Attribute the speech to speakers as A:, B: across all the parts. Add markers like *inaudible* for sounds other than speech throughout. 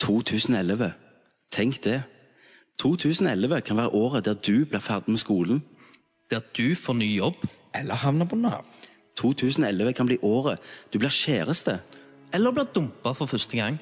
A: 2011. Tenk det. 2011 kan være året der du blir ferdig med skolen.
B: Der du får ny jobb.
C: Eller havner på Nav.
A: 2011 kan bli året du blir kjæreste.
B: Eller blir dumpa for første gang.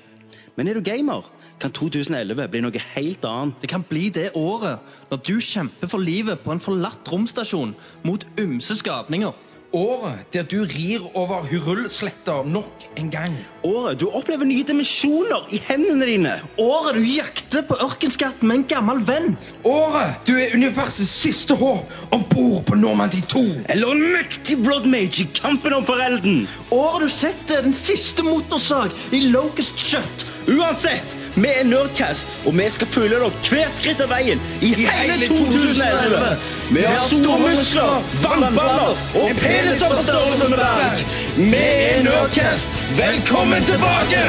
A: Men er du gamer, kan 2011 bli noe helt annet.
B: Det kan bli det året når du kjemper for livet på en forlatt romstasjon mot ymse skapninger.
C: Året der du rir over Hurullsletter nok en gang.
A: Året du opplever nye dimensjoner i hendene dine.
B: Året du jakter på ørkenskatten med en gammel venn.
C: Året du er universets siste håp om bord på Normandie 2.
A: Eller en mektig bloodmage i kampen om forelden.
B: Året du setter den siste motorsag i Locust Shut.
A: Uansett, vi er Nerdcast, og vi skal følge dere hvert skritt av veien i, hele 2011. Vi har store muskler, vannballer og peniser på størrelse med berg. Vi er Nerdcast. Velkommen tilbake!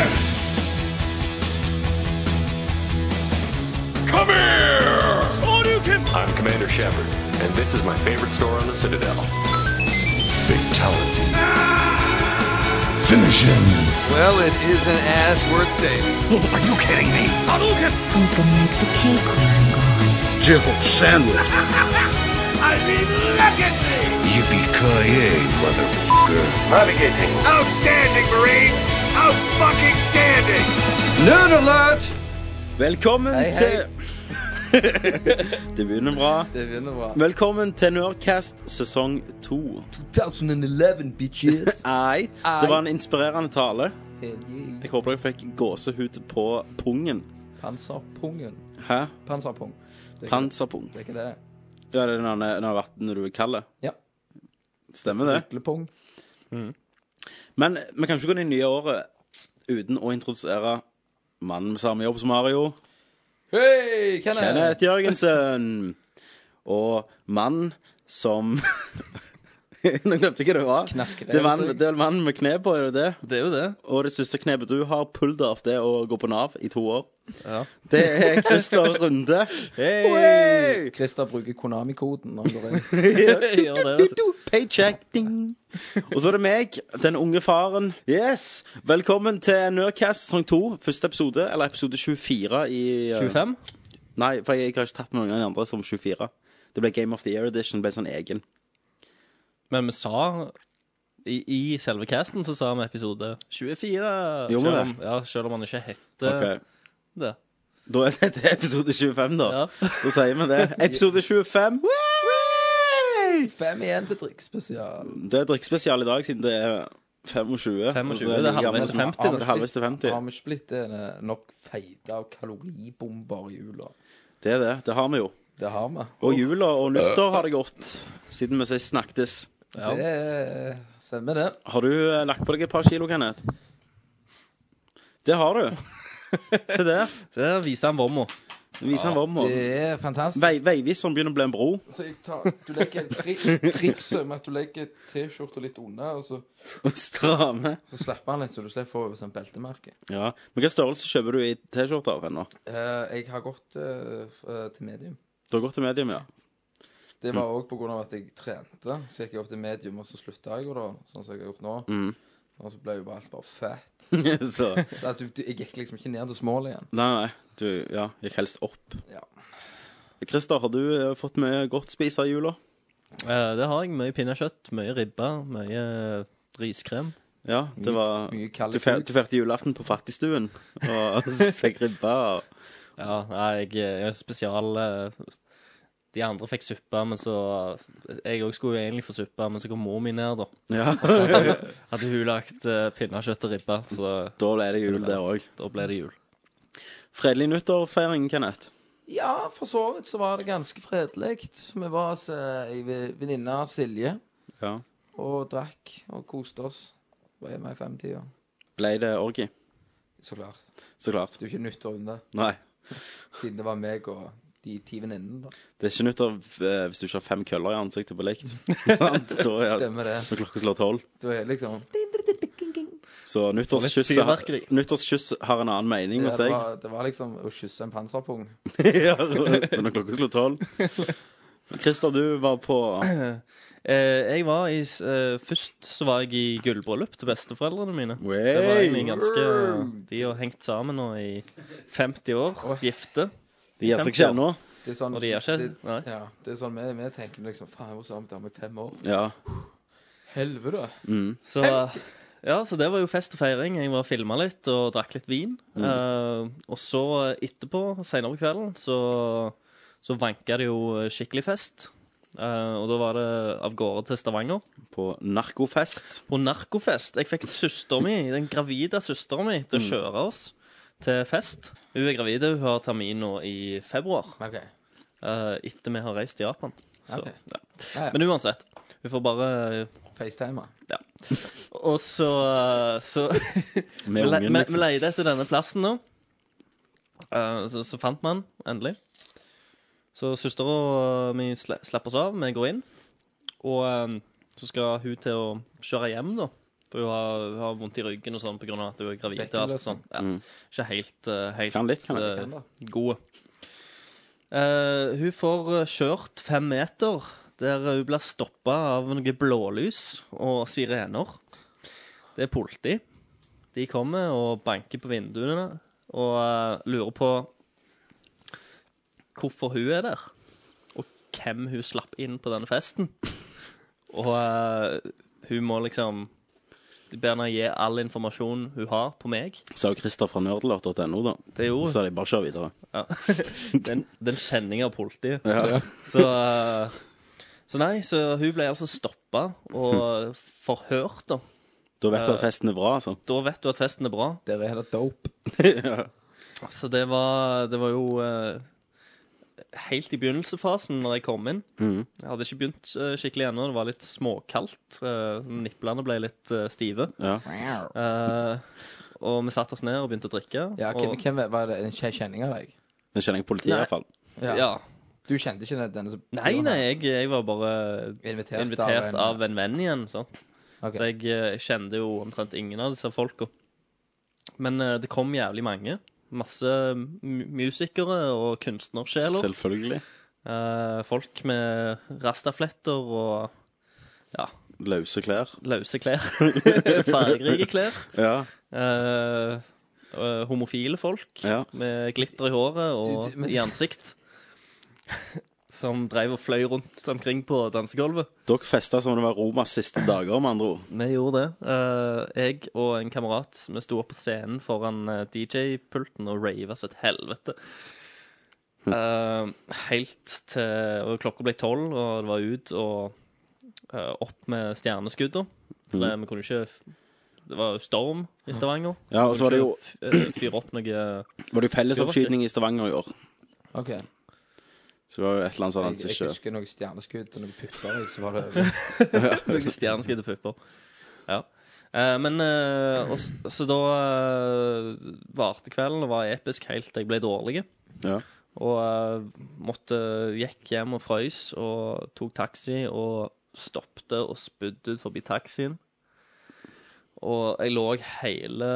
D: Come here! I'm Commander Shepard, and this is my favorite store on the Citadel. Fatality.
E: Well, it is an ass worth saving.
F: Who's gonna make the cake when I'm gone?
D: Navigating. Outstanding, Marines! Out fucking standing!
A: Velkommen
C: Hei, hei.
A: til *laughs* Det begynner bra.
C: Det begynner bra.
A: Velkommen til Nerdcast sesong to.
C: 2011, *laughs* bitches.
A: Ei. Det var en inspirerende tale.
C: Helge.
A: Jeg håper jeg fikk gåsehud på pungen.
C: Panserpungen.
A: Hæ?
C: Panserpung. Det er ikke-
A: Panserpung.
C: Det er ikke det.
A: Ja, det er den der- den har vært når du er kald.
C: Ja.
A: Stemmer det?
C: Lepung.
A: Men vi kan ikke gå inn i nye året uten å introdusere mannen med samme jobb som Mario.
C: Hei, Kenneth.
A: Kenneth Jørgensen. Og mannen som *laughs* Nå glemte jeg hva det var.
C: Knaskerev,
A: Det er mann-
C: sier jeg.
A: det er vel mannen med kne på, er det det?
B: Det er jo det.
A: Og det største knepet du har, pull det off det å gå på Nav i to år. Det er Christer Runde. Hey!
C: Christer bruker Konami-koden når han går
A: *laughs*
C: inn.
B: altså.
A: Paycheck, ding. Og så er det meg, den unge faren. Yes! Velkommen til Nerdcast sesong 2, første episode, eller episode 24 i eh,
B: 25?
A: Nei, for jeg har ikke tatt med noen av de andre som 24. Det ble Game of the Year Edition, ble sånn egen.
B: Men vi sa i, i selve casten så sa vi episode 24.
A: Jo, men
B: selv
A: det.
B: om, ja, selv om han ikke heter
A: Ok.
B: det.
A: Da er dette episode 25, da.
B: Ja.
A: Da sier
B: *laughs*
A: vi det. Episode 25. Whey!
C: Fem igjen til drikkspesial.
A: Det er drikkspesial i dag, siden det er 25.
B: 25,
A: og så
B: det er
A: like gammelt
B: halvveis til
A: som-
B: 50, da.
A: Det er halvveis til 50.
C: Har vi ikke blitt eh, nok feita av kaloribomber i jula?
A: Det er det. Det har vi jo.
C: Det har vi.
A: Og jula og nyttår har det gått siden vi sist snakkes.
C: Det eh, stemmer, det.
A: Har du eh, lagt på deg et par kilo, Kenneth? Det har
C: *laughs*
A: du. Se der.
B: Der viser han vomma.
A: Viser han vomma.
C: Det er fantastisk.
A: Vei, veiviseren begynner å bli en bro.
C: Så jeg tar, du legger tri Trikset med at du legger T-skjorta litt unna, og så,
A: Og stramme.
C: så slipper han litt, så du slipper å få over sånn beltemerke.
A: Ja. Men hva størrelse kjøper du i T-skjorter ennå?
C: Eh, jeg har gått eh, f- eh, til medium.
A: Du har gått til medium,
C: *laughs*
A: ja.
C: Det var òg pga. at jeg trente. Så gikk jeg opp til medium, og så slutta jeg jo, da. Sånn som jeg har gjort nå. Og så ble jo bare alt bare fett.
A: Så
C: Så at du, du, jeg gikk liksom ikke ned til smål igjen.
A: Nei, nei. Du ja, gikk helst opp.
C: Ja.
A: Christer, har du eh, fått mye godt spise i jula?
B: Eh, det har jeg. Mye pinnekjøtt, mye ribbe, mye
G: eh,
B: riskrem.
A: Ja, det var
C: mye kald
A: Du fe-
C: kuk.
A: du feirte julaften på fattigstuen
C: *laughs*
A: og så fikk ribba. og-
B: Ja, nei, jeg, jeg er spesial eh, De andre fikk suppe, men så Jeg òg skulle jo egentlig få suppe, men så kom mor mi ned, da.
A: Ja,
B: Hadde hun lagt eh, pinnekjøtt og ribbe, så
A: Da ble det jul der òg.
B: da ble det jul.
A: Fredelig nyttårsfeiring, Kenneth.
C: Ja, for så vidt så var det ganske fredelig. Vi var hos ei ve- venninne av Silje
A: Ja.
C: og drakk og koste oss. Var hjemme i femtida.
A: Ble det orgi?
C: Så klart.
A: Så klart.
C: Det er jo ikke nytt om det,
A: Nei.
C: siden det var meg og de ti venninnene. da.
A: Det er ikke nytt av eh, hvis du ikke har fem køller i ansiktet på likt. *laughs* Sant? da er
C: Stemmer det.
A: Når klokka slår tolv.
C: Det var liksom
A: Så nyttårskysset
B: Og litt
A: har,
B: fyrverkeri.
A: nyttårskyss har en annen mening
C: ja,
A: hos
C: det,
A: *laughs* deg.
C: var, det var liksom å kysse en panserpung.
A: Ja, Men når klokka slår tolv Christer, du var på
G: Eh, jeg var i, s- eh, først så var jeg i gullbryllup til besteforeldrene mine. Det var egentlig
A: Way!
G: ganske De har hengt sammen nå i 50 år, gifte.
A: De gir seg ikke ennå.
C: Det er sånn,
G: Og det gjør ikke-
C: det-
G: nei.
C: Ja, det er sånn vi, vi tenker liksom Faen, jeg var sammen med dame i fem år.
A: Ja.
C: Helvete.
G: Så, ja, så det var jo fest og feiring. Jeg var filma litt og drakk litt vin. Eh, og så eh, etterpå, seinere på kvelden, så, så vanka det jo eh, skikkelig fest. Eh, og da var det av gårde til Stavanger.
A: På narkofest.
G: På narkofest. Jeg fikk søster mi, den gravide søsteren min til å kjøre oss til fest. Hun er gravid, hun har termin nå i februar.
C: OK.
G: eh, etter vi har reist til Japan. Så,
C: Ok.
G: ja.
C: Ja, ja.
G: Men uansett. Hun får bare
C: FaceTime.
G: Ja. Og så, eh, så
A: Med
G: vi, le,
A: ungen,
G: vi, vi
A: liksom.
G: leide etter denne plassen nå. Eh, så, så fant vi den, endelig. Så søstera mi sla- slapp oss av. Vi går inn. Og eh, så skal hun til å kjøre hjem, da. For hun har, hun har vondt i ryggen og sånn pga. at hun er gravid. og alt
C: Bekkenløsning.
G: sånt. Ja. Ikke helt, eh, helt
A: Mm. Kan litt, kan litt,
G: eh,
C: kan da.
G: god. Eh, hun får eh, kjørt fem meter, der hun blir stoppa av noe blålys og sirener. Det er politi. De kommer og banker på vinduene og eh, lurer på hvorfor hun er der, og hvem hun slapp inn på denne festen. Og eh, hun må liksom De ber henne gi all informasjon hun har, på meg.
A: Sa jo Christer fra nerdelåt.no, da.
G: Det gjorde hun.
A: Så sa de bare kjør videre. *laughs*
G: Ja. Den, den kjenninga av politiet.
A: Ja.
G: Så, eh, så nei, så hun ble altså stoppa og forhørt, da.
A: Da vet du at festen er bra, altså.
G: Da vet du at festen er bra.
C: Der er det dope.
G: Så det var, det var jo eh, helt i begynnelsesfasen når jeg kom inn. Jeg hadde ikke begynt eh, skikkelig ennå. Det var litt småkaldt. eh, niplene ble litt eh, stive.
A: Ja.
G: Eh, og vi satte oss ned og begynte å drikke.
C: Ja, hvem,
G: og,
C: hvem var det? En kje- kjenning av deg?
A: Det kjenner jeg politiet,
G: Nei.
A: iallfall.
G: ja.
C: Du kjente ikke den- denne som
G: Nei, nei, jeg, jeg var bare
C: Invitert,
G: invitert av en venn igjen. Sant?
C: Ok.
G: Så jeg eh, kjende jo omtrent ingen av disse folka. Men eh, det kom jævlig mange. Masse mu- musikere og kunstnersjeler.
A: Selvfølgelig.
G: Eh, folk med rastafletter og
A: Løse klær.
G: løse klær. *laughs* Fargerike klær.
A: Ja.
G: Eh, eh, homofile folk
A: Ja.
G: med glitter i håret og
C: Du- du- men-
G: i ansikt. *laughs* Som dreiv og fløy rundt omkring på dansegulvet.
A: Dere festa som om det var Romas siste dager, med andre ord.
G: Vi gjorde det. Eh, jeg og en kamerat vi sto opp på scenen foran eh, DJ-pulten og rava som et helvete.
A: Hm.
G: Eh, helt til og klokka ble tolv, og det var ut og eh, opp med stjerneskudda. For
A: Hm.
G: det- Vi kunne ikke f- Det var jo storm i Stavanger.
A: Ja, og så var det jo
G: f- eh, Fyre opp noe *laughs*
A: var det jo fellesoppskyting i Stavanger i år.
C: Ok. Jeg,
A: Så det var jo et eller annet sånt
C: jeg
A: ikke
C: husker noen stjerneskudd og noen pupper. jeg, Så var det over.
G: Noen stjerneskudde pupper. Ja. Eh, men eh, og, s- Så da eh, varte kvelden og var episk helt til jeg ble dårlig.
A: Ja.
G: Og eh, måtte gikk hjem og frøys og tok taxi og stoppte og spydde ut forbi taxien. Og jeg lå hele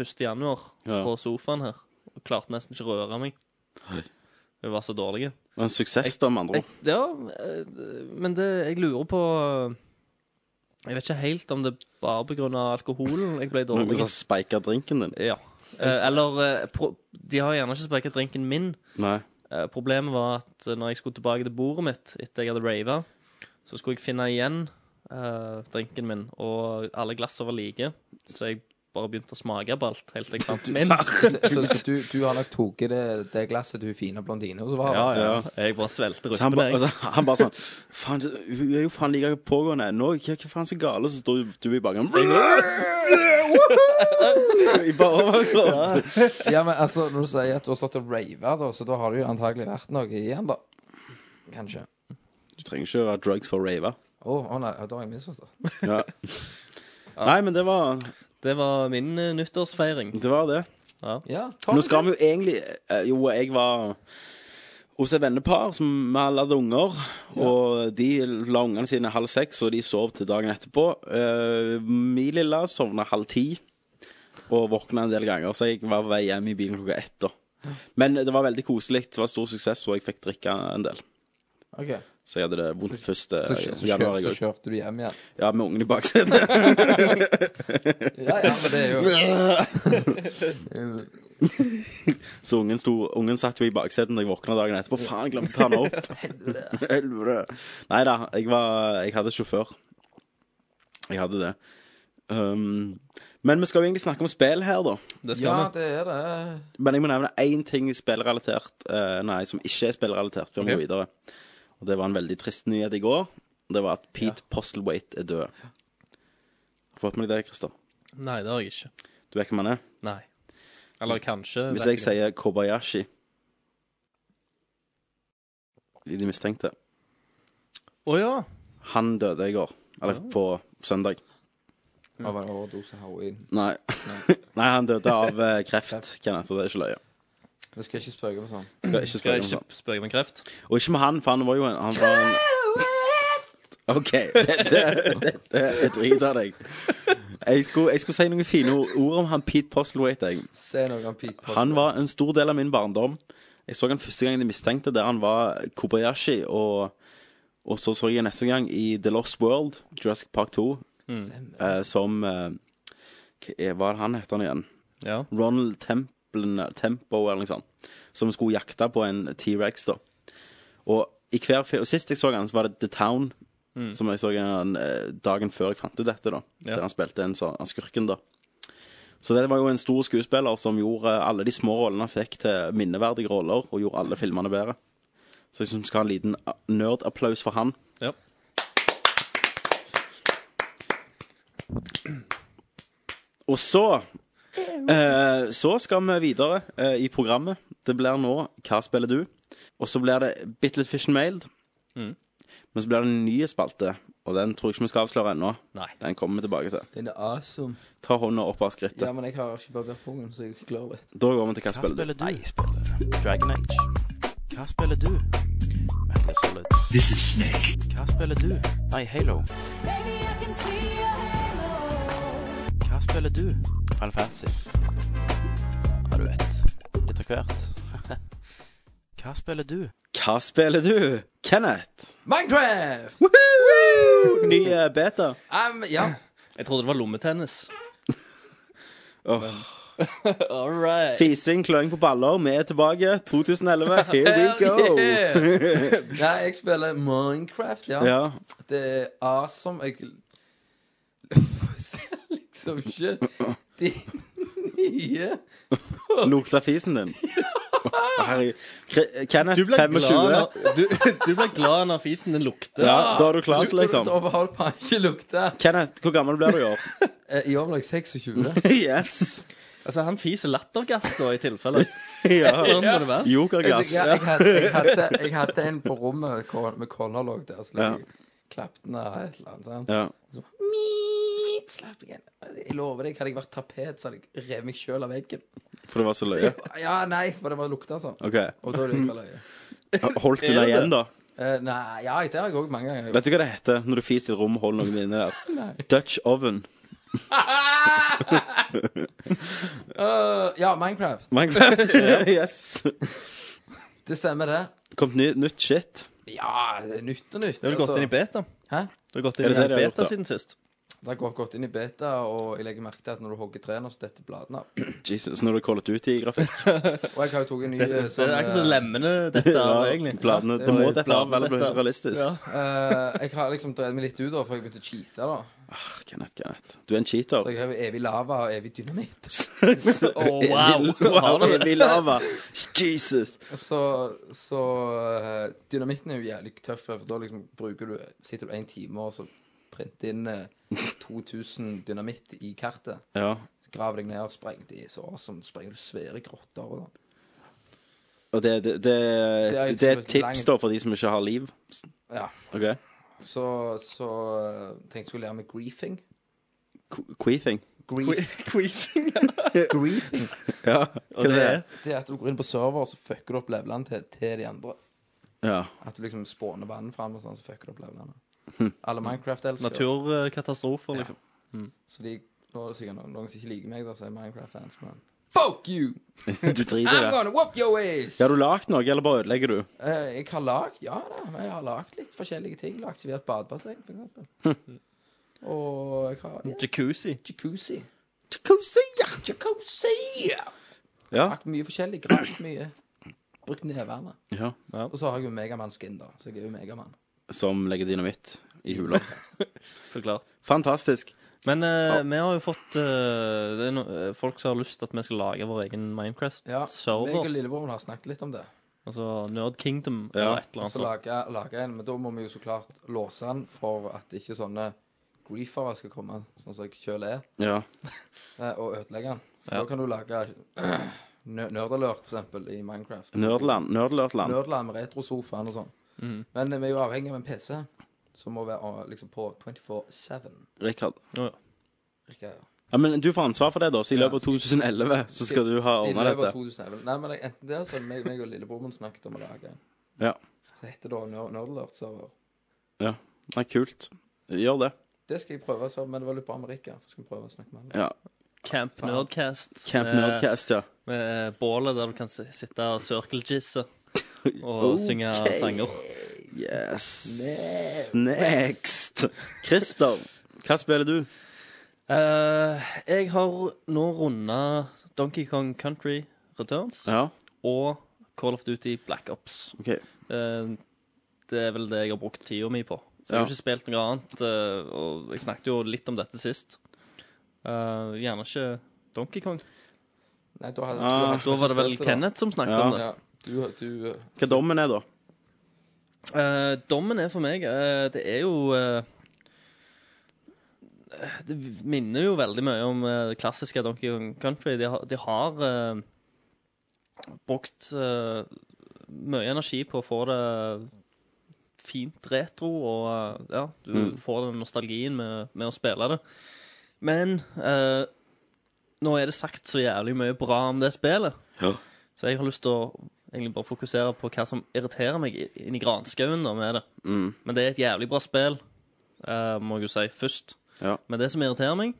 G: 1. januar
A: Ja.
G: på sofaen her og klarte nesten ikke å røre meg.
A: Oi.
G: Jeg var så dårlig.
A: Det var en suksess, da, med andre
G: Jeg,
A: ord.
G: ja, eh, men det, jeg lurer på eh, Jeg vet ikke helt om det bare pga. alkoholen jeg ble
A: Noen
G: dårlig.
A: som spiker sånn drinken din.
G: Ja. Eh, Eller eh, pro De har gjerne ikke speket drinken min.
A: Nei.
G: Eh, Problemet var at eh, når jeg skulle tilbake til bordet mitt etter jeg hadde rava, så skulle jeg finne igjen eh, drinken min, og alle glassene var like, så jeg bare begynte å smake på alt helt til jeg fant
A: *laughs*
G: min.
C: Så, så, så du, du har nok tatt det, det glasset til hun fine blondina som var
G: Ja,
C: her?
G: ja. Jeg bare svelgte
A: Så han,
G: ruppene,
A: ba,
G: jeg.
A: altså, han bare sånn Faen, hun er jo faen like pågående ennå. Hva, hva faen er så gale? Så står du i bakgrunnen *laughs* I bare overkropp.
C: Ja. men altså, når du sier at du har stått og rava, da, så da har det jo antagelig vært noe igjen, da. Kanskje.
A: Du trenger ikke å ha drugs for å rave.
C: Å, å nei, da har jeg misforstått.
A: Ja. Nei, men det var
G: Det var min eh, nyttårsfeiring.
A: det. Var det.
C: Ja, ta
A: Nå
C: det.
A: skal vi jo egentlig eh, Jo, jeg var hos et vennepar som vi alle hadde unger. Og de la ungene sine halv seks, og de sov til dagen etterpå. Eh, Min lille sovna halv ti og våkna en del ganger, så jeg var på vei hjem i bilen klokka ett. da. Men det var veldig koselig. Det var stor suksess, og jeg fikk drikke en del.
C: OK.
A: Så jeg hadde det vondt først eh,
C: Så, kjø- så,
A: januar
C: kjør,
A: i
C: så
A: går.
C: kjørte du hjem igjen.
A: Ja, med ungen i baksetet.
C: Ja, ja, men det
A: *laughs*
C: er jo
A: Så ungen, sto, ungen satt jo i baksetet når jeg våkna dagen etterpå. Faen, jeg glemte å ta den opp. Helvete. Nei da, jeg, var- jeg hadde sjåfør. Jeg hadde det. Um, men vi skal jo egentlig snakke om spill her, da.
G: Det skal
C: Ja,
G: vi.
C: det er det.
A: Men jeg må nevne én ting spillrelatert eh, Nei, som ikke er spillrelatert, før vi
G: Ok.
A: går videre. Og det var en veldig trist nyhet i går. Det var at Pete Postlewaite er død. Har du fått med deg det, Christer?
G: Nei, det har jeg ikke.
A: Du vet hvem han er?
G: Nei. Eller kanskje
A: Hvis
G: vet
A: jeg sier Kobayashi I De mistenkte.
G: Å ja.
A: Han døde i går. Eller på søndag.
C: Av en overdose heroin.
A: Nei. *laughs* Nei, han døde av eh, kreft, Kenneth. Og det er ikke løye.
C: Vi skal ikke spøke med sånn.
A: Skal ikke spørre
G: Skal jeg
A: om sånt.
G: ikke spøke med kreft?
A: Og ikke med han, for han var jo en han var en... OK, dette, dette er drit av deg. Jeg skulle, jeg skulle si noen fine ord- ord om han Pete Postlewaite. jeg.
C: Se noe om Pete Postman.
A: Han var en stor del av min barndom. Jeg så han første gang i De mistenkte, der han var Kobayashi. Og, og så så jeg han neste gang i The Lost World, Jurassic Park 2, eh, som eh, hva er- Hva er det han heter han igjen?
G: Ja.
A: Ronald Templin, Tempo eller noe sånt, som skulle jakte på en T-rex. da. Og i hver film, og Sist jeg så han, så var det The Town, som jeg så han, eh, dagen før jeg fant ut dette. da,
G: Mm. Ja.
A: Der han spilte en sånn han skurken. da. Så det var jo en stor skuespiller som gjorde alle de små rollene han fikk, til minneverdige roller, og gjorde alle filmene bedre. Så jeg synes vi skal ha en liten a- nerdapplaus for han.
G: ja.
A: Og så eh, Så skal vi videre eh, i programmet. Det blir nå Hva spiller du? Og så blir det bitte litt Fish and Mailed. Mm. Men så blir det en ny spalte, og den tror jeg ikke vi skal avsløre ennå.
G: Nei.
A: Den kommer vi tilbake til.
C: Den er awesome.
A: Ta hånda opp av skrittet.
C: Ja, men jeg har ikke barbert pungen, så jeg klør litt.
A: Da går vi til Hva, spiller du? Hva spiller du? Kenneth!
C: Minecraft!
A: Ny eh, beta.
C: Um, ja.
G: Jeg trodde det var lommetennis.
A: Åh,
G: All right.
A: Fising, kløing på baller. Vi er tilbake. 2011. Here we
C: Hell
A: go.
C: yeah!
A: *laughs*
C: Nei, jeg spiller Minecraft, ja.
A: Ja.
C: Det er awesome. Jeg ser liksom ikke de nye
A: Lukta fisen din. Herregud. Kre- Kenneth,
G: Du ble, glad
A: 25.
G: når, du, *laughs* du ble glad når fisen din lukter.
A: Ja, da er du klar, liksom.
C: Overhold på han ikke lukte.
A: Kenneth, hvor gammel blir du i år?
C: Eh, I år ble
A: *laughs*
C: jeg 26.
A: yes!
G: Altså, han fiser lattergass, da, i tilfelle.
A: Ja.
G: Sånn må det være.
A: Jokergass.
C: Jeg, jeg, hadde, jeg, hadde, jeg hadde en på rommet kon- med konerlogg der, så
A: Ja.
C: jeg klappte den av et eller annet. sant?
A: Ja.
C: Miit, slapp igjen. Jeg lover deg, hadde jeg vært tapet, så hadde jeg revet meg sjøl av veggen.
A: For det var så løye.
C: Ja, nei, for det var lukta sånn.
A: OK.
C: Og da er det ekstra løye.
A: Holdt du deg igjen, da?
C: Eh, nei, ja, det har jeg òg mange ganger.
A: Vet du hva det heter når du fiser i et rom og holder noen inne der? Dutch oven.
C: Eh, ja, Minecraft.
G: *laughs*
A: Minecraft. yes.
C: Det stemmer, det.
A: Kom ny, nytt shit.
C: Ja, det er nytt og nytt. Altså,
G: Du har gått inn i beta.
C: Hæ?
G: Du har gått
A: Er
G: inn
A: det
G: i
A: det de har gjort,
G: beta
A: da?
G: siden sist.
C: Det har gått, gått inn i beta, og jeg legger merke til at når du hogger trærne, så detter bladene av.
A: Jesus, når du callet ut i grafikk.
G: *laughs*
C: Og jeg har jo tatt en ny
G: Det, det
C: sånn
G: er ikke så
C: eh,
G: lemmene dette av, egentlig.
A: Bladene. Det må dette av, eller blir det ikke realistisk.
G: Ja.
C: eh, Jeg har liksom drevet meg litt ut, da, for jeg begynte å cheate. da
A: Ah, Kenneth, Kenneth. Du er en cheater.
C: Så jeg har jo evig lava og evig dynamitt.
A: *laughs*
G: Oh, wow. Har du det?
A: Evig lava. Jesus.
C: Så, så eh, dynamitten er jo jævlig tøff, for da liksom bruker du Sitter du en time og så printer inn eh, 2000 dynamitt i kartet.
A: Ja.
C: Graver deg ned og sprenger de så awesome. Sprenger du svære grotter og da.
A: Og det, det, det,
C: Det er jo
A: det er et
C: litt
A: tips
C: langt.
A: da for de som ikke har liv.
C: Ja.
A: OK?
C: Så, så eh, tenkte jeg skulle lære meg griefing.
A: Qu- Queefing.
C: Grief,
G: Queefing.
C: *laughs* griefing.
A: Ja. Hva
G: Og det er
C: Det er at du går inn på server, og så fucker du opp levelene til, til de andre.
A: Ja.
C: At du liksom spåner vann fram, og sånn, så fucker du opp levelene. Alle Minecraft-elskere.
G: naturkatastrofer, liksom.
C: Så de, nå er det sikkert noen, noen som ikke liker meg, da, så er Minecraft-fans, men Fuck you!
A: *laughs* Du driter i
C: I'm
A: det.
C: gonna whoop your ways!
A: Har du lagd noe, eller bare ødelegger du?
C: Eh, jeg har lagd Ja da, men jeg har lagd litt forskjellige ting. Lagd servert badebasseng, for eksempel. Og jeg har ja,
G: Jacuzzi.
C: jacuzzi.
A: Jacuzzi, ja.
C: Jacuzzi!
A: Ja.
C: Lagt mye forskjellig. Gravd mye. Brukt nevene.
A: ja.
C: Og så har jeg jo Megamann-skin, da. Så jeg er jo Megamann.
A: Som legger dynamitt i hula.
G: Så klart.
A: Fantastisk.
G: Men eh, vi har jo fått eh, det er no eh, folk som har lyst til at vi skal lage vår egen
C: Ja, meg og
G: Minecraft-server.
C: lillebroren har snakket litt om det.
G: altså Nerd Kingdom
A: Ja. altså.
G: eller et eller
C: Og
G: annet
C: så
G: sånt.
C: lager jeg- lager jeg en, men da må vi jo så klart låse den for at ikke sånne griefere skal komme, sånn som jeg sjøl er,
A: Ja.
C: eh, og ødelegge den. For
G: Ja.
C: Da kan du lage *clears throat* nø- Nerdalert, for eksempel, i
A: Mm.
C: Minecraft.
A: Nerdland. Nerdlørtland.
C: Nerdland med retrosofaen og sånn. Men vi er jo avhengig av en PC som må være eh, liksom på 24-7.
A: Rikard.
G: Å, ja.
C: Rikard.
A: Ja, men du får ansvar for det, da. Så i løpet av 2011 så skal du ha
C: I
A: ordna
C: løpet av
A: dette.
C: 2011. Nei, men jeg- enten det, så er det meg, meg og lillebror min snakket om å lage en.
A: Ja.
C: Så heter det da Ner- Nerdalert-server.
A: ja. Nei, kult. Gjør det.
C: Det skal jeg prøve, så, men det var litt bra med Rikard. for jeg Skal prøve å snakke med han.
A: Ja.
G: Camp Nerdcast.
A: Camp
G: med-
A: Nerdcast, ja.
G: Med bålet der du kan s- sitte
A: *laughs*
G: og circle-jizze og synge sanger.
A: Yes. Next. Christer, hva spiller du?
G: Eh, jeg har nå runda Donkey Kong Country Returns
A: Ja,
G: og Call of Duty Black Ops.
A: OK.
G: Eh, Det er vel det jeg har brukt tida mi på. Så jeg
A: Ja.
G: har ikke spilt noe annet. eh, Og jeg snakket jo litt om dette sist. Eh, gjerne ikke Donkey Kong.
C: Nei, da, hadde,
A: Ah,
C: hadde
G: Da var det vel
C: spilt da.
G: Kenneth som snakket
A: Ja.
G: om det.
C: Ja, du, du
A: Hva dommen er, da?
G: Eh, dommen er for meg eh, Det er jo eh, Det minner jo veldig mye om eh, det klassiske Donkey Kong Country. De har, de har eh, brukt eh, mye energi på å få det fint retro, og eh, ja, du får den nostalgien med, med å spille det. Men eh, nå er det sagt så jævlig mye bra om det spillet.
A: Ja.
G: Så jeg har lyst til å egentlig bare fokusere på hva som irriterer meg i- inni granskauen da med det.
A: Mm,
G: Men det er et jævlig bra spill, eh, må jeg jo si, først.
A: Ja.
G: Men det som irriterer meg,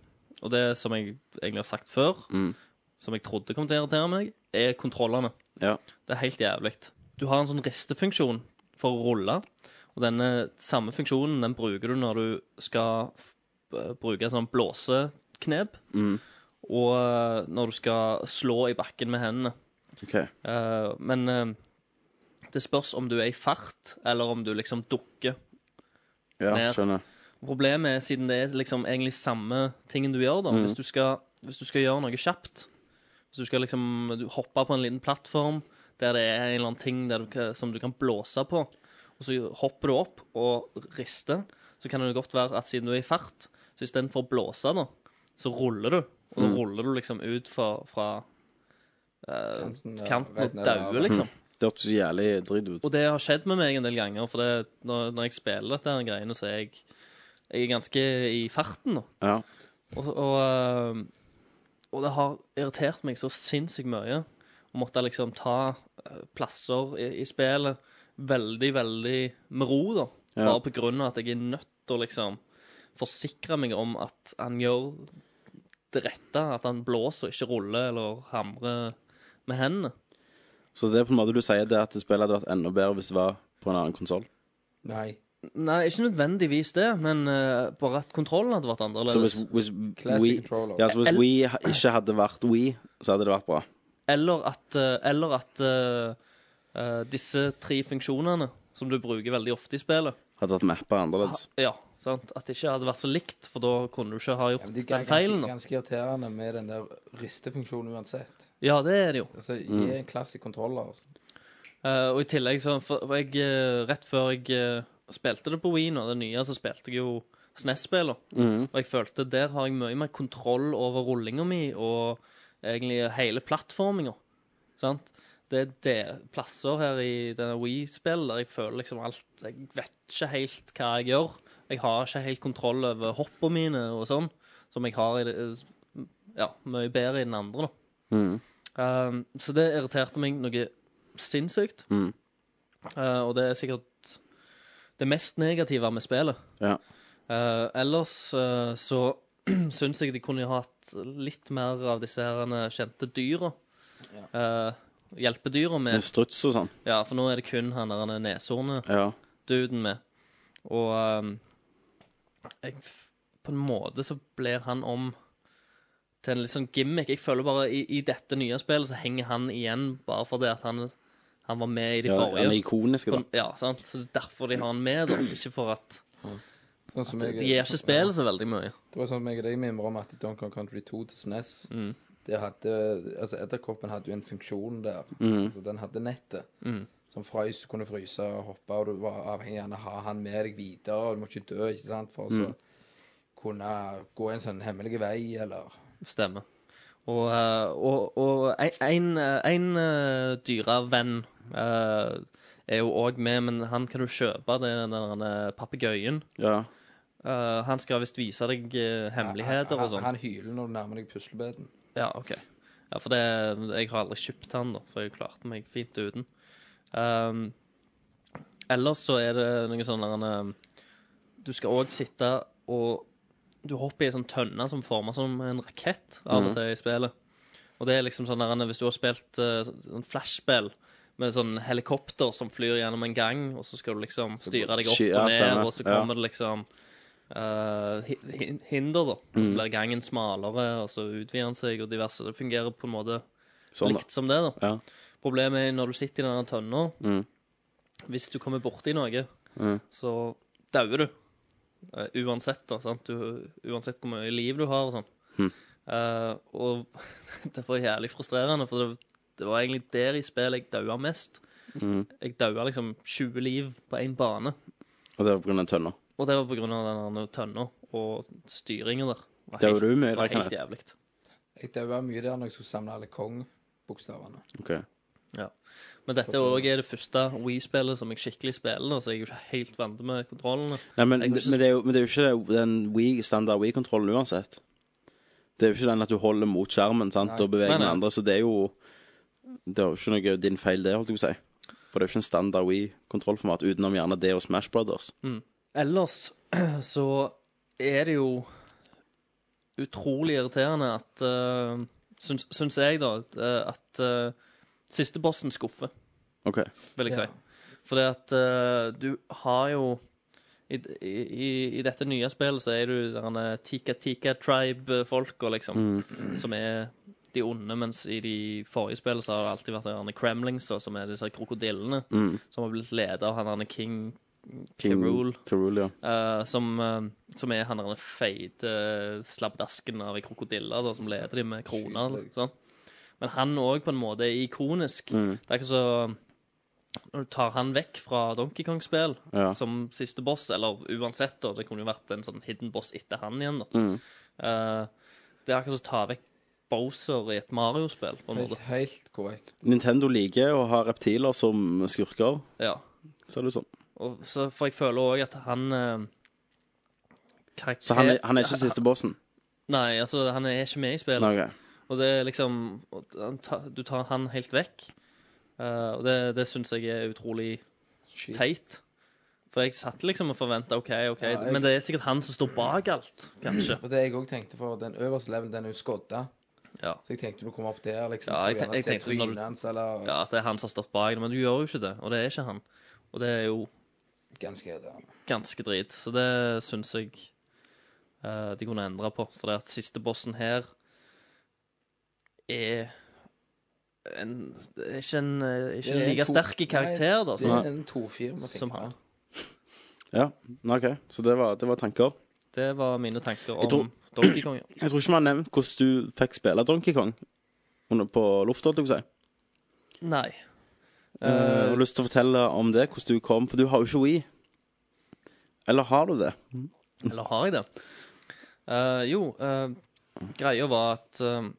G: og det som jeg egentlig har sagt før,
A: Mm.
G: som jeg trodde kom til å irritere meg, er kontrollene.
A: Ja.
G: Det er helt jævlig. Du har en sånn ristefunksjon for å rulle, og denne samme funksjonen den bruker du når du skal eh, bruke sånn blåseknep,
A: mm.
G: og eh, når du skal slå i bakken med hendene.
A: OK.
G: Eh, men eh, det spørs om du er i fart, eller om du liksom dukker.
A: Ja,
G: Ned.
A: skjønner.
G: Problemet er, siden det er liksom egentlig samme tingen du gjør, da
C: Mm.
G: hvis, du skal, hvis du skal gjøre noe kjapt Hvis du skal liksom du hoppe på en liten plattform der det er en eller annen ting der du, kan- som du kan blåse på, og så hopper du opp og rister, så kan det godt være at siden du er i fart, så istedenfor å blåse, da, så ruller du. Og
C: Mm.
G: da ruller du liksom ut fra, fra eh,
C: Kanten, ja,
G: kanten
C: rett
G: og
C: ned der.
G: dauer, liksom.
A: Det hørtes så jævlig dritt ut.
G: Og det har skjedd med meg en del ganger, for det, når, når jeg spiller dette her greiene, så er jeg, jeg er ganske i farten. Da.
A: Ja.
G: Og, og, øhm, og det har irritert meg så sinnssykt mye å måtte liksom ta øh, plasser i, i spillet veldig, veldig med ro, da.
A: Ja.
G: Bare på grunn av at jeg er nødt til å liksom forsikre meg om at han gjør det rette, at han blåser, ikke ruller eller hamrer med hendene.
A: Så det er på en måte du sier det at spillet hadde vært enda bedre hvis det var på en annen konsoll?
C: Nei.
G: Nei, ikke nødvendigvis det, men eh, bare at kontrollen hadde vært annerledes.
A: Så hvis, hvis
C: Classic
A: We
C: controller.
A: Ja, så hvis
G: El-
A: We ha- ikke hadde vært We, så hadde det vært bra.
G: Eller at, eh, eller at eh, eh, disse tre funksjonene, som du bruker veldig ofte i spillet
A: Hadde vært mappa annerledes.
G: Ja, sant? At det ikke hadde vært så likt, for da kunne du ikke ha
C: Ja,
G: gjort
C: men det er
G: den
C: ganske,
G: feilen. da.
C: ganske irriterende med den der ristefunksjonen uansett.
G: Ja, det er det jo.
C: Altså, Gi en klassisk kontroller. Altså.
G: Eh, og i tillegg så for, for jeg, eh, Rett før jeg eh, spilte det på Wii nå, det nye, så spilte jeg jo SNES-spiller. Og jeg følte der har jeg mye mer kontroll over rullinga mi og egentlig hele plattforminga. Sant? Det er det plasser her i denne Wii-spillet der jeg føler liksom alt Jeg vet ikke helt hva jeg gjør. Jeg har ikke helt kontroll over hoppa mine og sånn, som jeg har i det eh, Ja, mye bedre i den andre, da. Um, så det irriterte meg noe sinnssykt. Eh, og det er sikkert det mest negative med spillet.
A: Ja.
G: Eh, ellers eh, *clears throat* så syns jeg de kunne hatt litt mer av disse herene kjente eh, dyra. eh, hjelpedyra
A: En
G: med.
A: struts og sånn.
G: Ja, for nå er det kun han der neshornet
A: Ja.
G: duden med. Og ehm, jeg, f- på en måte så blir han om til en litt sånn gimmick. Jeg føler bare i, i dette nye spillet så henger han igjen bare fordi at han, han var med i de
A: ja
G: forrige.
A: den er ikonisk, da.
G: På- ja, sant? Så det er derfor de har han med, da. Ikke for at
C: Sånn som jeg,
G: De gir ikke spillet så veldig mye.
C: Det var sånn som jeg og deg mimrer om at i Donkey Kong Country 2 til SNES
G: Mm.
C: Det hadde Altså, edderkoppen hadde jo en funksjon der.
G: Mm.
C: Altså, den hadde nettet. Som frøys, du kunne fryse og hoppe, og du var avhengig av å ha han med deg videre. Og du må ikke dø, ikke sant, for å så
G: Mm.
C: kunne gå en sånn hemmelig vei, eller
G: Stemmer. Og, eh, og, og en, en, eh, en eh, dyrevenn eh, er jo òg med, men han kan du kjøpe, det er den der, eh, papegøyen.
A: Ja.
G: Eh, han skal visst vise deg eh, hemmeligheter og
C: han,
G: sånn.
C: han hyler når du nærmer deg puslebeden.
G: Ja, ok. Ja, for det, jeg har aldri kjøpt han, da, for jeg klarte meg fint uten. Um, ellers så er det noe sånn der en, um, Du skal òg sitte og Du hopper i en sånn tønne som former som en rakett av
A: Mhm.
G: og til i spillet. Og det er liksom sånn der en, Hvis du har spilt uh, sånn- sånn flashspill med sånn helikopter som flyr gjennom en gang, og så skal du liksom styre deg opp
A: sky- ja,
G: og ned,
A: stemmer.
G: og så
A: Ja.
G: kommer det liksom eh, hi- hin- hinder, da. Så
A: Mhm.
G: blir gangen smalere, og så utvider den seg, og diverse. Det fungerer på en måte
A: Sånn, da.
G: likt som det, da.
A: Ja.
G: Problemet er når du sitter i denne tønna
A: Mm.
G: Hvis du kommer borti noe, så dauer du. Eh, uansett, da. Sant? Du, uansett hvor mye liv du har og sånn.
A: Mm.
G: Eh, og *laughs* det var jævlig frustrerende, for det, det var egentlig der i spillet jeg daua mest.
A: Mm.
G: Jeg daua liksom 20 liv på én bane.
A: Og det var på grunn av tønna.
G: Og det var på grunn av den der tønna og styringen der. var
A: Det
G: helt-
A: var du med,
G: var
A: det kan
G: helt
A: jeg
G: jævlig.
C: Jeg daua mye der når jeg skulle samle alle Kong-bokstavene.
A: Ok.
G: Ja. Men dette òg er det første Wii-spillet som jeg skikkelig spiller, da, så jeg er jo ikke helt vant med kontrollene.
A: Nei, men,
G: Jeg kan ikke
A: men, det er jo, men det er jo ikke det- den Wii, standard Wii-kontrollen uansett. Det er jo ikke den at du holder mot skjermen sant, og beveger
G: Nei, nei.
A: den andre, så det er jo Det er jo ikke noe din feil, det, holdt jeg på å si. For det er jo ikke en standard Wii-kontrollformat utenom gjerne det og Smash Brothers.
G: Ellers *clears throat* så er det jo utrolig irriterende at uh, syns, syns jeg, da, at, eh, at eh, siste bossen skuffer.
A: OK.
G: vil jeg si. Fordi at eh, du har jo i, i, I dette nye spillet så er du derne Tika Tika Tribe-folka, liksom. Som er de onde, mens i de forrige spillene så har det alltid vært derne Kremlings, da, som er disse krokodillene. Som har blitt leda av han derne King Kirul,
A: Kirul, ja.
G: som, eh, som er han derne feite slabbedasken av ei krokodille, da, som leder dem med kroner.
C: Skyter deg.
G: Sånn. Men han òg på en måte er ikonisk.
A: Mm.
G: Det er ikke så Når du tar han vekk fra Donkey Kong-spill
A: Ja.
G: som siste boss, eller uansett, da, det kunne jo vært en sånn hidden boss etter han igjen, da.
A: Mm.
G: Eh, det er akkurat som å ta vekk Bowser i et Mario-spill, på en måte.
C: Helt, helt korrekt.
A: Nintendo liker å ha reptiler som skurker,
G: Ja.
A: ser det ut som.
G: Og, så, for jeg føler òg at han eh, karakter...
A: Så han er, han er ikke siste bossen?
G: Nei, altså, han er ikke med i spillet.
A: Nei, ok.
G: Og det er liksom og han ta- Du tar han helt vekk. Eh, og det, det syns jeg er utrolig
C: Shit.
G: teit. For jeg satt liksom og forventa OK, OK.
C: Ja, jeg-
G: Men det er sikkert han som står bak alt, kanskje.
C: Og det jeg òg tenkte, for den øverste levelen, den er jo skodda.
G: Ja.
C: Så jeg tenkte du kom opp der, liksom.
G: Ja,
C: for å
G: jeg
C: gjerne
G: ten- jeg
C: se
G: tenkte når du-
C: trynet hans, eller
G: ja, at det er han som har stått bak det, men du gjør jo ikke det. Og det er ikke han. Og det er jo
C: Ganske ja.
G: ganske drit. Så det syns jeg eh, de kunne endre på. For det at siste bossen her er en, det er ikke en, eh,
C: Det
G: ikke
C: er
G: en like
C: to-
G: sterk karakter, da,
C: Det
G: som,
C: er en 2-4 må
G: som han.
C: tenke.
A: Ja, Nei, ok. Så det var, det var tanker.
G: Det var mine tanker om
A: Jeg tror-
G: Donkey Kong. ja.
A: Jeg tror ikke vi har nevnt hvordan du fikk spille Donkey Kong under, på lufta, holdt jeg på å si.
G: *clears throat* Nei.
A: Jeg
G: Eh,
A: har lyst til å fortelle om det, hvordan du kom, for du har jo ikke Wii. Eller har du det?
G: eller har jeg det? Eh, jo, eh, greia var at eh,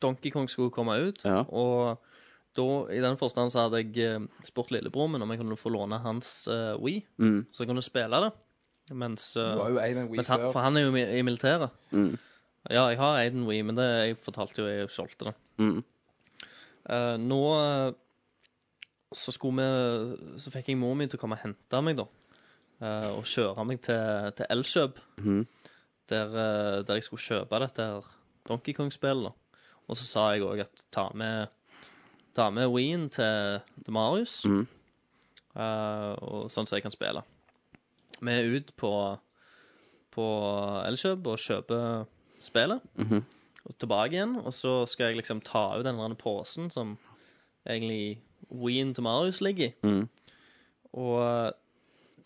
G: Donkey Kong skulle komme ut,
A: Ja.
G: og da, i den forstand så hadde jeg eh, spurt lillebror min om jeg kunne få låne hans uh, Wii, så jeg kunne spille det. Mens, eh,
C: Du har jo en en week
G: mens han,
C: før.
G: for han er jo mi- i militæret. Ja, jeg har Aiden Wii, men det, jeg fortalte jo jeg solgte det.
A: Mm.
G: Eh, nå eh, så skulle vi Så fikk jeg mor mi til å komme og hente meg, da. eh, og kjøre meg til, til Elkjøp, der, eh, der jeg skulle kjøpe dette her Donkey Kong-spillet. da. Og så sa jeg òg at ta med Ta med Ween til, til Marius, eh, og sånn som jeg kan spille. Vi er ut på, på Elkjøp og kjøper spillet.
A: Mhm.
G: Og tilbake igjen, og så skal jeg liksom ta ut den der posen som egentlig Ween til Marius ligger i.
A: Mhm.
G: Og eh,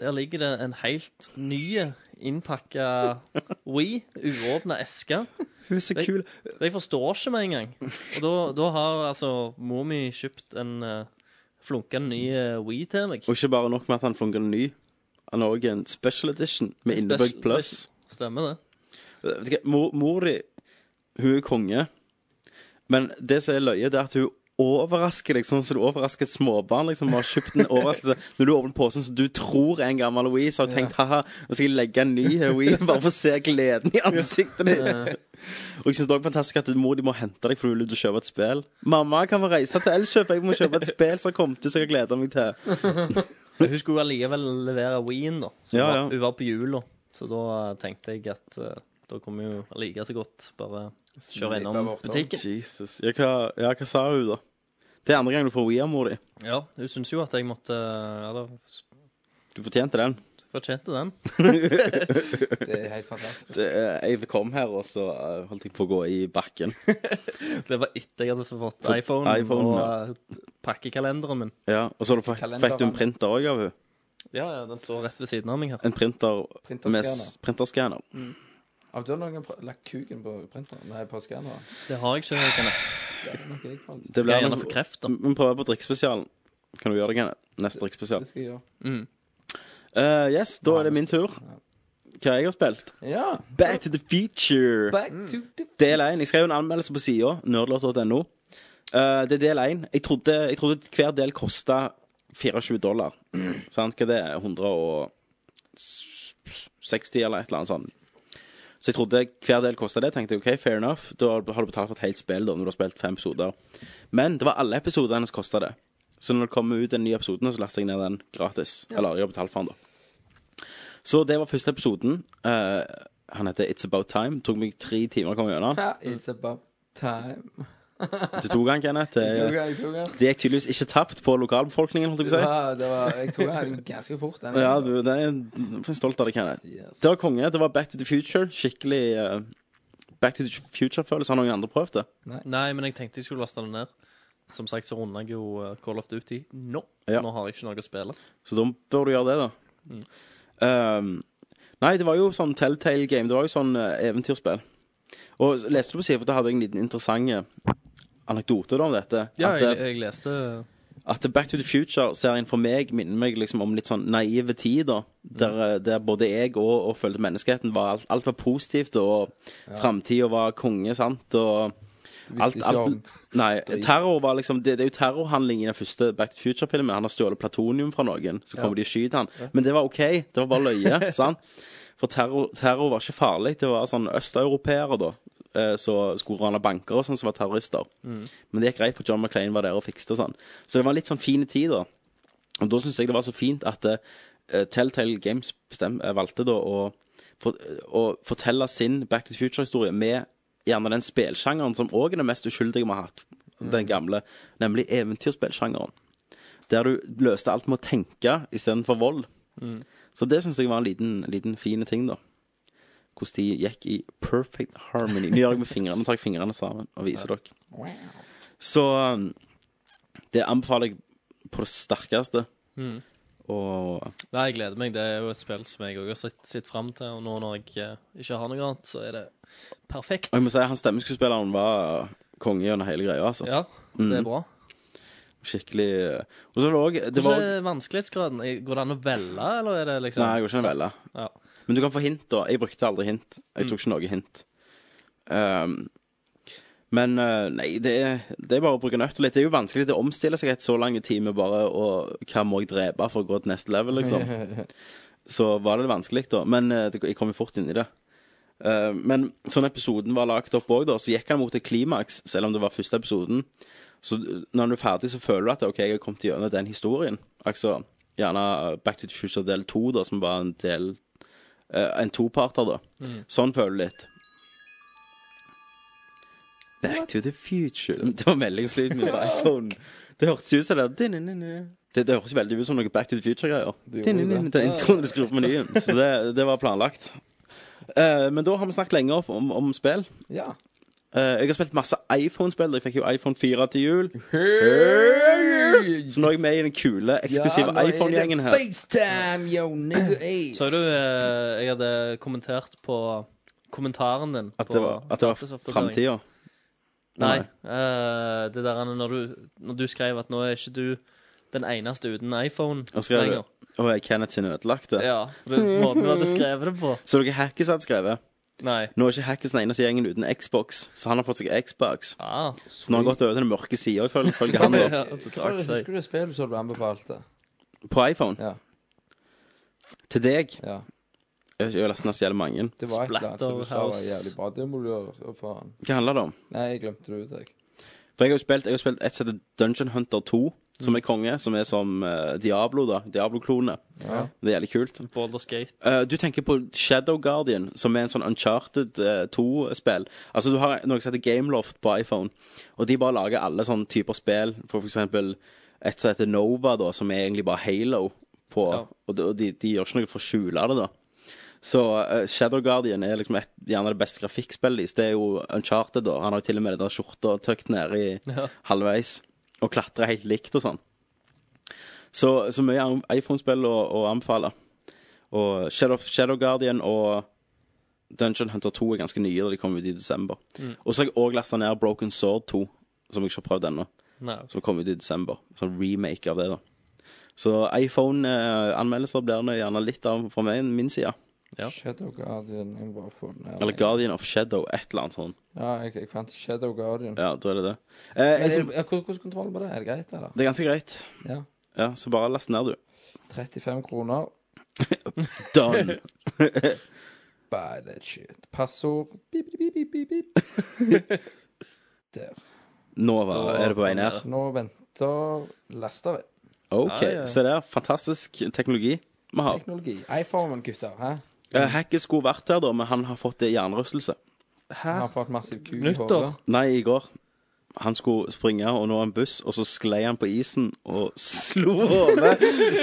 G: der ligger det en helt ny
A: *laughs*
G: innpakka We, uåpna eske.
A: Hun er så
G: Jeg- Jeg forstår ikke med en gang. Og da, da har altså mor mi kjøpt en uh, flunkende ny uh, Wii til meg.
A: Og ikke bare nok med at han funker ny. Han har òg en special edition med innebygd
G: Spes-
A: pluss.
G: Stemmer det.
A: Vet du hva, Mor, mor di, hun er konge. Men det som er løye, det er at hun overrasker deg sånn som du overrasker et småbarn. liksom, og har kjøpt en overraskelse. Når du åpner posen som du tror er en gammel Louise, har du tenkt haha, nå skal jeg legge en ny Louise bare for å se gleden i ansiktet ditt. Og jeg synes det er også fantastisk at mor de må hente deg fordi du vil ut og kjøpe et spill. 'Mamma, kan vi reise til Elkjøp? Jeg må kjøpe et spill som har kommet ut, som jeg gleder meg til.'
G: Men hun skulle jo allikevel levere Wien, da. Så
A: Ja,
G: hun,
A: ja.
G: var, hun var på jula. Så da eh, tenkte jeg at eh, da kommer hun like så godt bare
C: Snipe
G: kjøre innom
C: bort, da.
G: butikken.
A: Jesus. Ja, hva, ja, hva sa hun, da? Det er andre gang du får Wii av mor di.
G: Ja, hun syntes jo at jeg måtte eh, Eller
A: Du fortjente den.
G: fortjente
A: *laughs*
G: den.
C: Det er helt fantastisk.
A: det, eh, jeg kom her, og så eh, holdt jeg på å gå i bakken.
G: Det var etter jeg hadde fått iPhone,
A: iPhone,
G: og
A: ja.
G: eh, pakkekalenderen min.
A: Ja, Og så har du fått-
C: Kalenderen.
A: fikk du en printer òg av henne.
G: Ja, ja, den står rett ved siden av meg her.
A: En printer
C: Printerskanner.
A: med s- printerskanner.
C: Har du noen pr- lagt kuken på printeren? Nei, på skanneren?
G: Det har jeg ikke, Kenneth.
C: Det er nok jeg fant.
A: Det
G: Jeg
A: blir
G: er gjerne
A: nok-
G: for kreft, da.
A: Vi prøver på drikkespesialen. Kan du gjøre det, Kenneth? Neste drikkspesial.
C: Det skal jeg gjøre.
A: Eh, yes, da er det min tur. Hva jeg har spilt?
C: Ja!
A: Back to the future.
C: Back to the
A: Del 1. Jeg skrev jo en anmeldelse på sida, nerdlåt.no. Eh, det er del 1. Jeg trodde, jeg trodde hver del kosta 24 dollar. Sant? Hva det er 160 eller et eller annet sånt. Så jeg trodde hver del kosta det. tenkte jeg, ok, fair enough. Da har du betalt for et helt spill da, når du har spilt fem episoder. Men det var alle episodene som kosta det. Så når det kommer ut en ny episode, så laster jeg ned den gratis. Eller jeg har betalt for den, da. Så det var første episoden. Eh, han heter It's About Time. Tok meg tre timer å komme gjennom.
C: Ja, It's about time.
A: Du tok han, Kenneth. Det-
C: Jeg tok den, jeg tok den.
A: Det gikk tydeligvis ikke tapt på lokalbefolkningen, holdt jeg på å si.
C: Ja, det var, jeg tok den ganske fort. Den.
A: Ja, du, det er jeg er stolt av deg, Kenneth.
C: Yes.
A: Det var konge. Det var Back to the Future. Skikkelig eh, Back to the Future-følelse. Har noen andre prøvd det?
G: Nei, men jeg tenkte jeg skulle laste den ned. Som sagt så runder jeg jo eh, Call of Duty nå.
A: Ja.
G: Nå har jeg ikke noe å spille.
A: Så da bør du gjøre det, da. Ehm, nei, det var jo sånn Telltale Game. Det var jo sånn eh, eventyrspill. Og s- leste du på siden, for da hadde jeg en liten interessant eh, anekdote da om dette.
G: Ja,
A: at,
G: jeg,
A: eh,
G: jeg leste
A: at Back to the Future-serien for meg minner meg liksom om litt sånn naive tid, da. Der, eh, der både jeg og, og følte menneskeheten var alt, alt var positivt, og fremtiden framtida var konge, sant, og alt,
C: ikke om
A: alt, Nei, terror var liksom det, det er jo terrorhandling i den første Back to the Future-filmen. Han har stjålet platonium fra noen, så kommer de og skyter han. Men det var OK. Det var bare løye, *laughs* sant? For terror, terror var ikke farlig. Det var sånn østeuropeere, da. eh, Som skulle rane banker og sånn, som var terrorister. Men det gikk greit, for John McClain var der og fikste og sånn. Så det var en litt sånn fine tid, da. Og da syns jeg det var så fint at eh, Telltale Games bestem, eh, valgte da å, for, eh, å fortelle sin Back to the Future-historie med gjerne den spelsjangeren som òg er den mest uskyldige vi har hatt, den gamle, nemlig eventyrspillsjangeren. Der du løste alt med å tenke istedenfor vold. Så det syns jeg var en liten, liten fin ting, da. Hvordan de gikk i perfect harmony. Nå gjør jeg med fingrene, nå tar jeg fingrene sammen og viser dere. Så um, det anbefaler jeg på det sterkeste.
G: Mm.
A: Og
G: Nei, jeg gleder meg. Det er jo et spill som jeg også har sett, sett fram til. Og nå når jeg eh, ikke har noe annet, så er det perfekt.
A: og jeg må si han stemmeskuespilleren var konge gjennom hele greia. altså.
G: Ja, det er bra.
A: Skikkelig uh, Og så var det også- det var
G: Hvordan er vanskelighetsgraden? Er- Går det an å velge, eller er det liksom
A: Nei, jeg går ikke en velge.
G: Ja. Mm.
A: Men du kan få hint, da. Jeg brukte aldri hint. Jeg tok ikke noe hint. Um, men eh, nei, det er, det er bare å bruke nøtt og litt. Det er jo vanskelig å omstille seg etter så lang tid med bare å Hva må jeg drepe for å gå til neste level, liksom?
G: *laughs*
A: så var det vanskelig, da. Men eh, det, jeg kom jo fort inn i det. Eh, men sånn episoden var lagt opp òg, da, så gikk han mot et klimaks, selv om det var første episoden. Så når du er ferdig, så føler du at OK, jeg har kommet gjennom den historien. Altså gjerne eh, Back to the Future del to, da, som var en del
C: Mm.
A: eh, En toparter, da. Sånn føler du litt. Back to the future. *laughs* Det var meldingslyden min på iPhone. Det hørtes ut som det. Det, det høres veldig ut som noe Back to the Future-greier.
C: Det gjorde det.
A: Den introen du skrur på
C: *laughs*
A: menyen. Så det, det var planlagt. Eh, men da har vi snakket lenge om, om spill.
C: Ja.
A: Eh, jeg har spilt masse iPhone-spill. Jeg fikk jo iPhone 4 til jul. Så nå er jeg med i den kule, eksklusive iPhone-gjengen her.
C: FaceTime, yo, nigga, hey.
G: Så du eh, jeg hadde kommentert på kommentaren din
A: At
G: på
A: det var, at det var
G: statusoppdatering?
A: framtida.
G: Nei. eh, det der er når du, når du skrev at nå er ikke du den eneste uten iPhone
A: Og skrev det. Og er Kenneth sin ødelagte.
G: Ja. Det er måten du hadde skrevet det på.
A: Så dere Hackis hadde skrevet.
G: Nei.
A: Nå er ikke Hackis den eneste gjengen uten Xbox, så han har fått seg Xbox.
G: Ah,
A: Så nå har han gått over til den mørke sida, ifølge han. da
G: *laughs* ja,
C: Hva var det-
G: takk, sier jeg.
C: Husker du det spillet som du anbefalte?
A: På iPhone.
C: Ja.
A: Til deg.
C: Ja.
A: Jeg har ikke- jeg har nesten jævlig mange.
C: Det var et eller annet som du sa var
G: Splatterhouse.
C: jævlig bra. Det må du gjøre. Å, faen.
A: Hva handler det om?
C: Nei, jeg glemte det ut, jeg.
A: For jeg har jo spilt, jeg har spilt et som heter Dungeon Hunter 2,
G: Mm.
A: som er konge. Som er som eh, Diablo, da. Diablo-klone.
C: Ja.
A: Det er jævlig kult.
G: Baldur's Gate.
A: Eh, du tenker på Shadow Guardian, som er en sånn Uncharted 2-spill. Altså, du har noe som heter Gameloft på iPhone, og de bare lager alle sånne typer spill. For eksempel et som heter Nova, da, som er egentlig bare Halo. På,
G: Ja.
A: Og de, og de, de gjør ikke noe for å skjule det, da. Så eh, Shadow Guardian er liksom et, gjerne det beste grafikkspillet deres. Det er jo Uncharted, da. Han har jo til og med den der skjorta tøkt ned i halvveis, og klatrer helt likt og sånn. Så, så mye iPhone-spill å, å anbefale. Og Shadow, Shadow Guardian og Dungeon Hunter 2 er ganske nye, da de kom ut i desember. Og så har jeg òg lasta ned Broken Sword 2, som jeg ikke har prøvd ennå.
G: Nei.
A: Som kom ut i desember. Sånn remake av det, da. Så iPhone-anmeldelser blir det gjerne litt av fra meg, min side.
G: Ja.
C: Shadow Guardian. Jeg må bare få den her.
A: Eller Guardian of Shadow, et eller annet sånt.
C: Ja, jeg, jeg fant Shadow Guardian.
A: Ja, da er det det. Eh,
C: Men
A: jeg,
C: det-
A: synes-
C: ja, Hvordan hvordan kontroll på det? Er det greit, eller?
A: det er ganske greit.
C: Ja.
A: Ja, så bare last ned, du.
C: 35 kroner.
A: Done!
C: Buy that shit. Passord. Bip, bip, bip, bip, bip.
A: *laughs*
C: Der.
A: Nå var, er det på vei ned.
C: Nå venter laster
A: OK,
G: Ja, ja.
A: se der. Fantastisk teknologi vi har.
C: teknologi. iPhone, gutter. Hæ?
A: Eh, Hacket skulle vært her, da, men han har fått eh, jernrystelse.
G: Hæ?
C: Har fått massiv kuk i
G: Nyttår?
C: hodet.
A: Nei, i går. Han skulle springe og nå en buss, og så sklei han på isen og *laughs* slo hodet.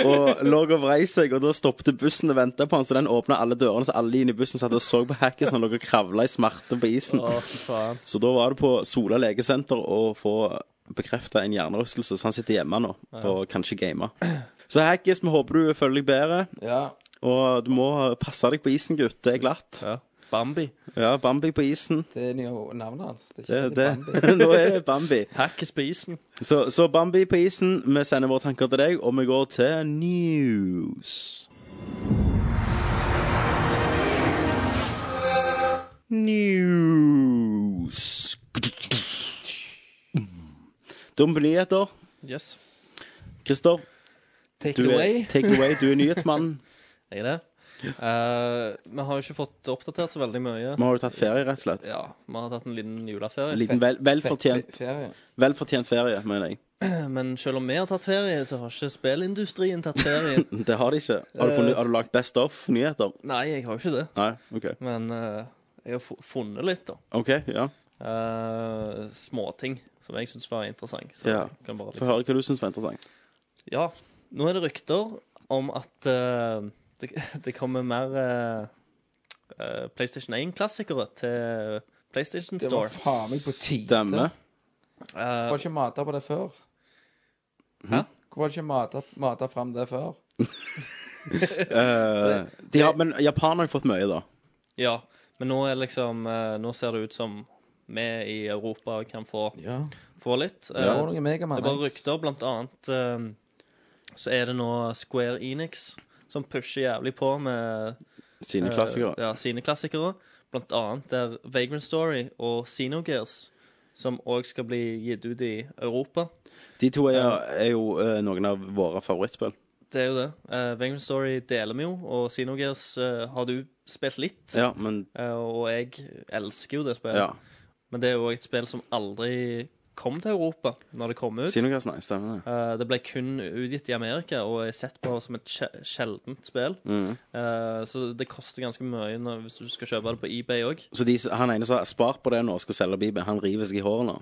A: Og lå og vrei seg, og da stoppet bussen og venta på han, så den åpna alle dørene, så alle inne i bussen satt og så på hacket, så han lå og kravla i smerte på isen.
G: Å, fy faen.
A: Så da var det på Sola legesenter å få bekrefta en hjernerystelse, så han sitter hjemme nå og kan ikke game. Så Hackis, vi håper du føler deg bedre,
C: Ja.
A: og du må passe deg på isen, gutt. Det er glatt.
G: Ja. Bambi.
A: Ja, Bambi på isen.
C: Det er jo navnet hans. Det
A: Det,
C: er ikke
A: det.
C: Bambi.
A: *laughs* Nå er det Bambi.
G: Hackes på isen.
A: Så, så Bambi på isen, vi sender våre tanker til deg, og vi går til news. News. Dumme nyheter.
G: Yes.
A: Christer,
G: Take
A: du
G: it
A: er,
G: away.
A: take away. Du er nyhetsmannen.
G: Jeg er det. Eh, vi har jo ikke fått oppdatert så veldig mye.
A: Vi har jo tatt ferie, rett og slett.
G: Ja, Vi har tatt en liten juleferie.
A: En liten vel, velfortjent,
C: Ferie.
A: velfortjent ferie, mener jeg.
G: Men selv om vi har tatt ferie, så har ikke spillindustrien tatt *laughs* ferie.
A: Det har de ikke. Har du, funnet, har du lagt Best of-nyheter?
G: Nei, jeg har jo ikke det.
A: Nei? OK.
G: Men eh, jeg har fu- funnet litt, da.
A: Ok, Ja.
G: Eh, Småting som jeg syns var interessant. Så
A: Ja.
G: jeg kan bare
A: Få
G: liksom.
A: høre hva du syns var interessant.
G: ja. Nå er det rykter om at eh, det, det *laughs* kommer mer eh, eh, PlayStation 1-klassikere til PlayStation
C: Det var
G: Store.
C: faen meg på tide.
A: Stemmer.
G: Eh,
C: Hvorfor ikke mata på det før?
G: Hæ?
C: Hvorfor ikke mata, mata fram det før?
A: Eh, de har, men Japan har jo fått mye, da.
G: ja, men nå er liksom eh, Nå ser det ut som vi i Europa kan få,
C: Ja.
G: få litt.
C: Det
G: Eh,
C: var noe Megaman
G: Det var
C: X.
G: rykter, blant annet ehm, Så er det nå Square Enix som pusher jævlig på med
A: Sine
G: eh,
A: klassikere.
G: ja, sine klassikere. Blant annet der Vagrant Story og Xenogears, som òg skal bli gitt ut i Europa.
A: De to er, er jo eh, noen av våre favorittspill.
G: Det er jo det. Eh, Vagrant Story deler vi jo, og Xenogears eh, har du spilt litt.
A: Ja, men
G: Eh, og jeg elsker jo det spillet.
A: ja.
G: Men det er jo et spill som aldri kom til Europa når det kom ut.
A: Kinocast, nei, stemmer det.
G: Eh, det ble kun utgitt i Amerika og er sett på som et sje- sjeldent spill.
A: Mm.
G: Eh, så det koster ganske mye når, hvis du skal kjøpe det på eBay òg.
A: Så de, han ene som har spart på det nå og skal selge Bibel, han river seg i håret nå.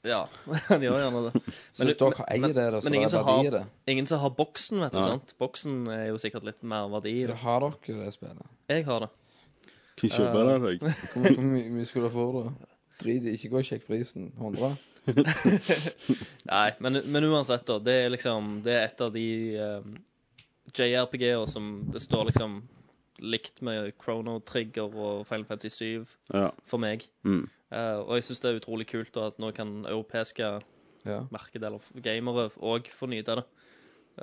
G: *laughs* Ja, han gjør gjerne det.
C: Så dere eier det, da, så det
G: men
C: er
G: ingen som
C: verdi i
G: har-
C: det.
G: Ingen som har boksen, vet du. sant? Boksen er jo sikkert litt mer verdi i
C: Ja,
G: det.
C: Har dere det spillet?
G: Jeg har det.
A: Kan kjøpe det av deg.
C: Hvor mye- hvor mye hvor mye skulle dere få det? Drit i, ikke gå og sjekk prisen. 100?
G: Nei, men, men uansett, da. Det er liksom Det er et av de eh, JRPG-er som det står liksom likt med Chrono Trigger og Final Fantasy 7
A: Ja.
G: for meg.
A: Mm.
G: Eh, og jeg syns det er utrolig kult da, at nå kan europeiske
C: Ja.
G: markedeler, gamere, òg få nyte av det.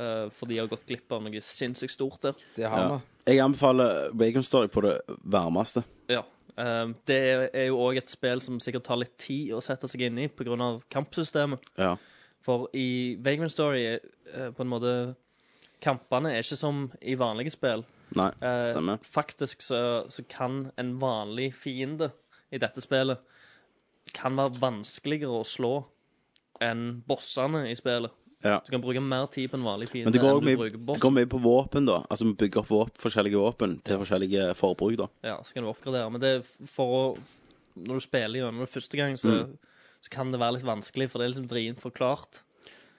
G: Eh, for de har gått glipp av noe sinnssykt stort der.
C: Det har vi.
A: Jeg anbefaler Bacon Story på det varmeste.
G: Ja. eh, det er- er jo òg et spill som sikkert tar litt tid å sette seg inn i pga. kampsystemet.
A: Ja.
G: For i Vagrant Story er eh, på en måte Kampene er ikke som i vanlige spill.
A: Nei,
G: Eh,
A: stemmer.
G: faktisk så, så kan en vanlig fiende i dette spillet kan være vanskeligere å slå enn bossene i spillet.
A: Ja.
G: Du kan bruke mer tid på en vanlig fiende
A: Men det går,
G: enn du
A: mye,
G: bruker
A: det
G: boss.
A: går mye på våpen, da. Altså vi bygger opp våp, forskjellige våpen til forskjellige forbruk, da.
G: Ja, så kan du oppgradere. Men det er f- for å Når du spiller gjennom det første gang, så,
A: Mm.
G: så kan det være litt vanskelig, for det er liksom vrient forklart.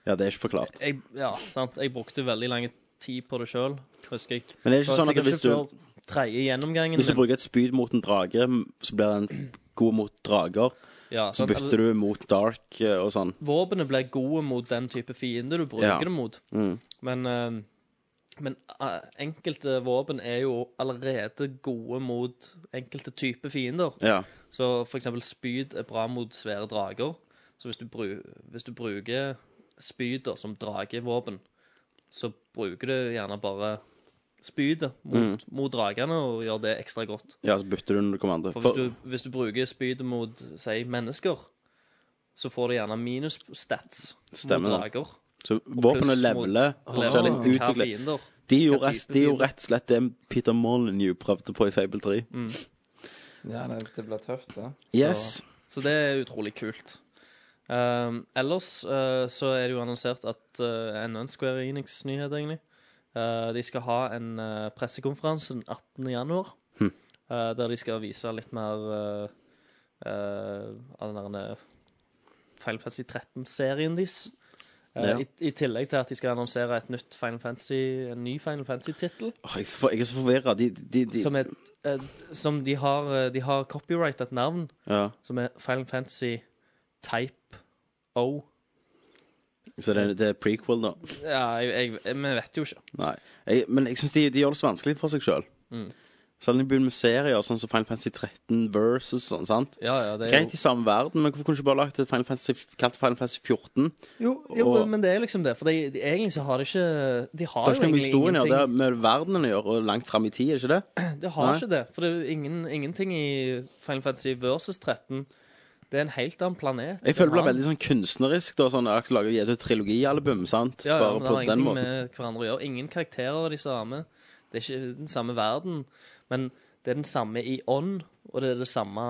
A: Ja, det er ikke forklart.
G: Jeg, ja, sant? jeg brukte veldig lang tid på det sjøl, husker jeg.
A: Men det er ikke sånn at hvis du-
G: Tredje gjennomgangen
A: Hvis du
G: min-
A: bruker et spyd mot en drage, så blir den god mot drager.
G: ja,
A: Så bytter du mot dark eh, og sånn.
G: Våpenet blir gode mot den type fiende du bruker
A: Ja.
G: det mot.
A: Mm.
G: Men, eh, men eh, enkelte våpen er jo allerede gode mot enkelte type fiender.
A: Ja.
G: Så for eksempel spyd er bra mot svære drager. Så hvis du, bru, hvis du bruker spyd da, som dragevåpen, så bruker du gjerne bare spydet mot,
A: Mm.
G: mot dragene og gjør det ekstra godt.
A: ja, så bytter du når du kommer andre.
G: For hvis du, hvis du bruker spydet mot, si, mennesker, så får du gjerne minus stats
A: Stemmer
G: mot
A: det.
G: drager.
A: Så
G: pluss
A: våpenet
G: mot-
A: leveler
G: leveler
A: forskjellig.
G: til hva
A: Utvikler.
G: fiender.
A: De
G: hva
A: gjorde
G: type
A: rett, de gjorde
G: fiender.
A: rett og slett det Peter Molyneux prøvde på i Fable 3.
C: Ja, det, det blir tøft, det.
A: Yes.
G: Så det er utrolig kult. Ehm, ellers eh, så er det jo annonsert at eh, enda en Square Enix-nyhet, egentlig. Eh, de skal ha en eh, pressekonferanse den 18. januar,
A: Hm.
G: eh, der de skal vise litt mer eh, eh, av den der Final Fantasy 13-serien deres. Eh,
A: Ja.
G: i, I tillegg til at de skal annonsere et nytt Final Fantasy, en ny Final Fantasy-tittel.
A: Åh, jeg er så for- jeg er så forvirra. De, de, de
G: Som, et, et, som de har, eh, de har copyrightet et navn
A: ja.
G: som er Final Fantasy Type O.
A: Så det, er- det er prequel, da.
G: Ja, jeg, jeg, vi vet jo ikke.
A: Nei. Jeg, men jeg syns de, de gjør det så vanskelig for seg sjøl.
G: Mm.
A: Selv om de begynner med serier sånn som Final Fantasy 13 versus sånn, sant?
G: Ja, ja, det er
A: Greit i samme verden, men hvorfor kunne du ikke bare lagt et Final Fantasy, kalt det Final Fantasy 14?
G: jo, jo,
A: og-
G: men det er liksom det. For de, de, egentlig så har de ikke De har,
A: Det har
G: jo
A: ikke noe med
G: egentlig
A: historien å gjøre, det har
G: ingenting.
A: med verdenen å gjøre, og langt fram i tid, er det ikke det?
G: Det har
A: Nei.
G: ikke det. For det er jo ingen, ingenting i Final Fantasy versus 13. Det er en helt annen planet.
A: Jeg føler det blir
G: En annen-
A: veldig sånn kunstnerisk, da, sånn Aksel Lager gitt ut trilogialbum, sant?
G: ja, ja,
A: bare
G: men Det
A: på
G: har
A: den
G: ingenting
A: måten.
G: med hverandre å gjøre. Ingen karakterer er de samme. Det er ikke den samme verden. Men det er den samme i ånd, og det er det samme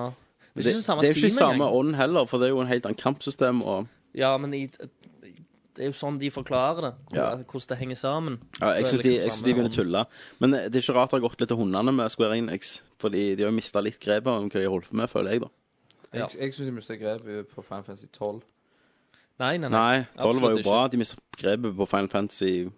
G: Det er ikke det samme
A: det er jo ikke
G: team
A: samme
G: engang.
A: ånd heller, for det er jo en helt annen kampsystem og
G: Ja, men i, det er jo sånn de forklarer det.
A: Ja.
G: Hvordan det henger sammen.
A: Ja, jeg
G: Det er
A: syns de,
G: liksom
A: jeg synes
G: samme
A: de begynner å
G: om-
A: tulle. Men eh, det er ikke rart det har gått litt til hundene med Square Enix. Fordi de har mista litt grepet om hva de holder på med, føler jeg, da.
C: Jeg,
G: Ja.
C: jeg syns de mistet grepet på Final Fantasy 12.
G: Nei, nei, nei.
A: Nei, 12 var jo
G: absolutt
A: bra. De mista grepet på Final Fantasy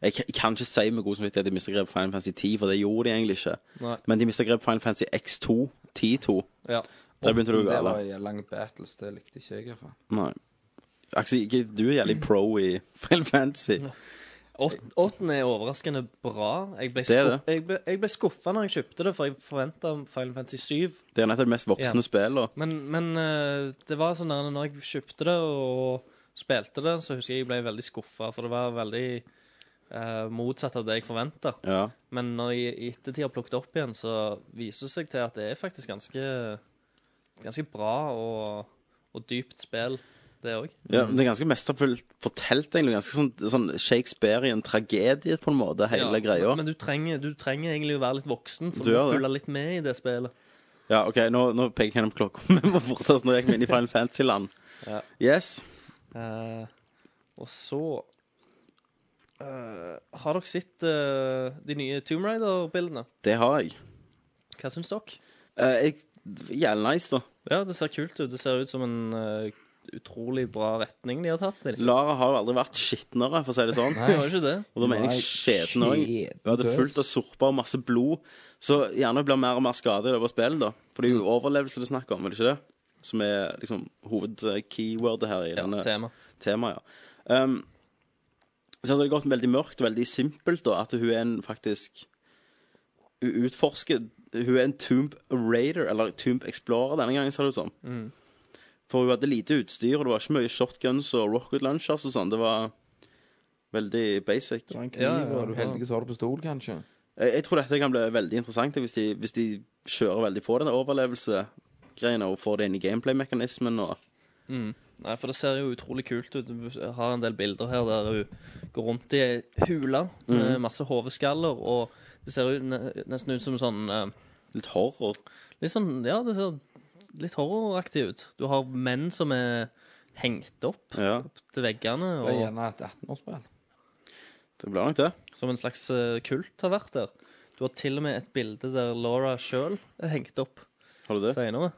A: jeg, kan- jeg kan ikke si med god samvittighet at de mista grepet på Final Fantasy 10, for det gjorde de egentlig ikke.
G: Nei.
A: Men de mista grepet på Final Fantasy X2, 10-2.
G: Ja.
A: Der begynte det å gå
C: Det var
A: galt.
C: i lange battles, det likte ikke jeg, i hvert fall.
A: Nei. Aksel, ikke- du er jævlig pro i *laughs* Final Fantasy.
G: Åt- Åtten er overraskende bra. Jeg ble,
A: Det er
G: skuff- jeg ble, jeg ble skuffa når jeg kjøpte det, for jeg forventa Final Fantasy 7.
A: Det er jo nettopp det mest voksne
G: Ja.
A: spillet.
G: Men, men eh, det var sånn der når jeg kjøpte det og spilte det, så husker jeg jeg ble veldig skuffa, for det var veldig eh, motsatt av det jeg forventa.
A: Ja.
G: Men når jeg i ettertid har plukket det opp igjen, så viser det seg til at det er faktisk ganske, ganske bra og, og dypt spill, det òg.
A: Ja, men Det er ganske mesterfullt fortalt, egentlig. Ganske sånn, sånn Shakespearean tragedie, på en måte, hele greia.
G: Men du trenger, du trenger egentlig å være litt voksen for
A: Du
G: du
A: gjør
G: må
A: det.
G: følge litt med i det spillet.
A: Ja, OK, nå, nå peker jeg gjennom klokka. *laughs* Vi må forte oss. Nå gikk vi inn i Final Fantasy-land. Yes.
G: Eh, og så eh, Har dere sett eh, de nye Tomb Raider-bildene?
A: Det har jeg.
G: Hva syns dere?
A: Eh, jeg Jævlig nice, da.
G: Ja, det ser kult ut. Det ser ut som en eh, utrolig bra retning de har tatt. Det er liksom-
A: Lara har jo aldri vært skitnere, for å si det sånn.
G: Det var jo ikke det.
A: Og da mener jeg
C: Nei,
A: skjeden òg. Hun hadde
C: skjedøs.
A: fullt av sorper og masse blod. Så gjerne blir mer og mer skade i løpet av spillet, da. For det er jo overlevelse det er snakk om, er det ikke det? Som er liksom hovedkeywordet her i
G: Ja,
A: denne
G: tema.
A: temaet. Ja. Um, så har det gått veldig mørkt, veldig simpelt, da, at hun er en faktisk Hun utforsker Hun er en tomb raider, eller tomb explorer denne gangen, ser det ut som.
C: Mm.
A: For hun hadde lite utstyr, og det var ikke mye shotguns og rocket launchers og sånn. Det var veldig basic.
C: Det var en kniv,
G: Ja, ja,
C: og du
G: ja.
C: heldig så har du pistol, kanskje.
A: Jeg, jeg tror dette kan bli veldig interessant hvis de, hvis de kjører veldig på denne overlevelsegreia og får det inn i gameplay-mekanismen. og
G: Nei, for det ser jo utrolig kult ut. Jeg har en del bilder her der hun går rundt i ei hule med
C: Mhm.
G: masse hodeskaller, og det ser jo ne- nesten ut som sånn eh,
A: Litt horror.
G: Litt sånn Ja, det ser litt horroraktig ut. Du har menn som er hengt opp
A: Ja,
G: til veggene,
C: Det er
G: og
C: gjerne et 18-årsspill.
A: det blir nok det.
G: som en slags eh, kult har vært der. Du har til og med et bilde der Laura sjøl er hengt opp
A: Har du det?
G: seinere.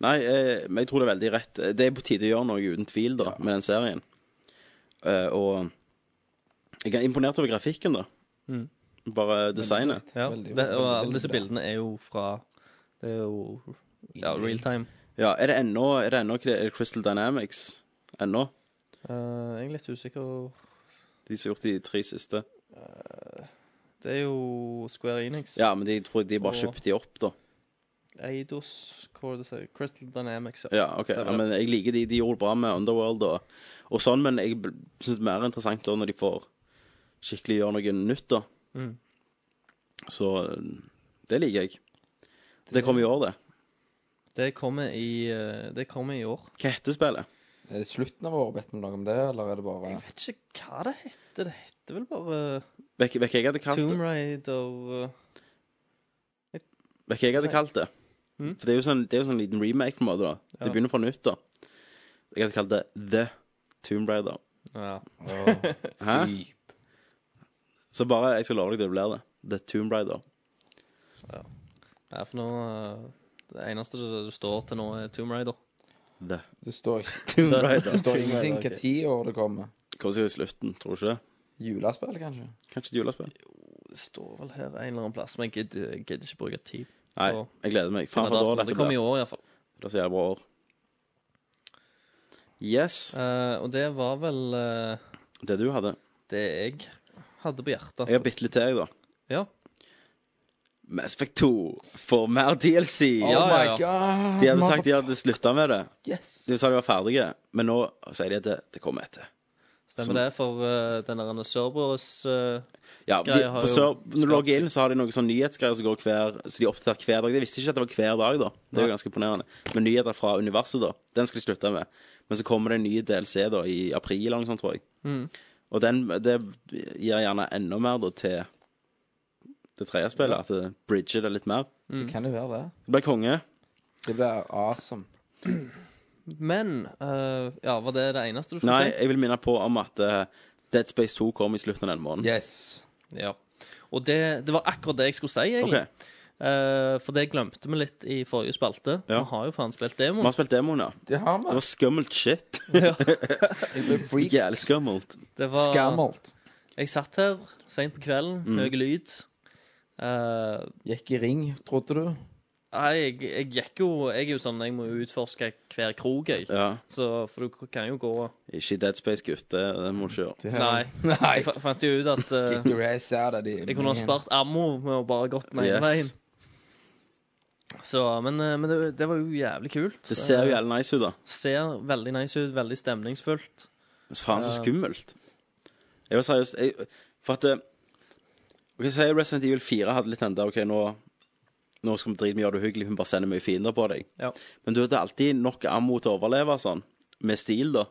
A: Nei, eh, men jeg tror det er veldig rett. Det er på tide å gjøre noe uten tvil da, med den serien. Eh, og jeg er imponert over grafikken, da. Bare designet.
G: Ja,
C: Veldig,
G: det, og
C: veldig
G: alle disse
C: bra.
G: bildene er jo fra Det er jo ja, real time.
A: Ja, Er det ennå er det ennå kre- er det Crystal Dynamics? Ennå?
G: Eh, jeg er litt usikker.
A: De som har gjort de tre siste?
G: Det er jo Square Enix.
A: Ja, men de tror jeg de bare
G: Og-
A: kjøpte de opp, da.
G: Eidos hva er det det sier? Crystal Dynamics.
A: Ja, ok.
G: Stemmer
A: Ja,
G: det.
A: men jeg liker de de gjorde bra med Underworld og, og sånn, men jeg bl- synes det er mer interessant da når de får skikkelig gjøre noe nytt, da.
G: Mm.
A: Så eh, det liker jeg. Det kommer i år, det.
G: Det kommer i eh, Det kommer i år.
A: Hva heter spillet?
C: Er det slutten av året, vet vi noe om det, eller er det bare
G: Jeg vet ikke hva det heter. Det heter vel bare
A: Vet vet ikke jeg hadde kalt
G: Tomb
A: det.
G: Raider eh,
A: Vet ikke jeg hadde kalt det.
G: Mm.
A: For det er jo sånn, det er jo sånn liten remake på en måte, da.
G: Ja.
A: Det begynner fra nytt, da. Jeg hadde kalt det The Tomb Raider.
G: Ja.
C: Åh,
A: Hæ?
C: dyp.
A: Så bare jeg skal love deg det blir det. The Tomb Raider.
G: Nei, for nå eh, Det eneste det det står til nå, er Tomb Raider.
A: The
C: Det står, ikke,
A: Tomb Raider.
C: det står ingenting hva tid år det kommer.
A: Hva sier vi i slutten, tror du ikke det?
C: Julespill, kanskje?
A: Kanskje et julespill?
G: *laughs* Det står vel her en eller annen plass, men jeg gidder, jeg gidder ikke bruke tid.
A: Nei,
G: Og-
A: jeg gleder meg.
G: på
A: Faen for et år
G: datoen.
A: dette
G: Det kommer i
A: blir.
G: år, iallfall.
A: Det blir så jævlig bra år. Yes.
G: Uh, og det var vel eh,
A: Det du hadde.
G: det jeg hadde på hjertet.
A: Jeg har bitte litt til, jeg, da.
G: Ja.
A: Mass Effect 2 får mer DLC.
C: Oh
G: Ja,
C: my
G: ja, ja.
C: god!
A: De hadde sagt de hadde slutta med det.
C: yes.
A: De sa de var ferdige, men nå sier de at det, det kommer etter.
G: Stemmer det for eh, den der Cerberus eh,
A: Ja, de,
G: Greia har
A: på
G: jo
A: Sør, Når du
G: skapt
A: logger inn,
G: sitt.
A: så har de noen sånn nyhetsgreier som går hver Så de er oppdatert hver dag. Jeg visste ikke at det var hver dag, da. Det er jo ganske imponerende. Men nyheter fra universet, da, den skal de slutte med. Men så kommer det en ny DLC da i april eller noe sånt, tror jeg. Og den, det gir gjerne enda mer da til det tredje spillet. At det bridger det litt mer.
G: Mm.
C: Det kan jo være det.
A: Det blir konge.
C: Det blir awesome.
G: Men eh, Ja, var det det eneste du skulle
A: Nei,
G: si?
A: jeg vil minne på om at eh, Dead Space 2 kom i slutten av denne måneden.
C: Yes.
G: Ja. Og det, det var akkurat det jeg skulle si, egentlig.
A: Ok.
G: Eh, for det glemte vi litt i forrige spalte.
A: Ja.
G: Vi har jo faen spilt
A: Vi
G: demoen.
A: har spilt demoen, ja.
C: Det har
A: Det
C: vi.
A: var skummelt shit.
C: Jeg ble freaked.
A: Jævlig skummelt.
G: Det var-
C: Skammelt.
G: Jeg satt her seint på kvelden,
A: Mm.
G: høy lyd. Eh,
C: Gikk i ring, trodde du?
G: nei, jeg, jeg gikk jo Jeg er jo sånn, jeg må jo utforske hver krok, jeg.
A: Ja.
G: Så, for du kan jo gå
A: Ikke i Dead Space, gutter. Det må du ikke gjøre.
G: Nei.
C: *laughs* Nei.
G: Jeg fa- fant jo ut at eh,
C: Kick the race out of the
G: Jeg kunne
C: man.
G: ha spart ammo med å bare gått den ene
A: Yes.
G: veien. Så, men eh, men det, det var jo jævlig kult.
A: Det ser jo
G: Eh,
A: jævlig nice ut, da.
G: ser veldig nice ut, veldig stemningsfullt.
A: Men faen, så
G: Ja.
A: skummelt. Jeg var seriøst jeg, For at eh, Ok, Si Resident Evil 4 hadde litt den der OK, nå, nå skal vi drite med å gjøre det uhyggelig, vi bare sender mye fiender på deg.
G: Ja.
A: Men du hadde alltid nok ammo til å overleve sånn. Med stil, da.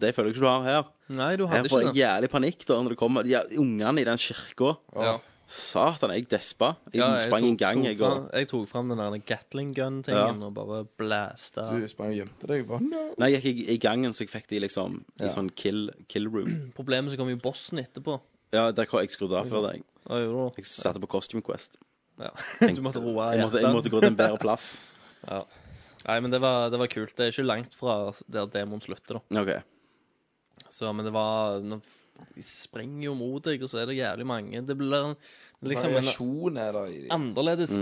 A: Det føler jeg ikke du har her.
G: Nei, du
A: Her
G: hadde
A: får
G: ikke
A: jeg
G: det.
A: jævlig panikk da når det kommer de her Ungene i den kirka.
G: Ja.
A: Satan, jeg despa. Jeg sprang en gang, jeg.
G: fram,
A: Og...
G: jeg tok fram den der Gatling gun-tingen
A: Ja.
G: og bare blæsta.
C: Du sprang og gjemte deg. bare no.
A: Nei, jeg gikk i, i gangen, så jeg fikk de liksom i sånn kill, kill
G: *clears throat*
A: room.
G: Problemet så kom jo bossen etterpå.
A: Ja, der kom jeg skrudd av før deg.
G: Hva gjorde du?
A: Jeg satte på Costume Quest.
G: *laughs* Ja. Du måtte roe
A: *laughs* Jeg måtte, jeg måtte gå til en bedre plass.
G: Nei, men det var, det var kult. Det er ikke langt fra der demoen slutter, da.
A: OK.
G: Så, men det var nå f- De springer jo mot deg, og så er det jævlig mange. Det blir en- liksom en
C: Variasjon er der i de.
G: annerledes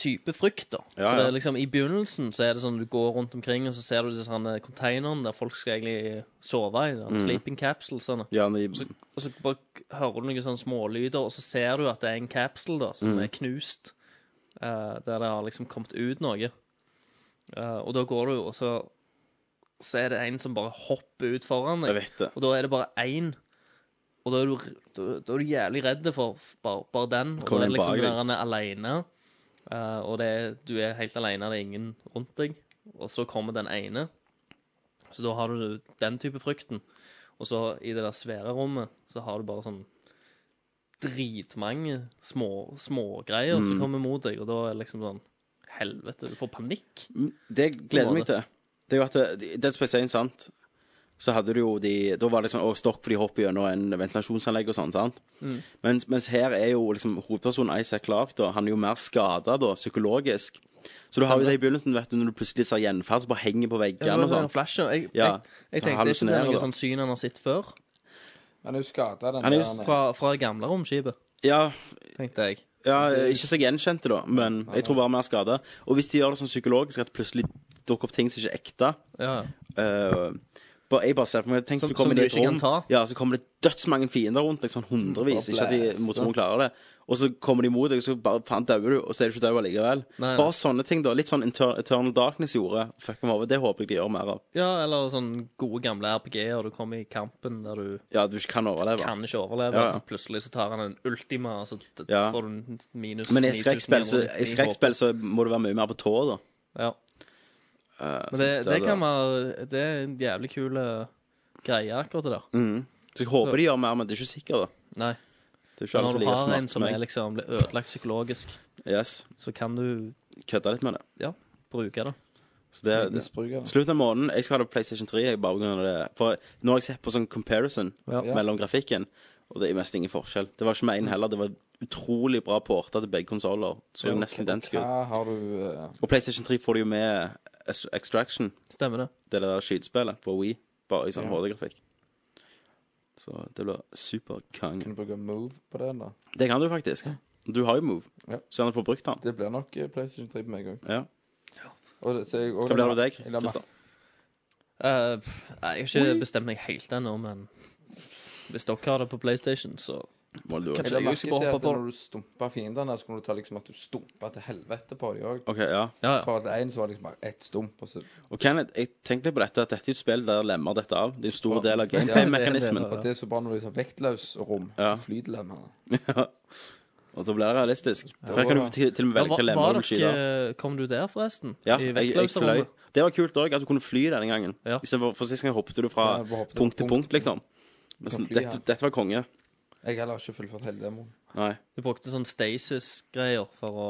G: type frykt, da.
A: Mm. Ja,
G: For det
A: ja.
G: er liksom, I begynnelsen så er det sånn du går rundt omkring, og så ser du disse her containerne der folk skal egentlig eh, sove i. Mm. Sleeping capsulesene.
A: Ja, de,
G: Og så, og så bare hører du noen sånne smålyder, og så ser du at det er en kapsel da,
A: Mm.
G: som er knust. eh, der det har liksom kommet ut noe. Eh, og da går du, og så, så er det en som bare hopper ut foran
A: jeg
G: deg.
A: vet det.
G: Og da er det bare én. Og da er du, r- da, da er du jævlig redd for f- bare, bare den. Og
A: Kommer
G: da er
A: den
G: det liksom
A: bak deg.
G: der han er aleine, eh, og det er, du er helt aleine, det er ingen rundt deg. Og så kommer den ene. Så da har du den type frykten. Og så i det der svære rommet så har du bare sånn dritmange små- smågreier som
A: Mm.
G: kommer mot deg, og da er det liksom sånn Helvete, du får panikk.
A: Det jeg gleder meg til, det er jo at eh, det- Dead Space 1, sant så hadde du jo de Da var det sånn Å, stokk, for de hopper gjennom en ventilasjonsanlegg og sånn, sant?
G: Mm.
A: Mens, mens her er jo liksom hovedpersonen Isaac Clark, da. Han er jo mer skada, da, psykologisk. Så du har jo det i begynnelsen, vet du, når du plutselig ser gjenferd, så bare henger på veggene og
G: det var
A: sånn.
G: den flashen. Jeg,
A: Ja.
G: jeg, jeg tenkte det er ikke det
A: Hallusinerer,
G: noe
A: da.
G: sånn syn han har sett før.
C: Han er jo skada, den
A: Han er jo
C: der. eh,
G: Fra, fra det gamle romskipet,
A: Ja,
G: tenkte jeg.
A: ja, ikke så gjenkjente, da, men jeg tror bare mer skada. Og hvis de gjør det sånn psykologisk at plutselig dukker opp ting som ikke er ekte,
G: Ja.
A: Eh, bare, jeg bare ser for meg tenk,
G: Som-
A: du kommer
G: som
A: inn i
G: du
A: et
G: ikke kan
A: rom,
G: ta.
A: Ja, så kommer det dødsmange fiender rundt deg, sånn hundrevis.
C: Bare
A: Ikke at de
C: blæst,
A: motoren klarer det. Og så kommer de mot deg, så bare faen dauer du, og så er du ikke dau allikevel.
G: Nei, nei.
A: Bare sånne ting, da. Litt sånn Inter Eternal Darkness gjorde. Fuck dem over. Det håper jeg de gjør mer av.
G: ja, eller sånn gode gamle RPG-er. Du kommer i kampen der du
A: Ja, du ikke kan overleve.
G: kan ikke overleve.
A: Ja, ja.
G: for Plutselig så tar han en ultima, og så t-
A: Ja.
G: får du en minus
A: Men i et skrekkspill så,
G: 9999
A: i et skrekkspill så må du være mye mer på tå, da.
G: Ja.
A: Eh,
G: Men
A: så
G: det, det kan være Det er en jævlig kul eh, greie, akkurat det der.
A: Mhm. Så jeg håper de gjør mer, men det er ikke sikkert, da.
G: Nei.
A: Det er ikke alle
G: Når
A: som
G: du
A: liker
G: har en
A: smart
G: som
A: som
G: er
A: meg.
G: liksom blir ødelagt psykologisk,
A: Yes.
G: så kan du
A: Kødda litt med det.
G: ja, bruke det.
A: Så det, det
C: Misbruker det.
A: Slutten av måneden Jeg skal ha det på PlayStation 3. Jeg bare på grunn av det For nå har jeg sett på sånn comparison
G: Ja.
A: mellom grafikken, og det er mest ingen forskjell. Det var ikke med én heller. Det var utrolig bra porta til begge konsoller. Så jo, nesten identisk ut.
C: Hva har du eh,
A: Og PlayStation 3 får du jo med Est- Extraction,
G: Stemmer det.
A: det der skytespillet på Wii, bare i sånn HD-grafikk. Så det blir superkonge.
G: Mm.
C: Kunne bruke Move på den, da.
A: Det kan du faktisk. Du har jo Move,
C: Ja.
A: så gjerne får brukt den.
C: Det blir nok eh, PlayStation 3 på meg òg.
A: Ja.
C: Hva
A: Hva blir det deg, Christer?
G: Eh, pff, nei, jeg har ikke bestemt meg helt ennå, men hvis dere har det på PlayStation, så
A: Må du-
C: Jeg
G: Kanskje-
C: la merke
G: Så
C: til at
G: jeg husker på-
C: når du stumpa fiendene, så kunne du ta liksom at du stumpa til helvete på dem òg.
A: OK, ja.
G: Ja, ja.
C: For at én så var det liksom bare ett stump, og så
A: Og Kenneth, jeg tenkte litt på dette, at dette er jo et spill der lemmer dette av. Det er en stor
C: *laughs* Ja.
A: del av
C: Ja, det er
A: gameplay-mekanismen.
C: Og det er så bra når du er så vektløs og rom.
A: Ja.
C: Ja. Flytlemmene.
A: *laughs* Og da blir det realistisk. For her kan du til, til og med
G: Ja,
A: velge hva
G: var,
A: lemmer
G: var
A: du vil skyte.
G: dere, kom du der, forresten?
A: Ja,
G: I
A: jeg, jeg fløy.
G: vektløserrommet?
A: Det var kult òg, at du kunne fly denne gangen.
G: Ja.
A: I stedet For, for sist gang hoppet du fra
C: Ja, bare hoppet
A: punkt til
C: fra
A: punkt,
C: punkt til
A: liksom. Men sånn,
C: fly, ja.
A: dette, dette var konge.
C: Jeg har heller ikke fullført hele demoen.
A: Nei.
G: Du brukte sånn stasis-greier for å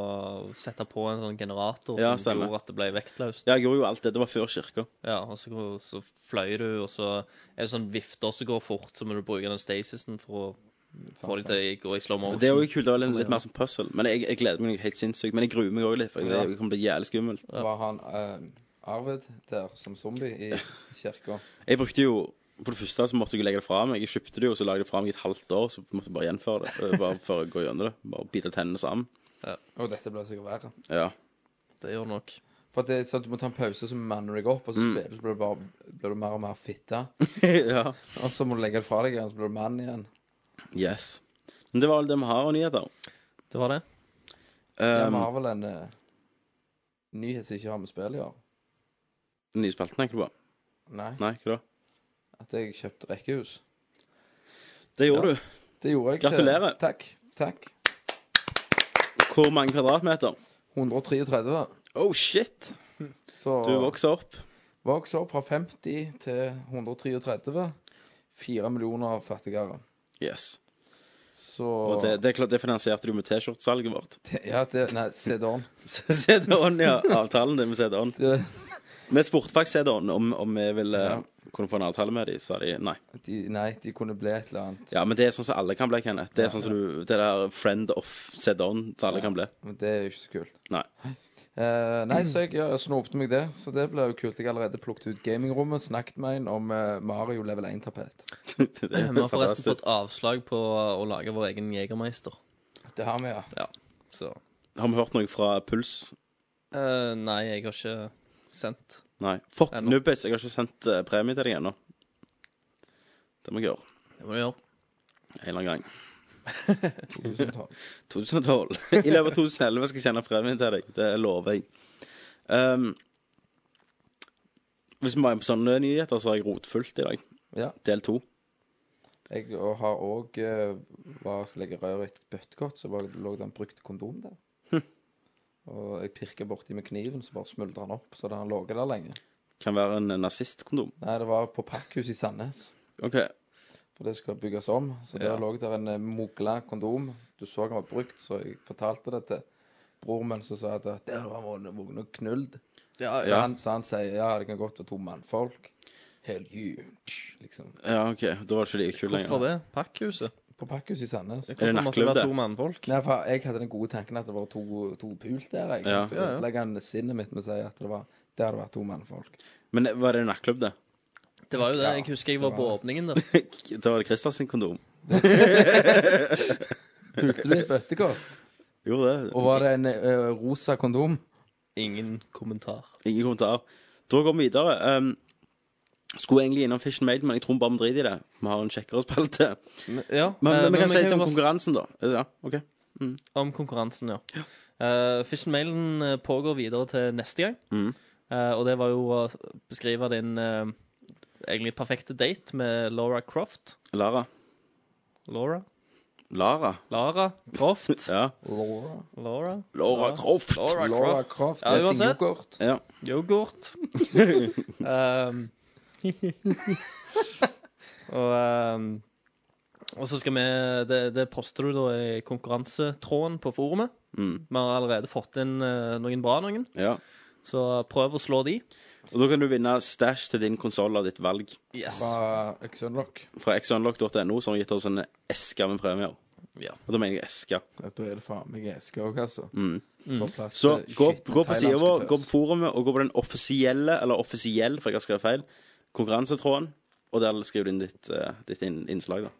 G: sette på en sånn generator
A: Ja,
G: som
A: stemmer.
G: gjorde at det ble vektløst.
A: Ja, jeg gjorde jo alt det. Det var før kirka.
G: Ja, og så, så fløy du, og så er det sånn vifter som går fort, så må du bruke den stasisen for å
A: Sånn,
G: få dem til å gå i slow motion.
A: Det er jo kult. Det var litt, litt mer som puzzle. Men jeg, jeg gleder meg helt sinnssykt. Men jeg gruer meg òg litt, for det kommer til å bli jævlig skummelt.
C: Var han eh, Arvid der som zombie i kirka?
A: Jeg brukte jo på det første så måtte jeg legge det fra meg. Jeg kjøpte det jo, så la jeg det fra meg i et halvt år. Så måtte jeg bare gjenføre det. øh, Bare for å gå gjennom det. Bare bite tennene sammen.
C: Og dette blir sikkert verre.
A: Ja. *laughs*
G: Det gjør nok.
C: For at det er sånn at du må ta en pause, så manner du deg opp, og så spiller du, så blir du, bare, blir du mer og mer fitte.
A: ja.
C: Og så må du legge det fra deg igjen, så blir du mann igjen.
A: Yes. Men det var alt det vi har av nyheter.
G: Det var det.
C: Ja,
A: Um,
C: vi har vel en eh, nyhet som ikke har med spill å gjøre.
A: Nye spalten, tenker du på?
C: Nei.
A: Nei, hva da?
C: At jeg kjøpte rekkehus.
A: Det gjorde du.
C: Det gjorde jeg. til-
A: Gratulerer.
C: Takk. Takk.
A: Hvor mange kvadratmeter?
C: 133.
A: Oh shit!
C: Så
A: Du vokser opp.
C: vokser opp fra 50 til 133. Fire millioner fattigere.
A: Yes.
C: Så
A: Og det, det, er klart, det finansierte du med T-skjortesalget vårt.
C: *laughs*
A: *laughs*
C: Ja, det, nei, CD-on.
A: CD-on, ja. Avtalen din med CD-on.
C: Det-
A: Vi spurte faktisk CD-on om, om vi ville eh, kunne få en avtale med dem, sa de nei.
C: De, nei, de kunne bli et eller annet.
A: Ja, men det er sånn som alle kan bli, Kenneth. Det er sånn som du, det der friend of CD-on som alle kan bli.
C: Men det er jo ikke så kult.
G: *laughs*
A: Nei.
C: Eh, nei, så jeg, ja, jeg snopte meg det, så det ble jo kult. Jeg har allerede plukket ut gamingrommet, snakket med en om eh, Mario level 1-tapet.
A: Det er
G: Vi har forresten
A: fantastisk.
G: fått avslag på å lage vår egen Jegermeister.
C: Det har vi, ja.
G: Ja, så
A: Har vi hørt noe fra Puls?
G: Eh, Nei, jeg har ikke sendt.
A: Nei. Fuck,
G: Ennå.
A: Nubbis, jeg har ikke sendt eh, premie til deg ennå. Det må jeg gjøre.
G: Det må du gjøre.
A: En eller annen gang.
C: 2012.
A: 2012. *laughs* I løpet av 2011 skal jeg sende premien til deg. Det lover jeg. Um, hvis vi var inne på sånne nyheter, eh, så har jeg rotfullt i dag.
C: Ja.
A: Del to.
C: Jeg og har òg Var skulle legge røret i et bøttekott, så var, lå det en brukt kondom der.
G: Hm.
C: Og jeg pirka borti med kniven, så bare smuldra den opp. Så den har ligget der lenge.
A: Kan være en nazistkondom.
C: Nei, det var på Pakkhuset i Sandnes.
A: OK.
C: For det skal bygges om. Så der lå der en eh, mogla kondom. Du så den var brukt, så jeg fortalte det til bror min, som sa at der var vågen vågen og knullt.
G: Ja,
C: Så, han, så han sier ja, det kan godt være to mannfolk. Hell you. Liksom.
A: Ja, ok. Da var det ikke like kult lenger.
G: Hvorfor det? Pakkhuset?
C: På Pakkhuset i Sandnes.
A: Er det
G: Hvorfor måtte det
A: nattklubb,
G: være
A: det?
G: to mannfolk?
C: Nei, for jeg hadde den gode tanken at det var to, to pult der. Jeg,
A: Ja.
C: Så
G: Ja, ja.
C: ødelegger han sinnet mitt med å si at det var der hadde vært to mannfolk.
A: Men var det en nattklubb, det? *laughs*
G: Det var jo det.
C: Ja,
G: Jeg husker jeg
C: det
G: var på
C: var-
G: åpningen der.
A: Da var det Christian sin kondom.
C: Pulte du i et bøttekort?
A: Gjorde det.
C: Og var det en ø, rosa kondom?
G: Ingen kommentar.
A: Ingen kommentar. Da går vi videre. Um, skulle egentlig innom Fish and Maid, men jeg tror vi bare vi driter i det. Vi har en kjekkere spalte.
G: Ja,
A: Men,
G: eh,
A: men, vi kan
G: vi
A: si litt om
G: bare s-
A: konkurransen, da. Ja, OK.
G: Om konkurransen, ja. ja. Fish and Mailen eh, pågår videre til neste gang.
A: Mhm.
G: Eh, og det var jo å beskrive din eh, egentlig perfekte date med Laura Croft.
A: Lara.
G: Laura?
A: Lara.
G: Lara Croft?
A: Ja.
C: Laura,
G: Laura?
A: Laura Croft.
G: Laura
C: Laura
G: Croft.
C: Croft,
G: Ja,
C: ja,
G: uansett.
C: yoghurt.
A: Ja.
G: Yoghurt. um, og um, og så skal vi det, det poster du da i konkurransetråden på forumet.
A: Mm.
G: Vi har allerede fått inn eh, noen bra noen,
A: ja.
G: så prøv å slå de.
A: Og da kan du vinne stæsj til din konsoll av ditt valg
G: Yes.
C: Fra Exunlock.
A: fra xunlock.no, som har gitt oss en eske med premier.
G: Ja.
A: Og da mener jeg eske.
C: Da er det faen meg eske òg, altså.
G: Mm.
C: Får plass
A: Mm. Så
G: Eh,
C: til
A: gå,
C: skitten
A: gå på sida vår,
C: thailandske
A: gå
C: tøs.
A: på forumet, og gå på den offisielle, eller offisiell, for jeg har skrevet feil, konkurransetråden, og der skriver du inn ditt, eh, ditt inn, innslag, da.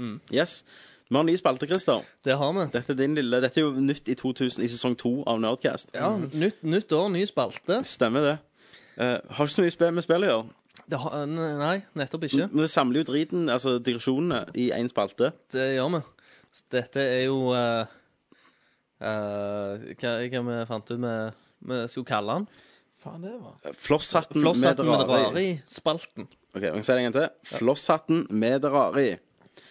G: Mm.
A: Yes. Vi har en ny spalte, Christer.
G: Det har vi.
A: Dette er din lille Dette er jo nytt i 2000, i sesong to av Nerdcast.
G: Ja, nytt, nytt år, ny spalte.
A: Stemmer det. Eh, har ikke så mye spill med spill å gjøre.
G: Det har, nei, nettopp ikke.
A: Men det samler jo driten, altså digresjonene, i én spalte.
G: Det gjør vi. Så Dette er jo eh, eh, hva, hva vi fant ut med vi skulle kalle den
C: Faen, det var
A: Flosshatten,
G: Flosshatten med det rare
A: i.
G: i spalten.
A: Ok, jeg kan si det en gang til. Flosshatten med det rare i.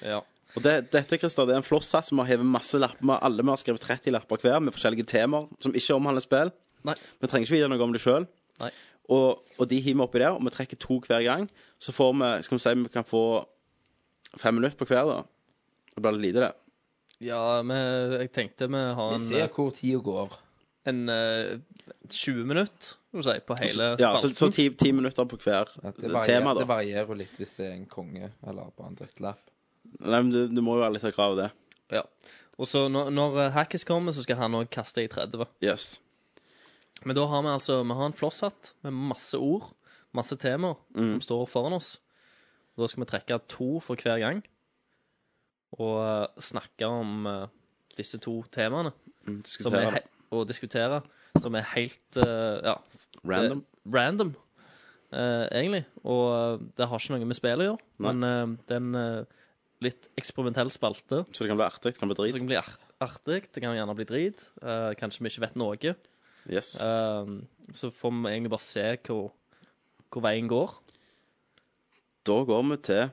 G: Ja.
A: Og det, dette Christer, det er en flosshatt som har hevet masse lapper. med- Alle vi har skrevet 30 lapper hver med forskjellige temaer som ikke omhandler spill.
G: Nei.
A: Vi trenger ikke vite noe om det sjøl.
G: Nei.
A: Og, og de hiver vi oppi der, og vi trekker to hver gang. Så får vi Skal vi si vi kan få fem minutter på hver, da. Det blir litt lite, det.
G: Ja, vi, jeg tenkte vi har
C: Vi
G: en,
C: ser hvor tida går.
G: en eh, 20 minutt skal vi si, på hele
A: Ja, så,
G: spalten.
A: så ti, ti minutter på hver
C: At det,
A: tema, da.
C: varier, det varierer jo litt hvis det er en konge eller bare en drittlapp.
A: Nei, men du, du må jo være litt av krav det.
G: ja. Og så når, når Hackis kommer, så skal han òg kaste i 30.
A: Yes.
G: Men da har vi altså Vi har en flosshatt med masse ord, masse temaer,
A: Mm.
G: som står foran oss. Da skal vi trekke to for hver gang, og eh, snakke om eh, disse to temaene. Som
A: Diskutere
G: er
A: Mm, det.
G: he- og diskutere. Som er helt eh, ja,
A: Random.
G: det- random eh, egentlig. Og eh, det har ikke noe med spill å gjøre,
A: Nei.
G: men eh, det er en eh, litt eksperimentell spalte.
A: Så det kan bli artig. Det kan bli
G: Så det
A: drit.
G: kan bli ar- artig, det kan gjerne bli drit. eh, kanskje vi ikke vet noe.
A: Yes.
G: Um, så får vi egentlig bare se hvor, hvor veien går.
A: Da går vi til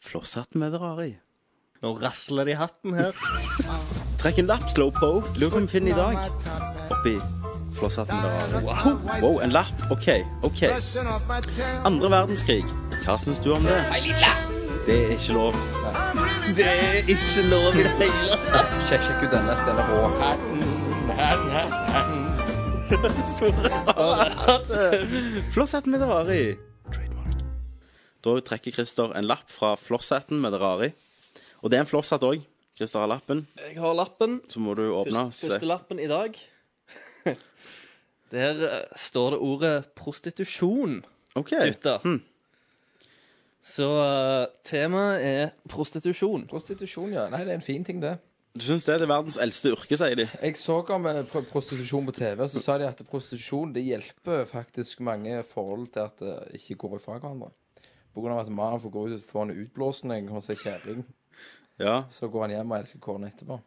A: flosshatten med det rare i.
G: Nå rasler det i hatten her.
A: Trekk en lapp, slowpoke. Lurer på om vi finner i dag. Oppi flosshatten med det rare. Wow. wow, en lapp. OK, OK. Andre verdenskrig. Hva syns du om det? Det er ikke lov.
B: Det er ikke lov i det hele tatt.
C: Sjekk, sjekk ut denne. Den er rå.
A: Flosshatten med Derari. Trademark. Da trekker Christer en lapp fra flosshatten med Derari. Og det er en flosshatt òg. Christer har lappen.
G: Jeg har lappen.
A: Så må du åpne.
G: Første,
A: Se.
G: første lappen i dag. *laughs* Der eh, står det ordet prostitusjon,
A: OK.
G: gutter. Så eh, temaet er prostitusjon.
C: Prostitusjon, ja. Nei, det er en fin ting, det.
A: Du syns det er det verdens eldste yrke, sier de.
C: Jeg så om eh, pro- prostitusjon på TV, så sa de at prostitusjon det hjelper faktisk mange forhold til at det ikke går ifra hverandre. På grunn av at mannen får gå ut og få en utblåsning hos ei kjerring,
A: Ja.
C: så går han hjem og elsker kona etterpå.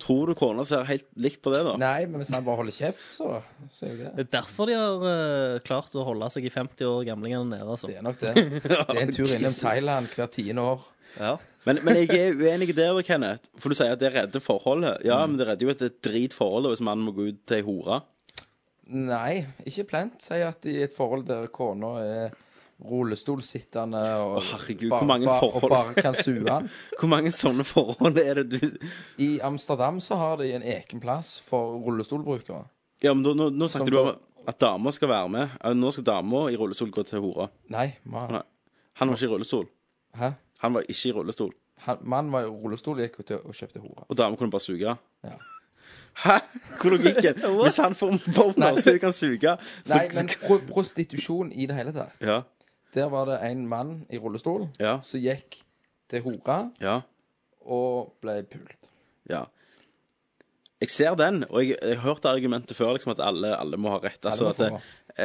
A: Tror du kona ser helt likt på det, da?
C: Nei, men hvis han bare holder kjeft, så, så er jo det
G: Det er derfor de har eh, klart å holde seg i 50 år gamlingene nede. Altså.
C: Det er
G: *laughs*
C: nok det. Det er en tur innom Thailand hvert tiende år.
G: Ja.
A: Men, men jeg er uenig der, da, Kenneth. For du sier at det redder forholdet. Ja,
C: Mm.
A: men det redder jo et dritforhold da, hvis mannen må gå ut til ei hore.
C: Nei, ikke plent. Si at i et forhold der kona er rullestolsittende og,
A: herregud, hvor mange
C: og
A: forhold.
C: bare kan sue han.
A: Hvor mange sånne forhold er det du
C: I Amsterdam så har de en egen plass for rullestolbrukere.
A: Ja, men da, nå, nå snakket
C: Som
A: du
C: da-
A: om at dama skal være med. Eh, Nå skal dama i rullestol gå til hora.
C: Nei, mann.
A: Nei. Han var ikke i rullestol.
C: Hæ?
A: Han var ikke i rullestol.
C: Han, mann var i rullestol gikk til og kjøpte hore.
A: Og dama kunne bare suge.
C: Ja.
A: Hæ? Hvor er
C: *laughs*
A: logikken? Hvis han får boner, så kan suge så,
C: Nei, men pro prostitusjon i det hele tatt.
A: Ja.
C: Der var det en mann i rullestol
A: Ja.
C: som gikk til hore
A: Ja.
C: og ble pult.
A: Ja. Jeg ser den, og jeg, jeg har hørt argumentet før liksom, at alle, alle må ha rett. Altså,
C: må
A: at det,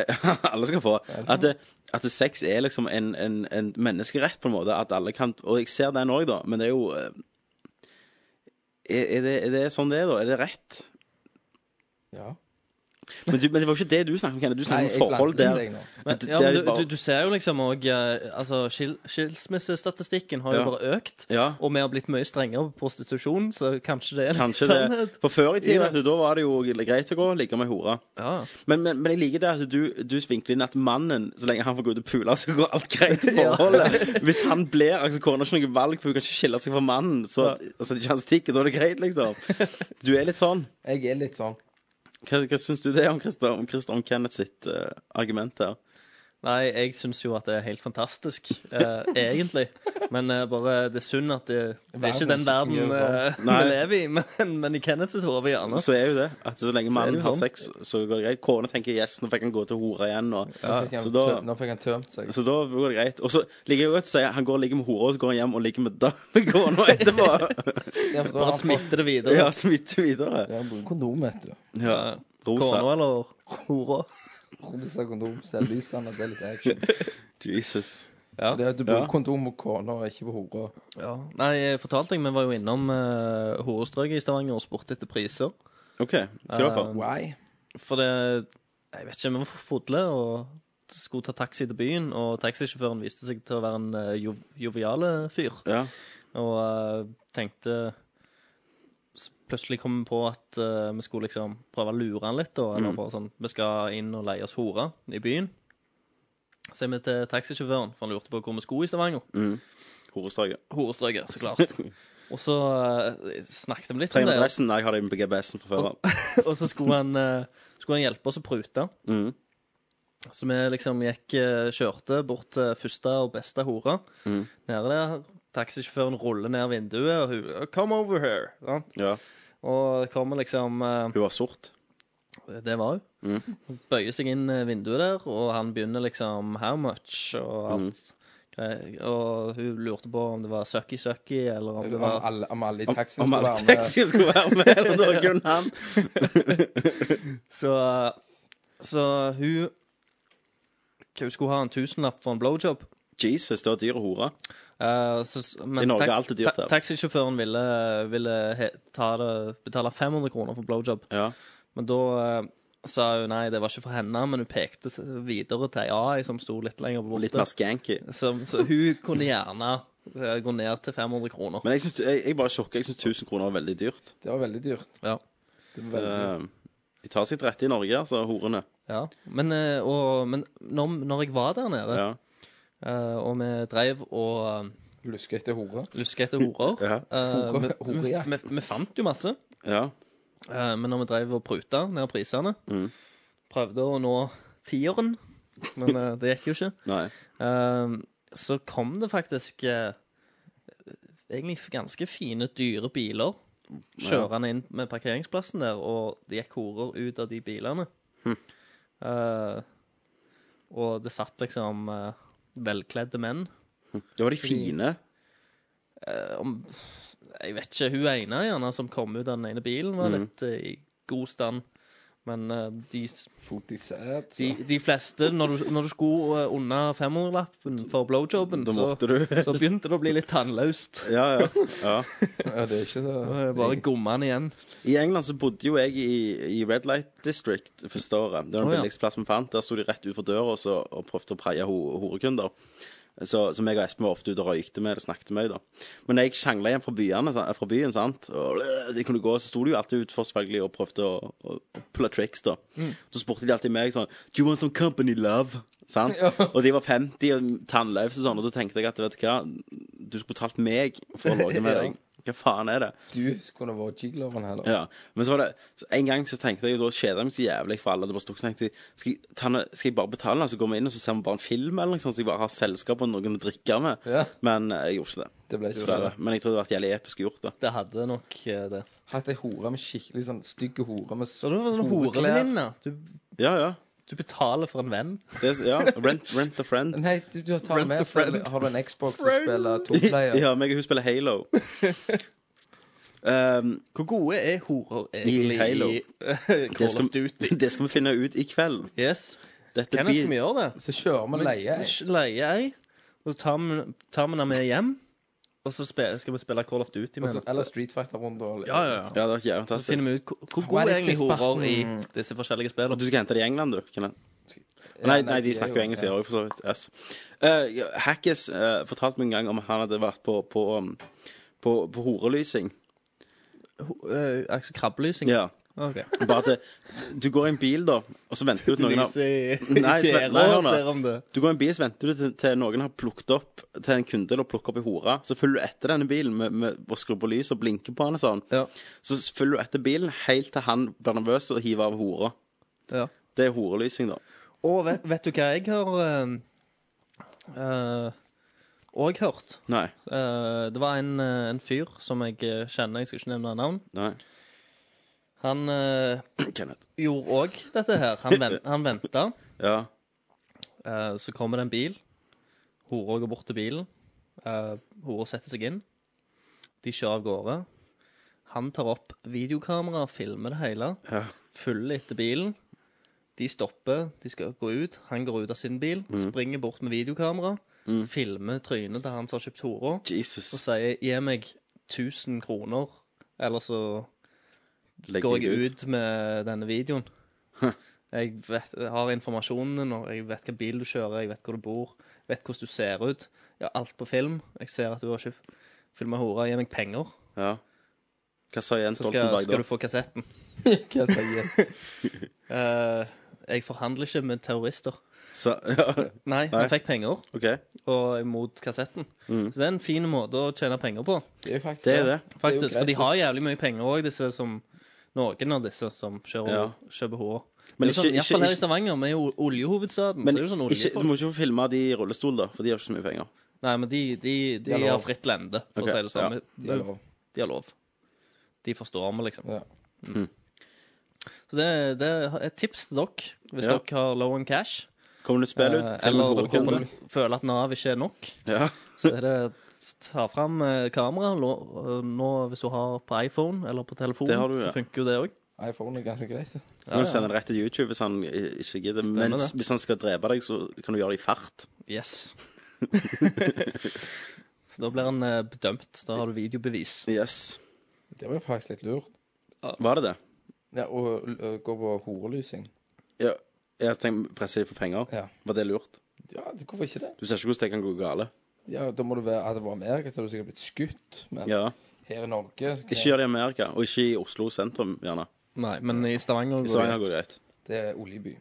A: *laughs* alle skal få. At, det, at det sex er liksom en, en, en menneskerett, på en måte. At alle kan Og jeg ser den òg, da, men det er jo eh, er, er, det, er det sånn det er, da? Er det rett?
C: Ja.
A: Men, du, men det var ikke det du snakket om, Kenneth. Du snakket om forhold
C: blandet
A: der.
C: inn deg nå.
A: Men,
G: Ja, men du,
A: bare,
G: du, du ser jo liksom òg altså, skil, Skilsmissestatistikken har jo
A: Ja.
G: bare økt.
A: Ja.
G: Og vi har blitt mye strengere på prostitusjon, så kanskje det er litt
A: Kanskje det.
G: sannhet.
A: For før i
G: I
A: tida, vet
G: det.
A: du, da var det jo greit å gå og ligge med hora.
G: Ja.
A: Men, men, men jeg liker det at du, du vinkler inn at mannen, så lenge han får gå ut og pule, så går alt greit
G: *laughs*
A: i forholdet. Hvis han blir altså, Kona har ikke noe valg, for hun kan ikke skille seg fra mannen. Så, at- altså, det er ikke han stikker, da er det greit, liksom. Du er litt sånn.
C: Jeg er litt sånn
A: Hva, hva syns du det er om Christer, om, Christer, om Kenneth sitt eh, argument her?
G: Nei, jeg syns jo at det er helt fantastisk, eh, egentlig. Men eh, bare det er synd at det, det er ikke
C: Verden
G: den verden
C: ikke fungerer
G: eh, vi
A: Nei.
G: lever i, men, men i Kenneth sitt hode gjerne.
A: Så er jo det. At så lenge
G: er det
A: mannen
G: jo
A: har
G: sånn.
A: sex, så går det greit. Kona tenker 'yes, nå fikk han gå til hora igjen', og
C: Nå fikk han,
A: så da
C: tø- nå fikk han
A: *laughs*
C: tømt seg.
A: så da går det greit. Og så liker jeg jo godt å si han går og ligger med hora, og så går han hjem og ligger med damekona
G: *laughs*
A: etterpå.
C: Ja, for da har
G: Bare
C: han fått-
G: smitte det videre.
A: ja, smitter videre.
C: Ja, bruk Kondom, vet du.
A: Ja.
G: Kona
A: Rosa.
G: eller hora.
C: Rosa kondom, ser lysende, det er litt action.
A: Jesus.
C: Det er at du bruker kondom på kona og ikke på hora.
G: Ja. Nei, jeg fortalte deg, vi var jo innom eh, horestrøket i Stavanger og spurte etter priser.
A: OK. Hva var det for?
C: Why?
G: For det Jeg vet ikke, vi var for fulle og skulle ta taxi til byen, og taxisjåføren viste seg til å være en eh, jo, joviale fyr.
A: Ja.
G: Og eh, tenkte så Plutselig kom vi på at eh, vi skulle liksom prøve å lure han litt. Da, eller bare sånn, Vi skal inn og leie oss hore i byen. Så er vi til taxisjåføren, for han lurte på hvor vi skulle i Stavanger.
A: Horestrøket.
G: Horestrøket, så klart. Og så eh, snakket vi litt om
A: Trenger
G: det.
A: adressen. Jeg har det på GPS-en fra før av.
G: Og så skulle han, eh, skulle han hjelpe oss å prute.
A: Mhm.
G: Så vi liksom gikk, eh, kjørte bort til første og beste hore. Nede der. Taxisjåføren ruller ned vinduet, og hun "Oh, 'Come over here'. Ja.
A: Ja.
G: Og det kommer liksom eh,
A: Hun var
C: *laughs*
A: sort.
G: Det var hun. Bøyer seg inn eh, vinduet der, og han begynner liksom 'How much?' og
A: Mhm.
G: alt. Grei- Og hun lurte på om det var sucky-sucky, eller om det
C: sånn Om
G: var
C: alle, om alle i taxien
A: Om
C: skulle
A: alle
C: være med.
A: taxier skulle være med, og da kunne han
C: *laughs*
G: Så, så hun Hun skulle ha en tusenlapp for en blowjob.
A: Jesus, det var dyre hore.
G: Eh, så, s- mens
A: I Norge er
G: tax-
A: alt det dyrt
G: ta-
A: her.
G: Taxisjåføren ville, ville he, ta det, betale 500 kroner for blowjob.
A: Ja.
G: Men da eh, sa hun nei, det var ikke for henne, men hun pekte s- videre til ei AI som sto litt lenger borte.
A: Litt mer skanky.
G: så, så hun kunne gjerne eh, gå ned til 500 kroner.
A: Men jeg, synes, jeg, jeg bare sjokker. Jeg syns 1000 kroner er veldig dyrt.
C: Det var veldig dyrt.
G: Ja.
C: Det var veldig dyrt.
A: Eh, de tar sitt rette i Norge, altså, horene.
G: ja. Men, eh, og, men når, når jeg var der nede
A: Ja.
G: Eh, og vi drev og eh,
C: Luske etter hore.
G: Luske etter horer.
A: Ja.
G: Eh,
C: Hore-
G: vi- vi-
C: horejakt.
G: vi- Vi fant jo masse,
A: Ja.
G: eh, men når vi drev og pruta ned prisene Prøvde å nå tieren, men eh, det gikk jo ikke.
A: Nei.
G: Ehm, så kom det faktisk eh, egentlig ganske fine, dyre biler kjørende inn med parkeringsplassen der, og det gikk horer ut av de bilene. Eh, og det satt liksom eh, velkledde menn.
A: Det var de fine.
G: Eh, om, jeg vet ikke, hun ene gjerne som kom ut av den ene bilen,
A: Mm.
G: var litt eh, i god stand. Men eh, de,
C: Fot i sæd.
G: de, de fleste, når du, når du skulle eh, under femhundrelappen for blowjobben,
A: Da
G: så
A: måtte du
G: så begynte det å bli litt tannløst.
A: Ja, ja. ja.
C: Ja, det er ikke så
G: Det er Bare gommene igjen.
A: I England så bodde jo jeg i, i Red Light District det første året. Det var den
G: Å, ja.
A: billigste plassen vi fant. Der sto de rett utenfor døra og, så- og prøvde å preie ho horekunder. Så, så meg og Espen var ofte ute og røykte med eller snakket med dem. da. Men når jeg sjangla hjem fra, byene, sa- fra byen, sant? og øh, de kunne gå, så sto de jo alltid utenfor selvfølgelig og prøvde å, å, å pulle triks. da.
G: Mm.
A: Så spurte de alltid meg sånn Do you want some company, love? Sant? Og de var 50 og tannløse og sånn, og så tenkte jeg at vet du hva, du skulle betalt meg for å
G: *laughs*
A: logge med deg. Hva faen er det?
C: Du kunne vært jigloveren heller.
A: Ja, men så var det så En gang så tenkte jeg, da kjeda jeg meg så jævlig for alle. Det bare stod, så tenkte jeg, skal jeg, ta noe- skal jeg bare betale, så går vi inn og så ser vi bare en film, eller noe sånt, så jeg bare har selskap og noen å drikke med?
C: Ja.
A: Men eh, jeg gjorde ikke det.
C: Det ble ikke
A: Dessverre.
C: sånn.
A: Men jeg tror det hadde vært jævlig episk gjort, da.
G: Det hadde nok eh, det.
C: Hatt ei hore med skikkelig sånn stygge hore med
G: Så det var sånn horevenninne. Du,
A: Ja, ja.
G: du betaler for en venn.
A: Det, er- ja. Rent, rent a friend.
C: Nei, du, du tar
G: Rent
C: med
G: a
C: så
G: friend.
C: har du en Xbox som spiller toplayer.
A: *laughs* Ja, meg og hun spiller
G: *laughs*
A: Halo. Um,
G: Hvor gode er horer
A: I Halo.
G: egentlig i eh,
A: det,
G: *laughs* Call
A: skal,
G: of Duty?
A: *laughs* det skal vi finne ut i kveld.
G: Yes.
A: Dette
G: Hvem er det
A: blir-
G: som gjør det?
C: Så kjører vi leie. ei.
G: Vi Leier ei, og så tar vi tar vi henne med hjem. Og så spe- skal vi spille Call of Duty
C: Og
G: med
C: så-
G: henne.
C: Eller Street Fighter-runde. og-
G: Ja, ja, ja.
A: Ja, det var jævlig
G: Så
A: fantastisk.
G: finner vi ut hvor-
C: Hva
G: hvor
C: er
G: gode er
C: det
G: egentlig
C: siste
G: horer i disse forskjellige
A: Du
G: spillene.
A: skal hente det i England, du? Kenneth?
C: Ja,
A: Nei, nei, de snakker jo
C: er
A: engelsk her òg, for så vidt. Yes. Eh, Hackes eh, fortalte meg en gang om han hadde vært på, på, um, på, på horelysing.
G: Eh, altså krabbelysing.
A: Ja.
G: Ok.
A: Bare at det, du går i en bil, da, og så venter du
G: Du
A: til *laughs* noen har
G: lyser i
A: Nei,
G: i
A: Sven-
G: fjæra
A: nei, hør
G: og
A: nå.
G: ser om det
A: Du går i en bil, så venter du til, til noen har plukket opp til en kunde eller plukker opp i hore. Så følger du etter denne bilen med, med, og skrur på lys og blinker på han og sånn.
G: Ja.
A: Så følger du etter bilen helt til han blir nervøs og hiver av hora.
G: Ja.
A: Det er horelysing, da.
G: Og vet, vet du hva jeg har eh, eh, Og hørt?
A: Nei.
G: Eh, det var en, eh, en fyr som jeg eh, kjenner, jeg skal ikke nevne navn.
A: Nei. *clears throat*
G: Han eh,
A: Kenneth.
G: gjorde òg dette her. Han, vent, han venta.
A: Ja.
G: Eh, så kommer det en bil. Hora går bort til bilen. Eh, Hora setter seg inn. De kjører av gårde. Han tar opp videokamera, filmer det hele.
A: Ja.
G: Følger etter bilen. De stopper, de skal gå ut. Han går ut av sin bil, springer bort med videokamera. Filmer trynet til han som har kjøpt hora, og
A: Jesus.
G: sier 'gi meg 1000 kroner', eller så
A: Legger
G: går jeg ut med denne videoen. Jeg, vet, jeg har informasjonen din, og jeg vet hvilken bil du kjører, jeg vet hvor du bor, jeg vet hvordan du ser ut. Jeg har alt på film. Jeg ser at du har ikke filma hora. Gi meg penger,
A: Ja. Hva sa Jens
G: så skal,
A: Stoltenberg, da?
G: skal du få kassetten.
C: Hva sier jeg?
G: Eh, jeg forhandler ikke med terrorister.
A: Så, *laughs* ja,
G: Nei,
A: Nei.
G: han fikk penger,
A: ok,
G: og mot kassetten. Så det er en fin måte å tjene penger på,
C: Det er jo faktisk
A: det er det.
C: er jo
G: faktisk. For de
C: greit.
G: har jævlig mye penger òg, disse som noen av disse som kjører,
A: Ja.
G: kjøper hora.
A: Men
G: Men sånn,
A: ikke-
G: i hvert fall
A: ikke-
G: her i Stavanger, vi er jo oljehovedstaden.
A: Men
G: så er det jo sånn
A: ikke,
G: oljefolk.
A: du må ikke få filme de i rullestol, da, for de har ikke så mye penger.
G: Nei, men de, de, de
C: har lov.
G: har fritt lende, for
A: Ok,
G: å si det sånn.
C: De har lov.
G: De har lov. De forstår vi, liksom.
C: Ja.
G: Så det, det er et tips til dere, hvis
A: Ja.
G: dere har low on cash,
A: Kommer det et spill ut?
G: eh,
A: Film
G: eller
A: en
G: dere
A: hovedkunde?
G: håper- føler at Nav ikke er nok,
A: Ja.
G: så er det ta fram eh, kamera. Lå- eh, Nå, hvis du har på iPhone eller på telefon,
A: Det har du, ja.
G: så funker jo det òg.
C: iPhone er ganske greit.
A: Du kan sende det rett til YouTube hvis han i- ikke gidder. Men
G: det.
A: hvis han skal drepe deg, så kan du gjøre det i fart. *laughs*
G: Yes. så da blir han eh, bedømt. Da har du videobevis.
A: Yes.
C: Det var jo faktisk litt lurt.
A: Var det det?
C: Ja, Og ø, gå på horelysing.
A: Ja. Jeg tenkte presse de for penger.
C: Ja.
A: Var det lurt?
C: Ja, det- hvorfor ikke det?
A: Du ser ikke hvordan det kan gå gale.
C: Ja, Da må du være Hadde det vært Amerika, så hadde du sikkert blitt skutt. Men
A: Ja.
C: her i Norge så kan
A: Ikke gjør det i Amerika, og ikke i Oslo sentrum, gjerne.
G: Nei, men i Stavanger
A: I
G: går
A: Stavanger
G: det.
A: går det greit.
C: det er oljeby.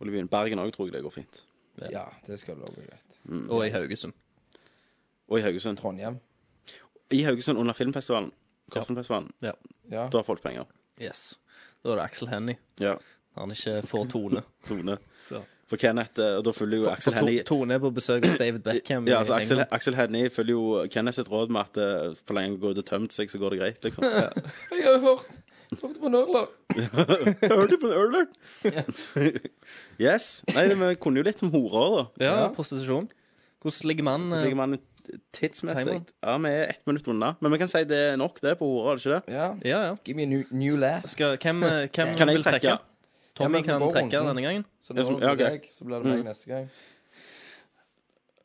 A: Oljebyen. Bergen òg tror jeg det går fint.
C: Ja, det skal vel også gå greit.
G: Og i Haugesund.
A: Og i Haugesund.
C: Trondheim.
A: I Haugesund under filmfestivalen. Korfenfestivalen.
G: Ja.
C: Ja.
A: Da får folk penger.
G: Yes. Da er det Axel Hennie.
A: Ja.
G: Når han ikke får Tone.
A: *laughs* Tone.
G: Så.
A: For Kenneth eh, Og da følger jo Aksel
G: For to,
A: Hennie
G: Tone er på besøk hos David Beckham.
A: ja,
G: i
A: altså, Aksel,
G: England.
A: Aksel Hennie følger jo Kenneth sitt råd med at eh, for lenge han går ut og tømt seg, så går det greit,
G: *laughs*
A: liksom.
C: Jeg har jo hørt hørt på Nørler.
A: Early but early. *laughs* yes. Nei, vi kunne jo litt om horer, da.
G: ja,
C: Ja.
G: prostitusjon. Hvordan ligger man
A: Så
G: eh,
A: ligger man tidsmessig
G: Timer.
A: Ja, vi er ett minutt unna. Men vi kan si det er nok, det, på horer, er det ikke det?
C: Ja.
G: Ja, ja.
C: Give me a new, new laugh.
G: Skal, hvem eh, hvem
A: Kan jeg
G: vil trekke?
A: trekke?
G: Tommy
C: Ja, men gå
G: kan trekke
C: runden.
G: denne gangen.
C: Så nå
A: Ja, som- ja,
C: blir det
A: ok. Mm.
C: deg, så blir det meg neste gang.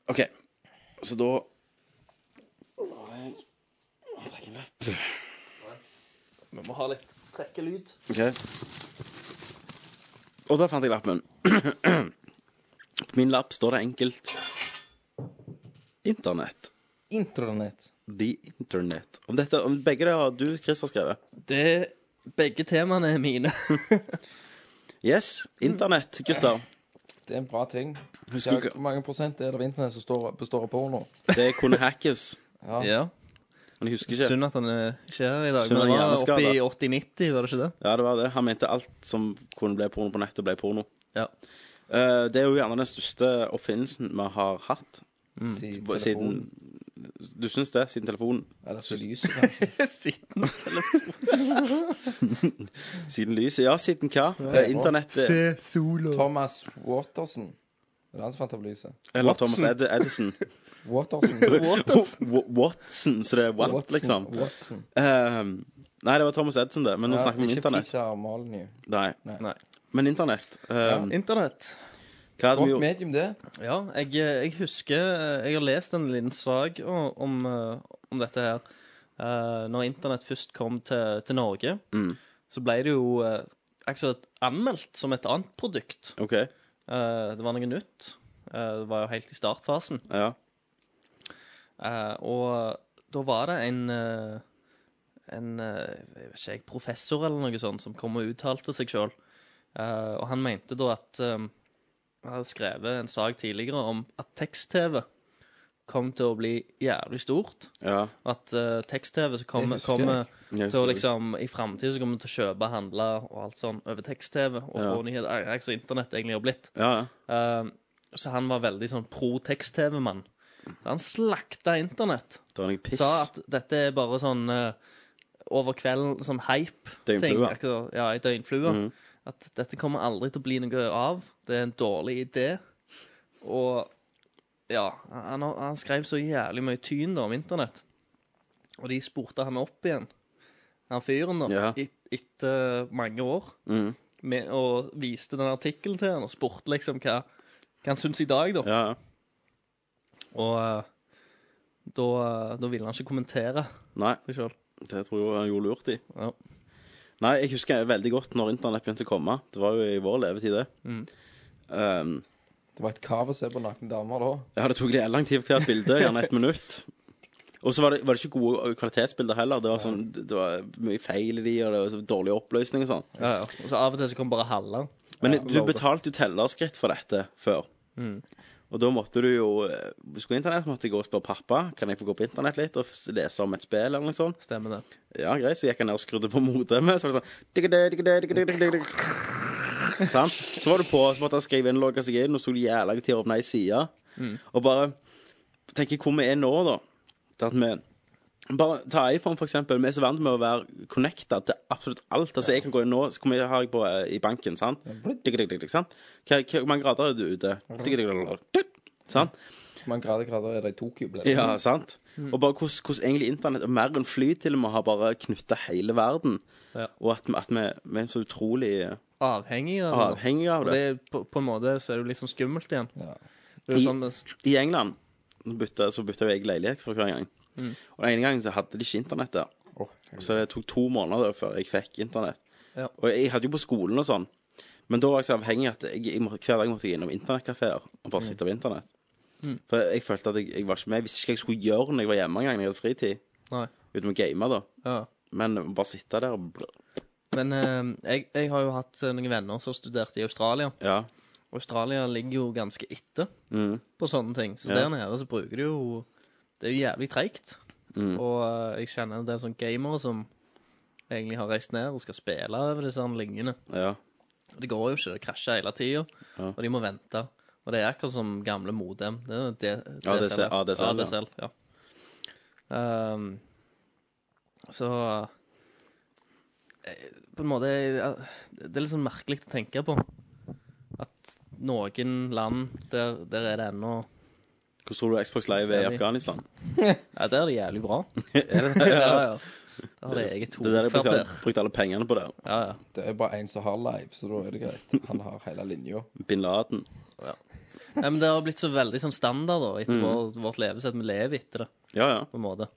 A: OK. Så da Nå har jeg- Å, det er ikke en lapp.
G: Vi må ha litt trekkelyd.
A: OK. Og der fant jeg lappen. På min lapp står det enkelt Internett.
C: Intronett.
A: The Internet. Om dette, om begge det har du, Christer, skrevet.
G: Det, begge temaene er mine.
A: Yes. Internett, gutter.
C: Det er en bra ting. Ja,
A: Husker
C: hvor
A: du
C: mange prosent er det av internett som står, består av porno?
A: Det kunne hackes.
G: ja.
A: Men jeg husker ikke.
G: Synd at han eh, ikke er her i dag.
A: Synd
G: Men
A: han
G: det var
A: er
G: oppe i
A: hjerneskada.
G: 80-90, var det ikke det?
A: Ja, det var det. Han mente alt som kunne bli porno på nettet, ble porno.
G: Ja.
A: Eh, det er jo gjerne den største oppfinnelsen vi har hatt.
C: Si
A: På- Mm. Siden
C: telefon.
A: Du syns det? Siden telefonen?
C: Eller si lyset,
A: *laughs*
C: kanskje.
G: Siden
A: Siden lyset? Ja, siden hva? Eh, Internett eh,
C: Thomas Waterson. Det er han som fant opp lyset.
A: Eller Thomas Ed
G: *laughs*
A: Edison. *laughs*
C: Waterson.
A: Wa- Watson, så det er Watt, liksom.
C: Watson.
A: Eh, nei, det var Thomas Edison, det. Men nå
C: Ja,
A: snakker vi om
C: ikke
A: internett.
C: Peter Molyneux.
A: Nei.
G: Nei.
A: Men internett eh,
G: Internett.
A: Hva hadde vi
C: Godt
A: gjort?
C: medium, det.
G: Ja, jeg, jeg husker eh, Jeg har lest en liten sak om, om, eh, om dette her. Eh, når internett først kom til, til Norge, så ble det jo eh, akkurat anmeldt som et annet produkt.
A: OK.
G: Eh, det var noe nytt. Eh, det var jo helt i startfasen.
A: Ja.
G: Eh, og da var det en eh, En eh, jeg vet ikke, jeg, professor eller noe sånt som kom og uttalte seg sjøl. og han mente da at eh, Han hadde skrevet en sak tidligere om at tekst-TV kom til å bli jævlig stort.
A: ja.
G: At eh, tekst-TV så kommer,
C: Det husker
G: kommer
A: Jeg
G: til å
A: husker det.
G: liksom I framtida kommer vi til å kjøpe, handle og alt sånn over tekst-TV. Og
A: Ja.
G: få nyheter. Det er ikke så internett egentlig har blitt.
A: Ja, ja.
G: Eh, så han var veldig sånn pro tekst-TV-mann. Så Han slakta internett.
A: Det var noe piss.
G: Sa at dette er bare sånn eh, over kvelden, sånn hype-ting.
A: Døgnflue. Mhm.
G: akkurat- Ja, i døgnflua. At dette kommer aldri til å bli noe av. Det er en dårlig idé. Og ja, han, har- han skrev så jævlig mye tyn da om internett. Og de spurte han opp igjen, han fyren, da,
A: Ja.
G: et, etter mange år.
A: Mm,
G: Med, og viste den artikkelen til han og spurte liksom hva, hva han syntes i dag, da.
A: Ja, ja.
G: Og eh, da, eh, da ville han ikke kommentere
A: Nei.
G: seg sjøl.
A: Det tror jeg han gjorde lurt i.
G: Ja.
A: Nei, jeg husker veldig godt når internett begynte å komme. Det var jo i vår levetid, det. Um,
C: Det var et kav å se på nakne damer da.
A: ja, det tok litt lang tid for hvert bilde, gjerne et minutt. Og så var, det- var det ikke gode kvalitetsbilder heller. Det var, sånn, det var mye feil i de, og det var så dårlig oppløsning og sånn.
G: Ja, ja. Og så av og til så kom bare halve.
A: Men
C: Ja,
A: du betalte jo tellerskritt for dette før. Og da måtte du jo eh, Hvis du skulle internett, måtte jeg gå og spørre pappa Kan jeg få gå på internett litt og f- lese om et spill eller noe sånt.
G: Stemmer det.
A: Ja, greit, så gikk han ned og skrudde på modemet. Så var det sånn digga, digga, digga, digga, digga, digga, digga. Sant? Så var du på, så måtte han skrive inn, logge seg inn, og så tok det jævla lang tid å åpne ei side. Og bare tenker hvor vi er nå, da. Det at vi bare ta iPhone, for eksempel. Vi er så vant med å være connecta til absolutt alt. Altså, jeg kan gå inn nå, så kommer jeg, har jeg på eh, i banken, sant? Digga, digga, digga, sant? Hva, hva, hvor mange grader er du ute? Digga, digga, digga, digga. Sant?
C: Hvor mange grader grader er det i Tokyo? Ble det?
A: Ja, sant? Og bare hvordan, hvordan egentlig internett, og mer enn fly til og med, har bare knytta hele verden.
G: Ja.
A: Og at, vi- at vi, vi er så utrolig
G: Avhengig av det.
A: avhengige av
G: Og
A: det.
G: det er, på, på en måte så er det jo litt sånn skummelt igjen.
C: Ja.
G: Det er jo
A: I-
G: sånn, det-
A: I England bytte, så bytta jeg leilighet for hver gang.
G: Mm.
A: Og den ene gangen så hadde de ikke internett der.
C: Åh,
A: Så det tok to måneder før jeg fikk internett.
G: Ja.
A: Og jeg hadde jo på skolen og sånn. Men da var jeg så avhengig at jeg, jeg, må- hver dag måtte jeg innom internettkafeer og
G: Mm.
A: bare sitte på internett. For jeg følte at jeg, jeg var ikke med. Jeg visste ikke hva jeg skulle gjøre når jeg var hjemme en gang, når jeg hadde fritid.
G: nei.
A: Uten å game, da.
G: Ja.
A: Men bare sitte der og bl-
G: Men eh, jeg, jeg har jo hatt eh, noen venner som studerte i Australia.
A: Ja.
G: Og Australia ligger jo ganske etter på sånne ting. Så
A: Ja.
G: der nede så bruker de jo Det er jo jævlig treigt. Og eh, jeg kjenner en del sånne gamere som egentlig har reist ned og skal spille over disse her linjene.
A: Ja.
G: Det går jo ikke. Det krasjer hele tida.
A: Ja.
G: Og de må vente. Og det er akkurat som gamle modem. Det er jo D
A: ADC,
G: DSL.
A: ADSL, ja.
G: ADSL, ja. Ehm, så eh, På en måte eh, Det er litt sånn merkelig å tenke på. At noen land, der, der er det ennå
A: Hvordan tror du Xbox Live er i
G: Særlig.
A: Afghanistan?
G: Ja, der er det jævlig *laughs* bra. ja, ja. Der har de eget
A: Det er der jeg brukte alle,
G: hovedkvarter.
A: brukte alle pengene på det.
G: Ja, ja.
C: Det er bare én som har live, så da er det greit. Han har hele linja.
A: Bin Laden.
G: Nei, men det har blitt så veldig sånn standard da, etter vår, vårt levesett. Vi lever etter det,
A: Ja, ja.
G: på en måte.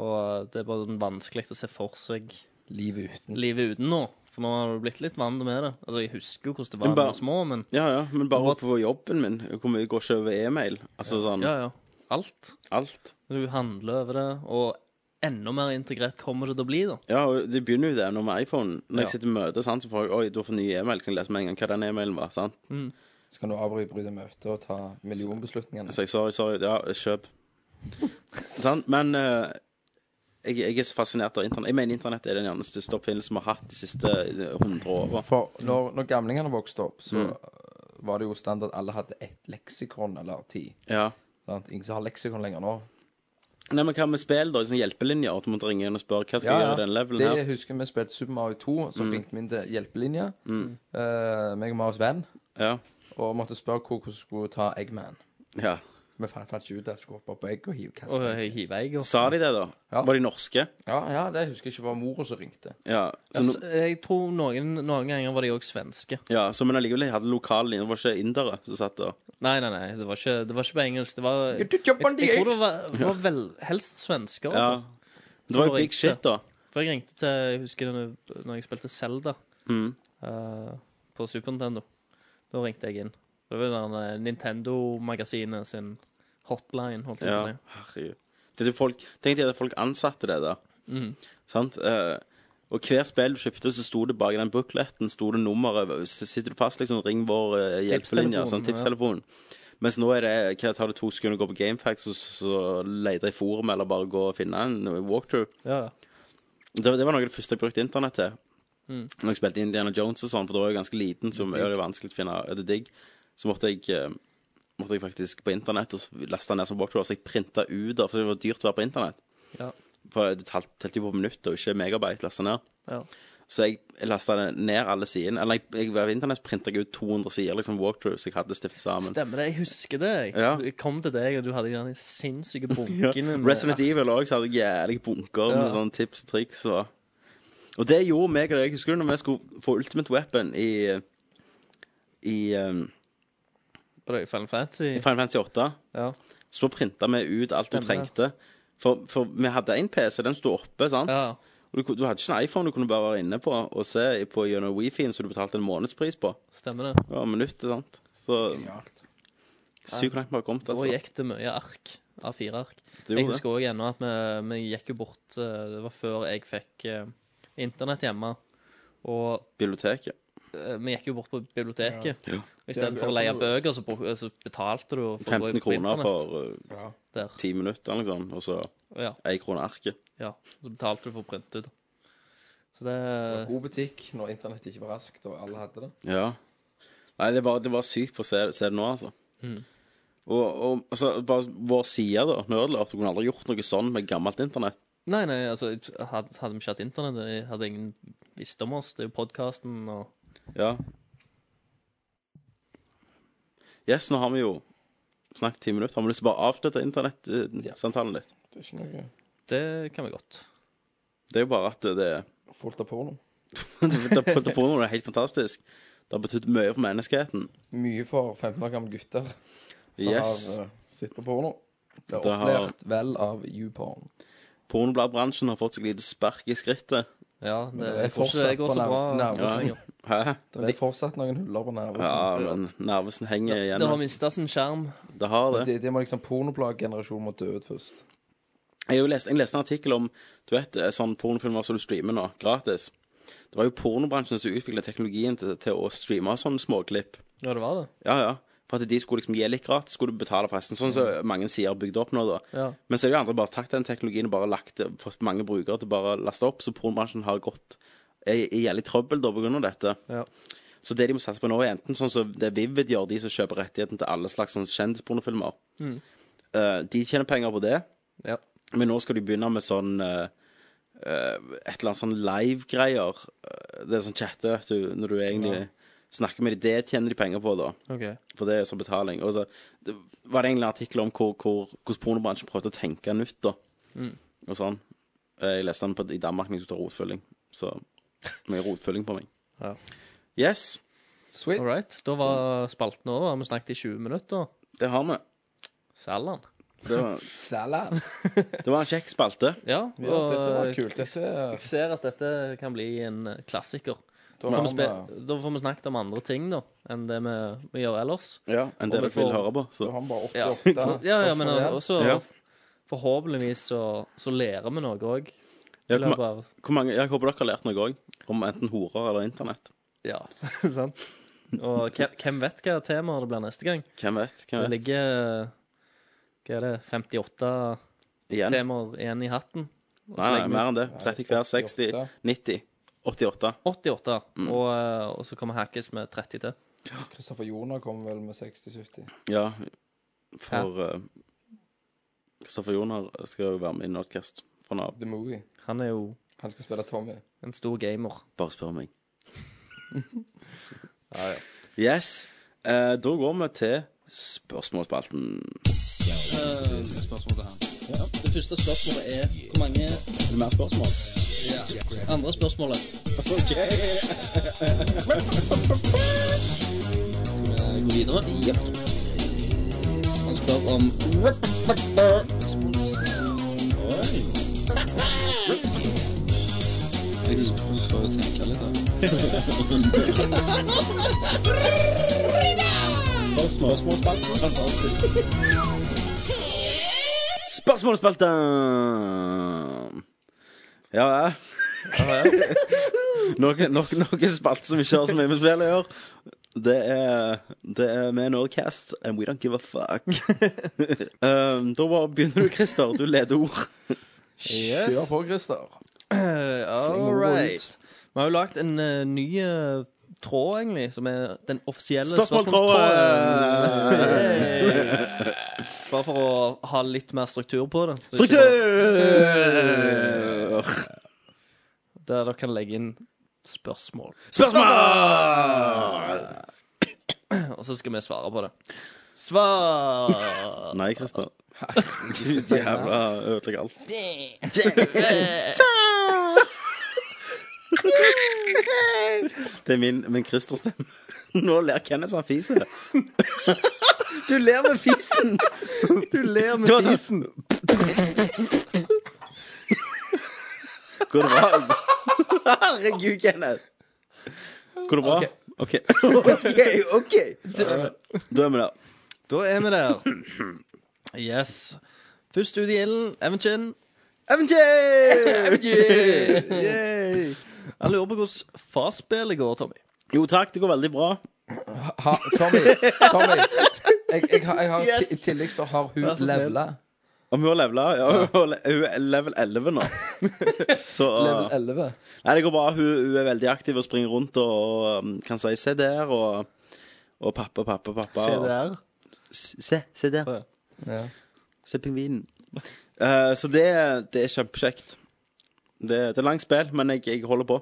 G: Og det er bare sånn vanskelig å se for seg
C: Livet uten.
G: livet uten nå. For nå har du blitt litt vant med det. Altså, Jeg husker jo hvordan det var
A: Men
G: da
A: bare-
G: vi var små, men
A: Ja, ja, men bare
G: What?
A: oppe på jobben min. Jeg kommer- jeg går ikke over e-mail. Altså sånn
G: ja, ja. Alt.
A: alt.
G: Du handler over det, og enda mer integrert kommer det til å bli, da.
A: Ja, og det begynner jo det nå med iPhone. Når
G: Ja.
A: jeg sitter i møte, sant, så får jeg Oi, du har fått ny e-mail. Kan jeg lese med en gang hva den e-mailen var? sant?
C: Så kan du avbryte møtet og ta millionbeslutningene.
A: Så jeg sorry, sorry. Ja, kjøp. sant? Men eh, jeg, jeg er så fascinert av internett. Jeg mener internett er den gjerne største oppfinnelsen vi har hatt de siste eh, 100 åra.
C: For når, når gamlingene vokste opp, så
A: Mm.
C: øh, var det jo standard alle hadde ett leksikon eller ti.
A: Ja.
C: Sant? Ingen som har leksikon lenger nå.
A: Nei, men hva med spill, da? Sånn hjelpelinjer? At du måtte ringe inn og spørre hva skal jeg gjøre i den levelen
C: Det
A: her? Mm.
C: husker vi spilte Super Mario 2, så ringte vi inn til hjelpelinja. Mm. meg og Marios venn.
A: Ja.
C: Og måtte spørre hvor hvordan skulle ta Eggman.
A: ja.
C: Vi fant, fant ikke ut at jeg skulle hoppe opp på egg og hive
G: Og
C: kassen.
G: hiver jeg og
A: Sa de det, da?
C: Ja.
A: Var de norske?
C: Ja, ja, det husker jeg ikke var mora som ringte.
A: Ja. Så,
G: altså,
A: no,
G: Jeg tror noen, noen ganger var de òg svenske.
A: ja, så men allikevel, jeg hadde lokal linje. Det var ikke indere som satt der.
G: Nei, nei, nei, det var ikke, det var ikke på engelsk. Det var
C: You
G: Jeg,
C: did your body
G: jeg tror det var, var vel, helst
A: Ja.
G: svensker, altså.
A: Det var
G: Så
A: jo big
G: ringte.
A: shit, da.
G: For jeg ringte til Jeg husker det når- når jeg spilte Zelda
A: Mm.
G: eh, på Super Nintendo. Da ringte jeg inn. Det var den der Nintendo-magasinet sin hotline, holdt jeg
A: Ja.
G: på å si.
A: Herregud. Det er jo folk, tenk deg at folk ansatte det der.
G: Mhm.
A: Sant? Eh, og hver spill du kjøpte, så sto det bak den bukletten sto det nummeret. Så sitter du fast, liksom, ring vår uh, hjelpelinje.
G: Tipstelefonen,
A: Sånn,
G: ja.
A: tipstelefon. Mens nå er det hva tar det to sekunder å gå på Gamefax og så, så lete i forum, eller bare gå og finne en walkthrough.
G: Ja, ja.
A: Det, det var noe av det første jeg brukte internett til.
G: Mm.
A: Når jeg spilte Indiana Jones og sånn, for da var jeg ganske liten, så var det vanskelig å finne er det digg. Så måtte jeg, eh, måtte jeg faktisk på internett og så laste ned som walkthrough, så jeg printa ut da, for det var dyrt å være på internett.
G: Ja.
A: For det talt- telte jo på minutter, og ikke megabyte lasta ned.
G: Ja.
A: Så jeg lasta ned alle sidene. Eller jeg, jeg, ved internett printa jeg ut 200 sider liksom walkthrough som jeg hadde stiftet sammen.
G: Stemmer det. Jeg husker det. Jeg,
A: Ja.
G: jeg kom til deg, og du hadde den sinnssyke
A: *laughs* Ja.
G: bunken. med-
A: Resident Evil òg hadde jeg jævlig bunker med
G: eh, Ja.
A: sånne tips og triks. Og, og det gjorde meg og deg. Husker du når vi skulle få Ultimate Weapon i i, um,
G: Var det i Final Fantasy?
A: i Final Fantasy 8?
G: Ja.
A: Så printa vi ut alt du
G: Stemmer.
A: trengte. For, for vi hadde en PC, den sto oppe, sant?
G: Ja.
A: Og du, ku- du hadde ikke en iPhone du kunne bare være inne på og se på gjennom Wifien, som du betalte en månedspris på.
G: Stemmer det.
A: Det var minuttet, sant? Så
C: Genialt.
A: sykt langt vi har kommet,
G: Da
A: altså.
G: gikk det mye ark. A4-ark.
A: Det
G: Jeg
A: gjorde
G: husker òg ennå at vi, vi gikk jo bort eh, Det var før jeg fikk eh, internett hjemme. Og
A: Biblioteket.
G: eh, vi gikk jo bort på biblioteket.
A: Ja.
G: I stedet for å leie bøker, så, bruk- så betalte du for å gå
A: 15
G: på
A: kroner
G: internett
A: for uh,
C: Ja.
G: der.
A: 10 minutter, liksom. Og så
G: Ja,
A: 1 krone arket.
G: ja. Så betalte du for å printe ut. Så det
C: God butikk når internett ikke var raskt, og alle hadde det.
A: Ja. Nei, det var, det var sykt på å se, se det nå, altså.
G: Mm.
A: Og, og altså, bare vår side, da, Nerdlert, du kunne aldri gjort noe sånn med gammelt internett.
G: Nei, nei, altså, hadde, hadde vi ikke hatt internett, jeg hadde ingen visst om oss. Det er jo podkasten og
A: Ja. Yes, nå har vi jo snakket ti minutter. Har vi lyst til å bare avslutte internettsamtalen ditt?
C: Det er ikke noe
G: Det kan vi godt.
A: Det er jo bare at det, det,
C: fullt av porno.
A: det, det pornoen er helt fantastisk. Det har betydd mye for menneskeheten.
C: Mye for 15 år gamle gutter som
A: Yes.
C: har eh, sett på porno. Det er
A: Det har-
C: opplært vel av YouPorn.
A: Pornobladbransjen har fått seg lite spark i skrittet.
G: Ja, det,
C: det er
G: jeg tror ikke det
C: fortsatt
G: går
C: på
G: så bra.
C: nerv- nervesen.
G: lenger.
A: Hæ?
C: Det er fortsatt noen huller på nervesen.
A: Ja, men nervesen henger
G: Det har
A: igjen.
G: mista sin skjerm.
A: Det har det.
C: Det, det må liksom pornoplaggenerasjonen må dø ut først.
A: Jeg, har jo lest, jeg leste en artikkel om du vet, sånn pornofilmer som du streamer nå, gratis. Det var jo pornobransjen som utvikla teknologien til, til å streame sånne småklipp.
G: Ja, det var det.
A: Ja, ja. For at de skulle liksom gi litt gratis, skulle du betale forresten. Sånn som mange sider bygd opp nå, da.
G: Mm. Ja.
A: Men så er det jo andre bare tatt den teknologien og bare lagt det- fått mange brukere til bare å laste opp, så pornbransjen har gått er er jævlig trøbbel da på grunn av dette.
G: Ja.
A: Så det de må satse på nå, er enten sånn som det Vivid gjør, de som kjøper rettigheten til alle slags sånn kjendispornofilmer. Eh, de tjener penger på det,
G: Mm. Ja.
A: men nå skal de begynne med sånn eh, eh, Et eller annet sånn live-greier. Eh, det er sånn chatte vet du, når du egentlig snakker med dem. Det tjener de penger på, da.
G: OK.
A: For det er som betaling. Og så det var det egentlig en artikkel om hvor, hvor, hvordan pornobransjen prøvde å tenke nytt, da.
G: Mm.
A: Og sånn. Eh, Jeg leste den på, i Danmark, men jeg tok rotfylling. Så mye rotfylling på meg.
G: Ja.
A: Yes,
C: Sweet.
G: All right. Da var spalten over. Vi snakket i 20 minutter.
A: det har vi.
G: Sallan.
A: Det var,
G: *laughs*
C: Salad.
A: det var en kjekk spalte.
G: Ja,
C: Ja, dette var
G: og
C: kult.
G: jeg ser at dette kan bli en eh, klassiker.
C: Da
G: Da får,
C: har
G: vi spe
C: vi-
G: da får vi snakket om andre ting da enn det vi, vi gjør ellers.
A: Ja, enn det
G: Og
A: dere vil
G: vi får-
A: høre på. Så.
C: da har vi bare
G: Ja, *laughs*
C: 88.
G: ja, ja men også
A: Ja.
G: Forhåpentligvis så, så lærer vi noe òg.
A: Ja, hvor, ma- hvor mange, jeg håper dere har lært noe òg. Om enten horer eller internett.
G: Ja, *laughs* sant? Og hvem, hvem vet hva temaet det blir neste gang?
A: Hvem vet?
G: Det
A: Hvem vet?
G: ligger Hva er det, 58
A: Igjen. Nei,
G: temaer igjen i hatten? Og så
A: nei,
G: legger vi
A: mer enn det. 30 hver. 60,
C: 88.
A: 90, 88.
G: 88, og, eh, og så kommer Hackes med 30 til.
C: Kristoffer Joner kommer vel med 60-70.
A: Ja, for eh, Kristoffer Joner skal jo være med i Nordcast fra Nav.
C: The Movie.
G: Han er jo
C: Han skal spille Tommy.
G: en stor gamer.
A: Bare spør *laughs* meg. Yes. Eh, da går vi til spørsmålsspalten.
G: Det første spørsmålet er hvor mange
A: Er det mer spørsmål?
G: andre spørsmålet. Ok. Skal vi gå videre? Ja. Han spør om
A: Spørsmålsspalten! Ja vel. *laughs* Noe, noe, noe spalte som ikke har så mye med spill å gjøre. Det er, det er med Nordcast, and we don't give a fuck. *laughs* um, da bare begynner du, Christer. Du leder ord.
C: Kjør på, Christer.
G: All right. Vi har jo lagd en eh, ny eh, tråd, egentlig, som er den offisielle
A: eh,
G: eh.
A: Spørsmålstråden!
G: *laughs* Bare for å ha litt mer struktur på det. så ikke bare-
A: Struktur!
G: Der dere kan legge inn spørsmål.
A: Spørsmål!
G: Og så skal vi svare på det. Svar!
A: Nei, Christer. *laughs* Gud jævla ødelegger alt. Det er min, min Christer-stemme. *laughs* Nå ler Kenneth som han fiser. Du ler med fisen.
G: Du ler
A: Du var sånn- *laughs* Går det bra? Herregud, Kenneth. Går det bra? OK. OK. *laughs* ok Da er vi der.
G: Da er vi der. Yes. Først ut i ilden, Evenchen. Yay! Han lurer på hvordan farsspillet går, Tommy.
A: Jo takk, det går veldig bra.
C: Ha, Tommy, Tommy. Jeg, jeg, har- jeg har
G: Yes.
C: i tillegg spør har hun
G: Vær så snill.
C: levela.
A: Om hun har levela? Ja, hun er level 11 nå. Så
C: Level 11.
A: Nei, det går bra. Hun, hun er veldig aktiv og springer rundt og, og um, kan si 'se der' og, og 'pappa, pappa, pappa'.
G: Se
A: og-
G: der.
A: S- Se, se der.
C: Ja.
A: Se pingvinen. *laughs* Eh, så det, det er kjempekjekt. Det, det er langt spill, men jeg, jeg holder på.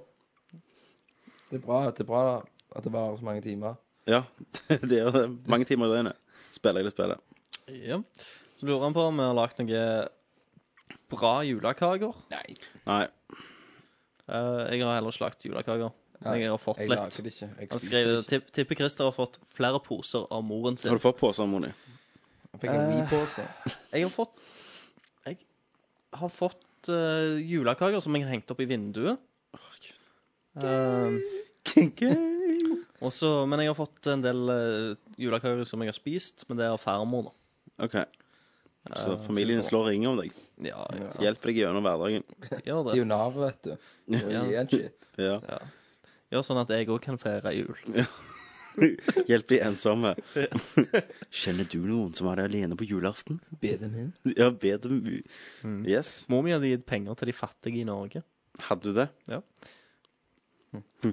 C: Det er bra, det er bra at det varer så mange timer.
A: Ja, *laughs* det gjør det. Mange timer i døgnet spiller jeg det spillet.
G: Ja. Så lurer han på om vi har lagd noen bra julekaker.
A: Nei.
G: Eh, jeg har heller ikke lagd julekaker. Men jeg har fått
C: Jeg
G: litt.
C: lager det ikke. Jeg
G: Han
C: spiser
G: skriver
C: det ikke.
G: «Tipp- tipper Christer har fått flere poser av moren
A: Har du
G: sin.
A: fått pose, Moni?
C: Jeg fikk en Wii-pose.
G: Jeg har fått Jeg har fått eh, julekaker som jeg har hengt opp i vinduet. Eh, og så- men jeg har fått en del eh, julekaker som jeg har spist, men det er av farmor. da
A: OK. Så familien slår ring om deg.
G: Ja, jeg
A: Hjelper deg gjennom hverdagen.
C: Det er
G: gjør det.
C: jo Nav, vet du. Og gi en shit.
A: Ja.
G: Gjør sånn at jeg òg kan feire jul.
A: Hjelp de *laughs* ensomme. Kjenner du noen som er alene på julaften?
C: Beden min.
A: Ja, be dem u- Yes.
G: Mor mi hadde gitt penger til de fattige i Norge,
A: Hadde du det?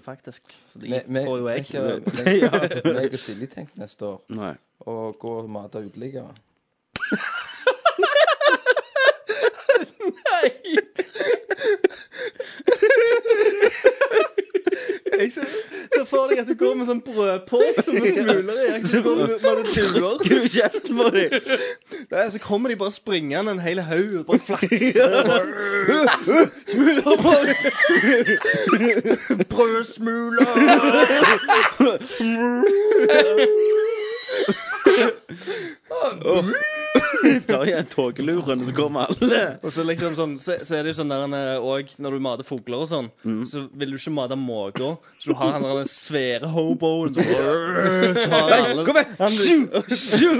G: faktisk. Så de
C: Vi- vi-
G: får jo jeg.
C: tenker- Meg og Silje tenkte neste år
A: *laughs* Nei.
C: å gå og mate uteliggere.
G: Se for deg at du går med sånn brødpose *laughs* med smuler i. Så, går du med duer.
A: Gru kjeften på dem!
G: Nei, så kommer de bare springende en hel haug og bare *laughs*
A: Smuler på dem!
G: Brødsmuler!
A: Tar igjen tåkeluren, så kommer alle.
G: Og så liksom sånn, så, så er det jo sånn der en, eh, Og når du mater fugler og sånn, så vil du ikke mate måker. Så du har han der den svære hoboen som Kom vekk!
A: Sju!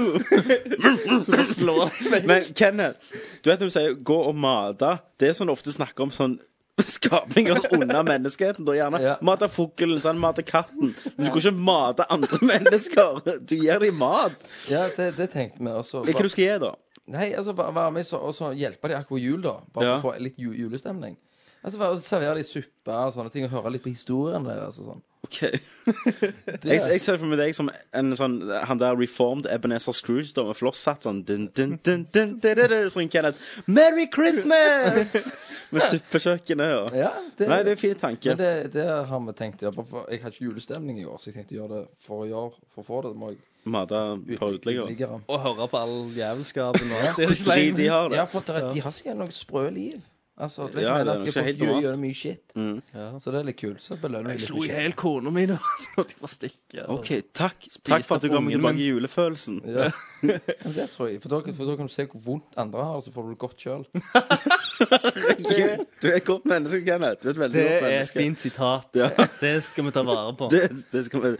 G: Slår vekk.
A: Men Kenneth, du vet når du sier 'gå og mate', det er sånn du ofte snakker om sånn skapninger under menneskeheten. Da gjerne
C: Ja.
A: mate fuglen, sånn, mate katten. Men du går ikke og mate andre *laughs* mennesker. Du gir dem mat.
C: Ja, det, det tenkte vi. Og så
A: Hva
C: bare-
A: du skal gi, da?
C: Nei, altså bare være med så, og så hjelpe de akkurat jul, da. Bare
A: Ja.
C: for å få litt ju julestemning. Altså bare Servere de suppe og sånne ting, og høre litt på historien deres og sånn.
A: Ok jeg, jeg ser for meg deg som en sånn Han der reformed Ebenezer Scrooge Da med flosshatt sånn dun, dun, dun, dun, dun, dun, dun, Som Kenneth Merry Christmas Med suppekjøkkenet og
C: Ja, det,
A: Nei, det er en fin tanke
C: Men det, det har vi tenkt å gjøre. bare for- Jeg har ikke julestemning i år, så jeg tenkte å gjøre det for i år. For å få det, må jeg
A: Mata på utligger
C: uteliggere.
G: Og høre på all jævelskapen og alt det
A: De,
G: sleimt.
A: de har det
C: Ja, for at det, er- de har sikkert noen sprø liv. Altså, du vet,
A: Ja,
C: mener
A: det er
C: at
A: nok
C: de
A: ikke
C: har
A: helt
C: fått gjøre
A: normalt. Mm.
C: gjøre mye shit. Så det er litt kult. Så belønner vi
G: Jeg
C: litt.
G: slo
C: med
G: i
A: *laughs*
C: shit.
G: hjel kona mi, da. *laughs* Så måtte jeg bare stikke. og-
A: Ok, takk Takk for at du kom
G: opp ungen
A: tilbake i julefølelsen
C: Ja. Men det tror jeg. For da, for da kan du se hvor vondt andre har, så får du det godt sjøl.
A: *laughs* Du er et godt menneske, Kenneth Du er et veldig
G: Det
A: godt
G: er et
A: menneske
G: fint sitat.
A: Ja.
G: Det skal vi ta vare på.
A: *laughs* det, det, skal vi,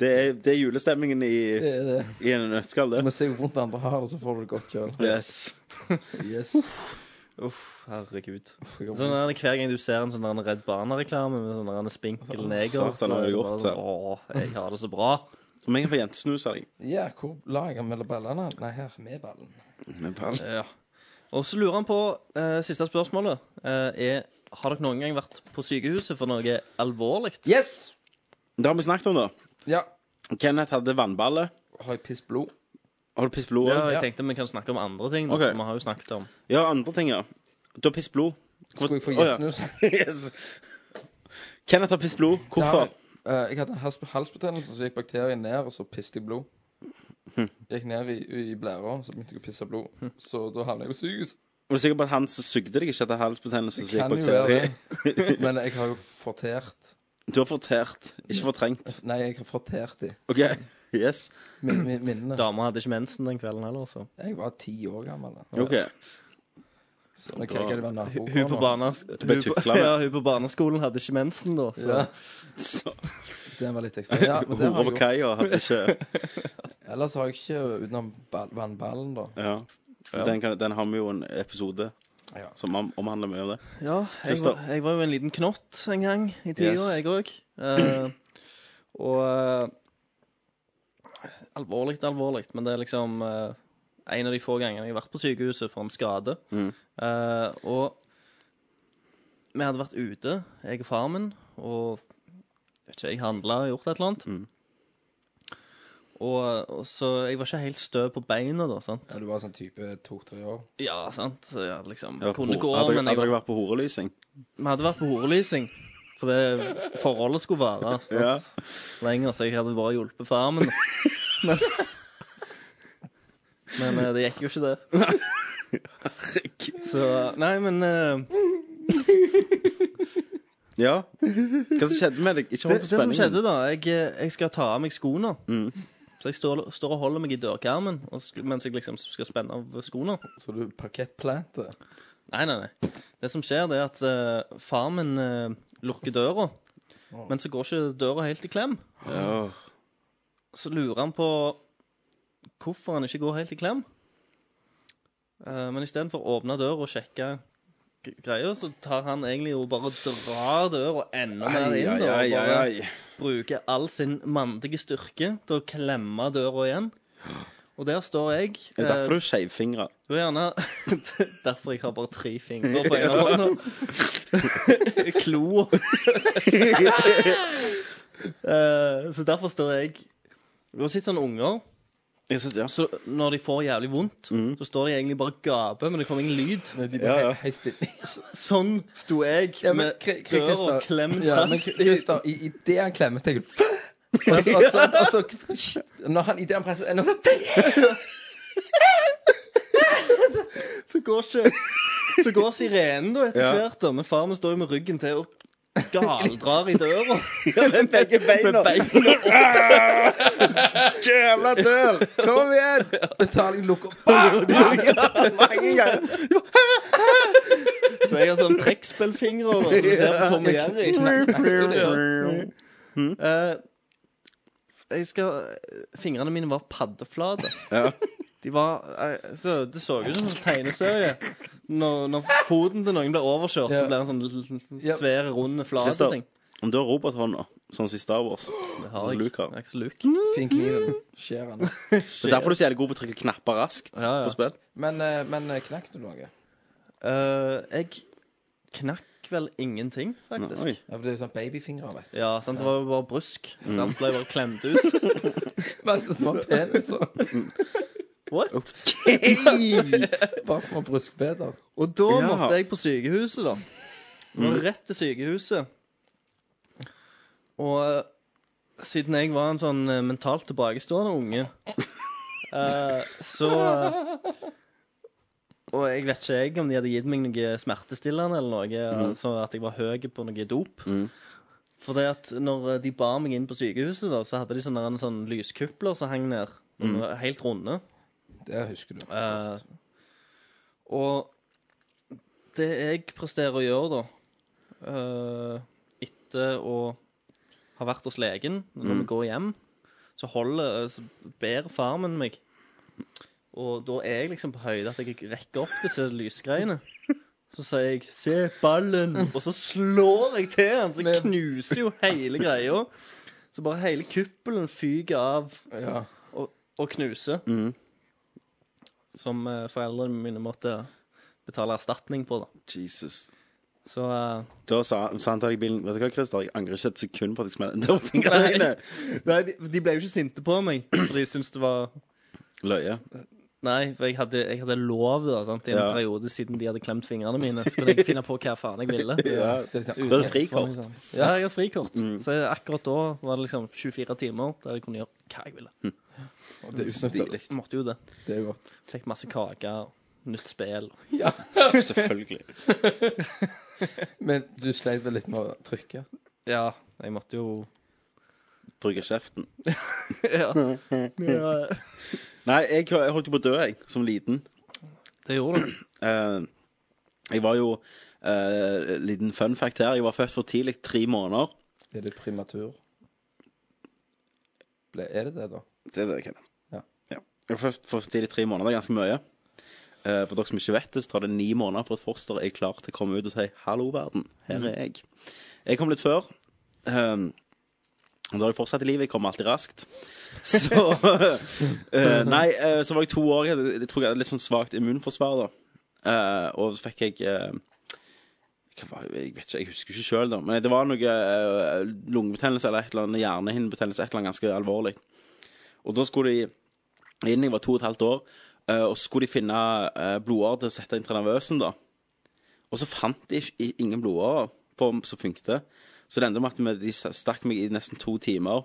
A: det, er, det er julestemmingen i,
C: Det er det.
A: i en nøttskall
C: Du
A: det
C: må se hvor vondt andre har det, så får du det godt sjøl.
A: Yes
C: Yes.
G: Uff, herregud.
C: jeg
G: Sånn er det Hver gang du ser en sånn der Redd Barna-reklame med sånn der en spinkel neger,
A: satan, har
G: er
A: det
G: det
A: gått
G: bare sånn Åh, jeg har det så bra.
A: Om jeg kan få jentesnus av deg
C: Ja, hvor la jeg den mellom ballene? Nei, her. Med ballen.
A: Men pall.
G: Ja. Og så lurer han på eh, Siste spørsmålet eh, er Har dere noen gang vært på sykehuset for noe alvorlig?
C: Yes!
A: Det har vi snakket om da
C: Ja.
A: Kenneth hadde vannballe.
C: Har jeg piss blod?
A: Har du pisset blod?
G: Ja,
A: også?
G: jeg tenkte vi kan snakke om andre ting. da.
A: Ok.
G: Vi har jo snakket om
A: ja, andre ting, ja. Du har pisset blod.
C: Skulle jeg få
A: Å, ja.
C: gjettsnus?
A: *laughs* yes. Kenneth har pisset blod. Hvorfor?
C: Eh, jeg hadde en hals- halsbetennelse, så gikk bakterien ned, og så pisset jeg blod. Gikk ned i, i blæra, så begynte jeg å pisse blod. Så da havnet jeg på sykehus.
A: Er du sikker på at han som sugde deg, ikke hadde halsbetennelse? så gikk
C: Kan jo
A: bakterier?
C: være det. Men jeg har jo fortert.
A: Du har fortært, ikke fortrengt.
C: Nei, jeg har fortert de
A: OK. Yes.
C: min, min, minnene.
G: Dama hadde ikke mensen den kvelden heller, så.
C: Jeg var ti år gammel. da.
A: OK.
C: Så nå kan jeg være nabo.
G: Hun på, barnas, hun,
A: ble
G: på,
A: tuklet med.
G: *laughs* ja, hun på barneskolen hadde ikke mensen da, så
C: Ja,
A: Så
C: den var litt ekstrem. Ja, men det
A: Hora
C: har
A: på
C: jeg
A: kaia
C: gjort.
A: hadde ikke
C: Ellers har jeg ikke utenom ball- vannballen, da.
A: Ja. Den, kan, den har vi jo en episode
C: Ja.
A: som om- omhandler mye av det.
G: Ja, jeg
A: Christer.
G: var, jeg var jo en liten knott en gang i tida,
A: Yes.
G: jeg òg. Eh, og eh, Alvorlig, alvorlig, men det er liksom eh, en av de få gangene jeg har vært på sykehuset for en skade. Eh, og vi hadde vært ute, jeg og faren min, og jeg vet ikke, jeg handla og gjort et eller annet. Og, og så Jeg var ikke helt stø på beina da, sant?
C: Ja, du var sånn type to-tre år.
G: Ja, sant? Så jeg hadde liksom
A: Ja,
G: kunne
A: ho-
G: gå,
A: hadde,
G: men jeg
A: hadde
G: var
A: dere vært på horelysing?
G: vi hadde vært på horelysing. For det forholdet skulle vare sant?
A: Ja.
G: lenger, så jeg hadde bare hjulpet farmen. *laughs* Men, men eh, det gikk jo ikke, det. Så Nei, men eh,
A: Ja. Hva som skjedde med deg? Ikke
G: det,
A: hold på
G: det som skjedde,
A: spenningen.
G: da Jeg, eh, jeg skal ta av meg skoene. Så jeg står, står og holder meg i dørkarmen og sk mens jeg liksom skal spenne av skoene.
C: Så du parkettplante.
G: Nei, nei, nei. Det som skjer, det er at eh, far min eh, lukker døra, men så går ikke døra helt i klem.
A: Ja.
G: Så lurer han på hvorfor han ikke går helt i klem. Eh, men istedenfor å åpne døra og sjekke greier, så tar han egentlig og bare drar døra enda mer
A: Ai,
G: inn.
A: ai,
G: da, og
A: ai,
G: bare
A: ai, ai.
B: bruker all sin mandige styrke til å klemme døra igjen. Og der står jeg.
A: Det er derfor
B: eh,
A: du skeivfingrer.
B: du er gjerne *laughs* Derfor jeg har bare tre fingre på ene
A: *laughs*
B: hånda. Kloa. Eh, så derfor står jeg Du har sett sånne unger.
A: Jeg synes, ja.
B: Så når de får jævlig vondt,
C: Mm.
B: så står de egentlig bare og gaper, men det kommer ingen lyd.
C: Nei, De bare
A: Ja, ja.
C: helt stille.
B: Sånn sto jeg
C: Ja, men
B: med
C: Kri- Kri-
B: døra
C: Christer-
B: klemt
C: ja, men
B: fast
C: Kri-
B: i
C: Christer, i, i det han klemmer, så tenker du Altså, og
A: *laughs*
C: så, og så, og så, Når han i det han presser når han,
B: Så går ikke Så går sirenen da etter
A: Ja.
B: hvert, da. Men far min står jo med ryggen til og galdrar i døra.
C: *laughs*
A: Med begge beina.
B: Med beina
A: Jævla dør! Kom igjen!
C: Betaling lukker
A: *laughs*
C: opp.
A: Mange ganger.
B: Så jeg har sånn trekkspillfingre og som ser på Tom og
C: *laughs*
B: Jerry. Eh, jeg skal Fingrene mine var paddeflate.
A: Ja.
B: De var eh, så, Det så ut som en tegneserie. Når, når foten til noen blir overkjørt,
C: Ja.
B: så blir den sånn l-
C: Ja.
B: l- svær, rund, flat
A: Christer,
B: ting.
A: Om du har robothånda, sånn som i Star Wars
B: Det har
A: Luke har.
B: jeg. Jeg er ikke så Luke.
C: Fin kniven. Skjer han.
A: Det er derfor du er så jævlig god på å trykke knapper raskt
B: Ja, ja.
A: på spill.
C: Men, eh, men eh, knakk du noe?
B: Eh, jeg knakk vel ingenting, faktisk.
A: Oi.
C: Ja, for det er jo sånn babyfingre, vet du.
B: Ja, sant? Det var jo bare brusk. Sant? Ble bare klemt ut.
C: Bare så små peniser.
B: What?
C: Bare små bruskbeder.
B: Og da
A: Ja.
B: måtte jeg på sykehuset, da. Må Rett til sykehuset. Og eh, siden jeg var en sånn eh, mentalt tilbakestående unge, eh, så eh, Og jeg vet ikke jeg om de hadde gitt meg noe smertestillende eller noe,
A: Mhm.
B: altså at jeg var høy på noe dop. For det at når eh, de bar meg inn på sykehuset, da, så hadde de sånne, sånn lyskupler som hang ned. sånne Helt runde.
C: Det husker du.
B: Eh, og det jeg presterer å gjøre, da, eh, etter å ha vært hos legen, når vi går hjem, så, holder, eh, så ber far min meg. Og da er jeg liksom på høyde at jeg rekker opp disse lysgreiene. Så sier jeg 'se ballen', og så slår jeg til han, så
C: Men-
B: knuser jo hele greia. Så bare hele kuppelen fyker av
C: Ja.
B: og, og knuse. Som eh, foreldrene mine måtte betale erstatning på, da.
A: Jesus.
B: Så eh,
A: Da sa, sa han til deg i bilen Vet du hva, Christer, jeg angrer ikke et sekund på at jeg smelte opp fingrene dine.
B: Nei, de, de ble jo ikke sinte på meg, for de syntes det var
A: Løye.
B: Nei, for jeg hadde, jeg hadde lov da, sant, i en
A: Ja.
B: periode siden de hadde klemt fingrene mine. Så kunne jeg finne på hva faen jeg ville.
A: *laughs*
B: Liksom.
A: Ja. Mhm. Det
C: Det er sånn,
A: er et frikort.
B: Ja, jeg hadde frikort. Så akkurat da var det liksom 24 timer der jeg kunne gjøre hva jeg ville.
C: og det er utnyttet.
A: Stilig.
B: Jeg måtte jo det.
C: Det er godt.
B: Fikk masse kaker, nytt spill.
A: Selvfølgelig.
C: Men du sleit vel litt med å trykke?
B: Ja, jeg måtte jo
A: Bruker kjeften.
B: ja. ja.
A: Nei, jeg, jeg holdt jo på å dø, jeg, som liten.
B: Det gjorde du.
A: Eh, jeg var jo eh, Liten fun fact her. Jeg var født for tidlig, tre måneder.
C: Er det primatur? Ble, er det det, da?
A: Det er det, Kenneth.
C: Ja.
A: Ja. Jeg var født for tidlig, tre måneder. Det er ganske mye. Eh, for dere som ikke vet det, så tar det ni måneder for et foster er klar til å komme ut og si 'hallo, verden, her er jeg'. Jeg kom litt før. Um, da har jeg fortsatt i livet. Jeg kommer alltid raskt. Så eh, Nei, eh, så var jeg to år. Jeg, hadde, jeg tror jeg hadde litt sånn svakt immunforsvar, da. Eh, og så fikk jeg eh, hva var det? Jeg vet ikke, jeg husker ikke sjøl, da. Men det var noe eh, lungebetennelse eller et eller annet hjernehinnebetennelse. Et eller annet ganske alvorlig. Og da skulle de inn, jeg var to og et halvt år, eh, og så skulle de finne eh, blodårer til å sette intranavøsen, da. Og så fant de ikke- i- ingen blodårer på- som funket. Så det endte med at vi- de stakk meg i nesten to timer.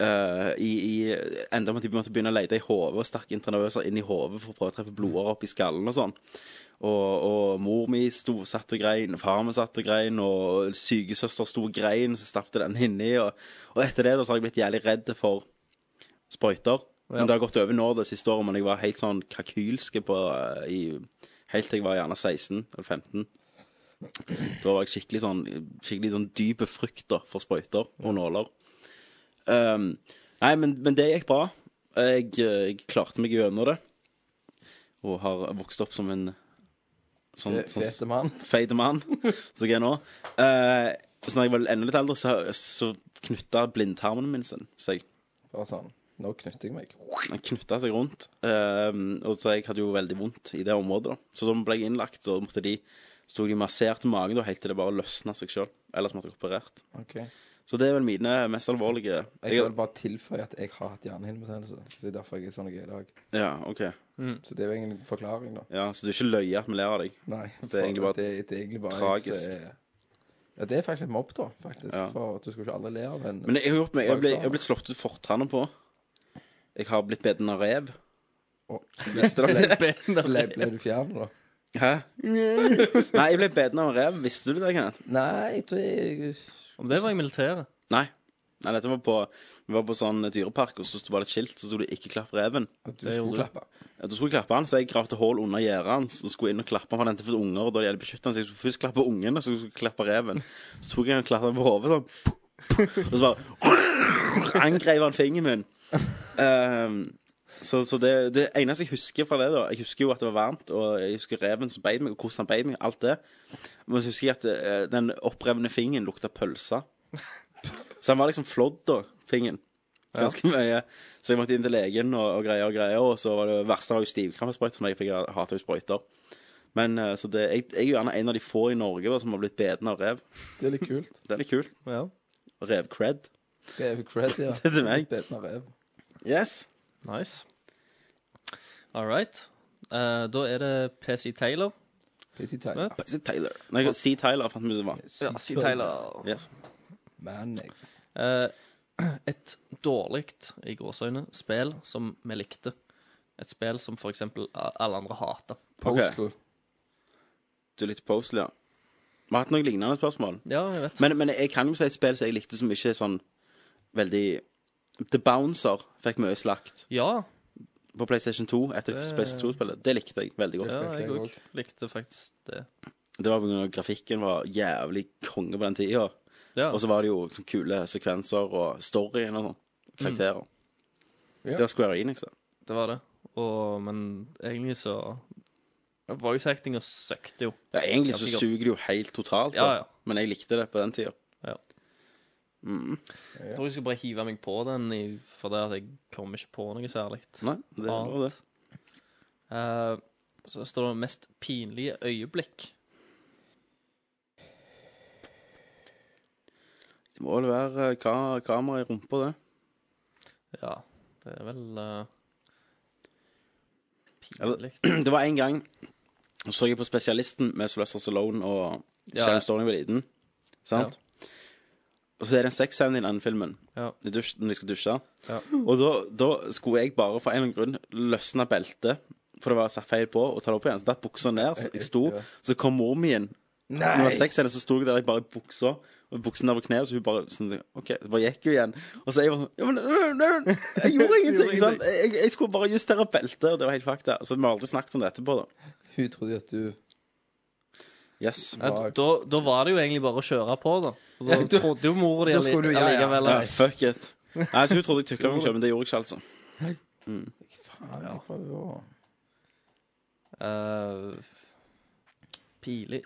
A: eh, i, i, enda med at de måtte begynne å lete i hodet og stakk intranavøser inn i hodet for å prøve å treffe blodårer opp i skallen og sånn. Og, og mor mi sto, satt og grein, og far min satt og grein, og sykesøster sto og grein, så stappte den inni. Og, og etter det da så har jeg blitt jævlig redd for sprøyter. Men det har gått over nå det siste året, men jeg var helt sånn kakylske på eh, i, Helt til jeg var gjerne 16 eller 15. Da var jeg skikkelig sånn Skikkelig sånn dype frykt da for sprøyter og nåler. Ehm, nei, men, men det gikk bra. Jeg, eh, jeg klarte meg gjennom det. Og har vokst opp som en sånn,
C: Fe- Fete mann?
A: *laughs* feit mann, som jeg er nå. Eh, Så når jeg var enda litt eldre, så, så knytta blindtarmen min sin seg.
C: Bare sånn. Nå knytter jeg meg.
A: Den knytta seg rundt. ehm, og så jeg hadde jo veldig vondt i det området. da Så da ble jeg innlagt, så måtte de sto de masserte magen da, helt til det bare løsna seg sjøl. Ellers måtte jeg operert.
C: Ok. Jeg
A: Så det er vel mine mest alvorlige jeg,
C: vil bare tilføye at jeg har hatt hjernehinnebetennelse. Så Det er derfor jeg er sånn jeg er i dag.
A: Ja, ok Mm.
C: Så det er jo egentlig en forklaring, da.
A: ja, Så du er ikke løye at vi ler av deg?
C: Nei.
A: Det er egentlig bare
C: det, det er egentlig bare jeg
A: tragisk.
C: som er- Ja, det er faktisk et mobb, da. faktisk
A: Ja.
C: For at Du skal ikke alle le av en
A: Men jeg har gjort meg Jeg har blitt- jeg har blitt slått ut fortanna på. Jeg har blitt beten av rev.
C: Å.
A: Visste dere det?
C: *laughs* ble, ble du fjern, da?
A: Hæ? Nei, jeg ble beten av en rev. Visste du det, Kenneth?
C: Nei, jeg tror jeg
G: Om det var i militæret.
A: Nei. Nei, dette var på Vi var på sånn dyrepark, og så var det et skilt, så sto det 'ikke klapp reven'.
C: At du
G: Det gjorde
C: skulle
G: du.
C: klappe.
A: Ja, Da skulle jeg klappe han, så jeg gravde hull under gjerdet hans og skulle inn og klappe han, for han hentet først unger, og da de hadde beskyttet han, så jeg skulle først klappe ungen, og så skulle jeg klappe reven. Så tok jeg han og klappet han på hodet, sånn, puh, puh, og så bare angrev han fingeren min. Ehm, så så det, det eneste jeg husker fra det, da Jeg husker jo at det var varmt, og jeg husker reven som beit meg, og hvordan han beit meg, alt det. Men så husker jeg at eh, den opprevne fingeren lukta pølse. Så han var liksom flådd, da, fingeren. Ganske mye. Så jeg måtte inn til legen og, og greier og greier. Og så var det verste var jo stivkrampesprøyte, som jeg fikk hata jo sprøyter. Men eh, så det, jeg, jeg er jo gjerne en av de få i Norge da, som har blitt beden av rev.
C: Det er litt kult.
A: Det er litt kult.
G: Ja.
A: Rev-cred. *laughs*
C: *laughs* Det er jo crazy, ja.
A: Det er til meg.
C: Beten av rev.
A: Yes.
G: Nice. All right. Eh, da er det PC Taylor.
C: Busy time.
A: Si Tyler. Nei, C. Tyler fant vi ut det var.
C: Ja,
G: PC Taylor.
A: Yes.
C: Ah, Man, jeg.
G: Eh, *clears throat* et dårlig, i gåseøyne, spill som vi likte. Et spill som for eksempel a- alle andre hater.
C: Postal.
A: Du er litt postlig, ja. Vi har hatt noen lignende spørsmål.
G: Ja, jeg vet.
A: Men, men jeg kan jo si et spill som jeg likte, som ikke er sånn veldig The Bouncer fikk mye slakt
G: Ja,
A: på PlayStation 2 etter
G: Det-
A: PlayStation 2-spillet. Det likte jeg veldig godt.
G: ja
C: fikk
G: jeg
C: jeg
G: òg likte faktisk det.
A: Det var på grunn av at grafikken var jævlig konge på den tida.
G: Ja.
A: Og så var det jo sånn kule sekvenser og storyen og sånn. Karakterer.
C: Ja.
A: Det var Square Enix, det.
G: Det var det. Og, men egentlig så Voice actinga søkte jo.
A: Ja, egentlig så
G: Ganske godt.
A: suger det jo helt totalt, da.
G: Ja, ja.
A: men jeg likte det på den tida.
G: Ja.
A: Mm.
G: Jeg tror jeg skal bare hive meg på den, i, for det at jeg kom ikke på noe særlig.
A: Nei, det
G: Ja.
A: var det.
G: Eh, så står det 'mest pinlige øyeblikk'.
A: Det må vel være eh, ka kamera i rumpa, det.
G: Ja, det er vel eh,
A: Eller- *clears throat*
G: Pinlig.
A: Det var en gang så så jeg på Spesialisten med Sylvester Stallone og
G: Ja.
A: Sharon Stone var liten. Sant? Og så er det en sexscene i den filmen,
G: Ja.
A: I dusj, når de skal dusje.
G: Ja.
A: Og da, da skulle jeg bare for en eller annen grunn løsne beltet, for det var satt feil på, og ta det opp igjen. Så datt buksa ned, så jeg sto,
C: Ja.
A: så kom mor mi inn. Når det var sexscene, så sto jeg der jeg bare i buksa, og buksen der på kneet, så hun bare sånn sånn, OK, så bare gikk hun igjen. Og så jeg var sånn Ja, men øh, øh, øh, jeg gjorde *laughs* ingenting, sant? Jeg, jeg skulle bare justere beltet, og det var helt fakta. Så vi har aldri snakket om det etterpå, da.
C: Hun trodde at du
A: Yes.
G: Ja, da- da, da var det jo egentlig bare å kjøre på, da. For
C: Ja,
G: Da
C: da-
G: trodde jo mor di
C: da skulle du- ja, ja.
G: allikevel
A: Ja,
G: at-
A: fuck it. Nei, så hun trodde jeg tukla meg sjøl, men det gjorde jeg ikke, altså.
C: Faen, jeg prøver å
G: Eh, Pilig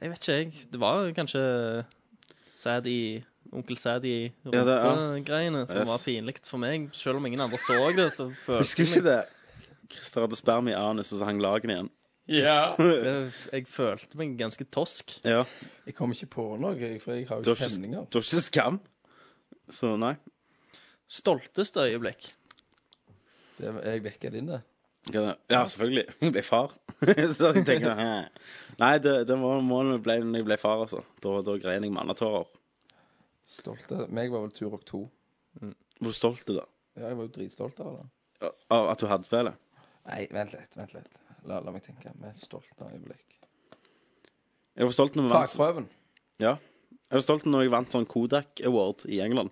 G: Jeg vet ikke, jeg. Det var jo kanskje Sad i Onkel Sad i
A: Ja, det- ja.
G: rumpegreiene som
A: Yes.
G: var pinlig for meg. Selv om ingen andre så det, så
C: *laughs*
G: følte
A: Husker du
G: jeg
A: ikke det? Christer hadde sperma i anus, og så hang lagene igjen.
G: meg det- *laughs* Jeg følte meg ganske tosk.
A: Ja.
C: Jeg kommer ikke på noe, jeg, for jeg har
A: Du
C: jo
A: har
C: ikke
A: ikke,
C: hemninger.
A: du har ikke skam? Så nei.
G: Stolteste øyeblikk.
C: Det er- Jeg vekker din, det.
A: Hva er det? Ja, selvfølgelig. *laughs* Jeg ble far. så jeg tenker hæ. Nei, det, det var målet jeg ble når jeg ble far, altså. Da, da grein jeg mannetårer.
C: Stolte. Meg var vel Turok 2.
A: Hvor stolt du da?
C: Ja, jeg var jo dritstolt av det.
A: Av at du hadde spillet?
C: Nei, vent litt, vent litt. La, la meg tenke. Med stolt øyeblikk.
A: Jeg var stolt når vi vant,
C: Fagprøven.
A: ja. jeg var stolt når jeg vant sånn Kodak Award i England.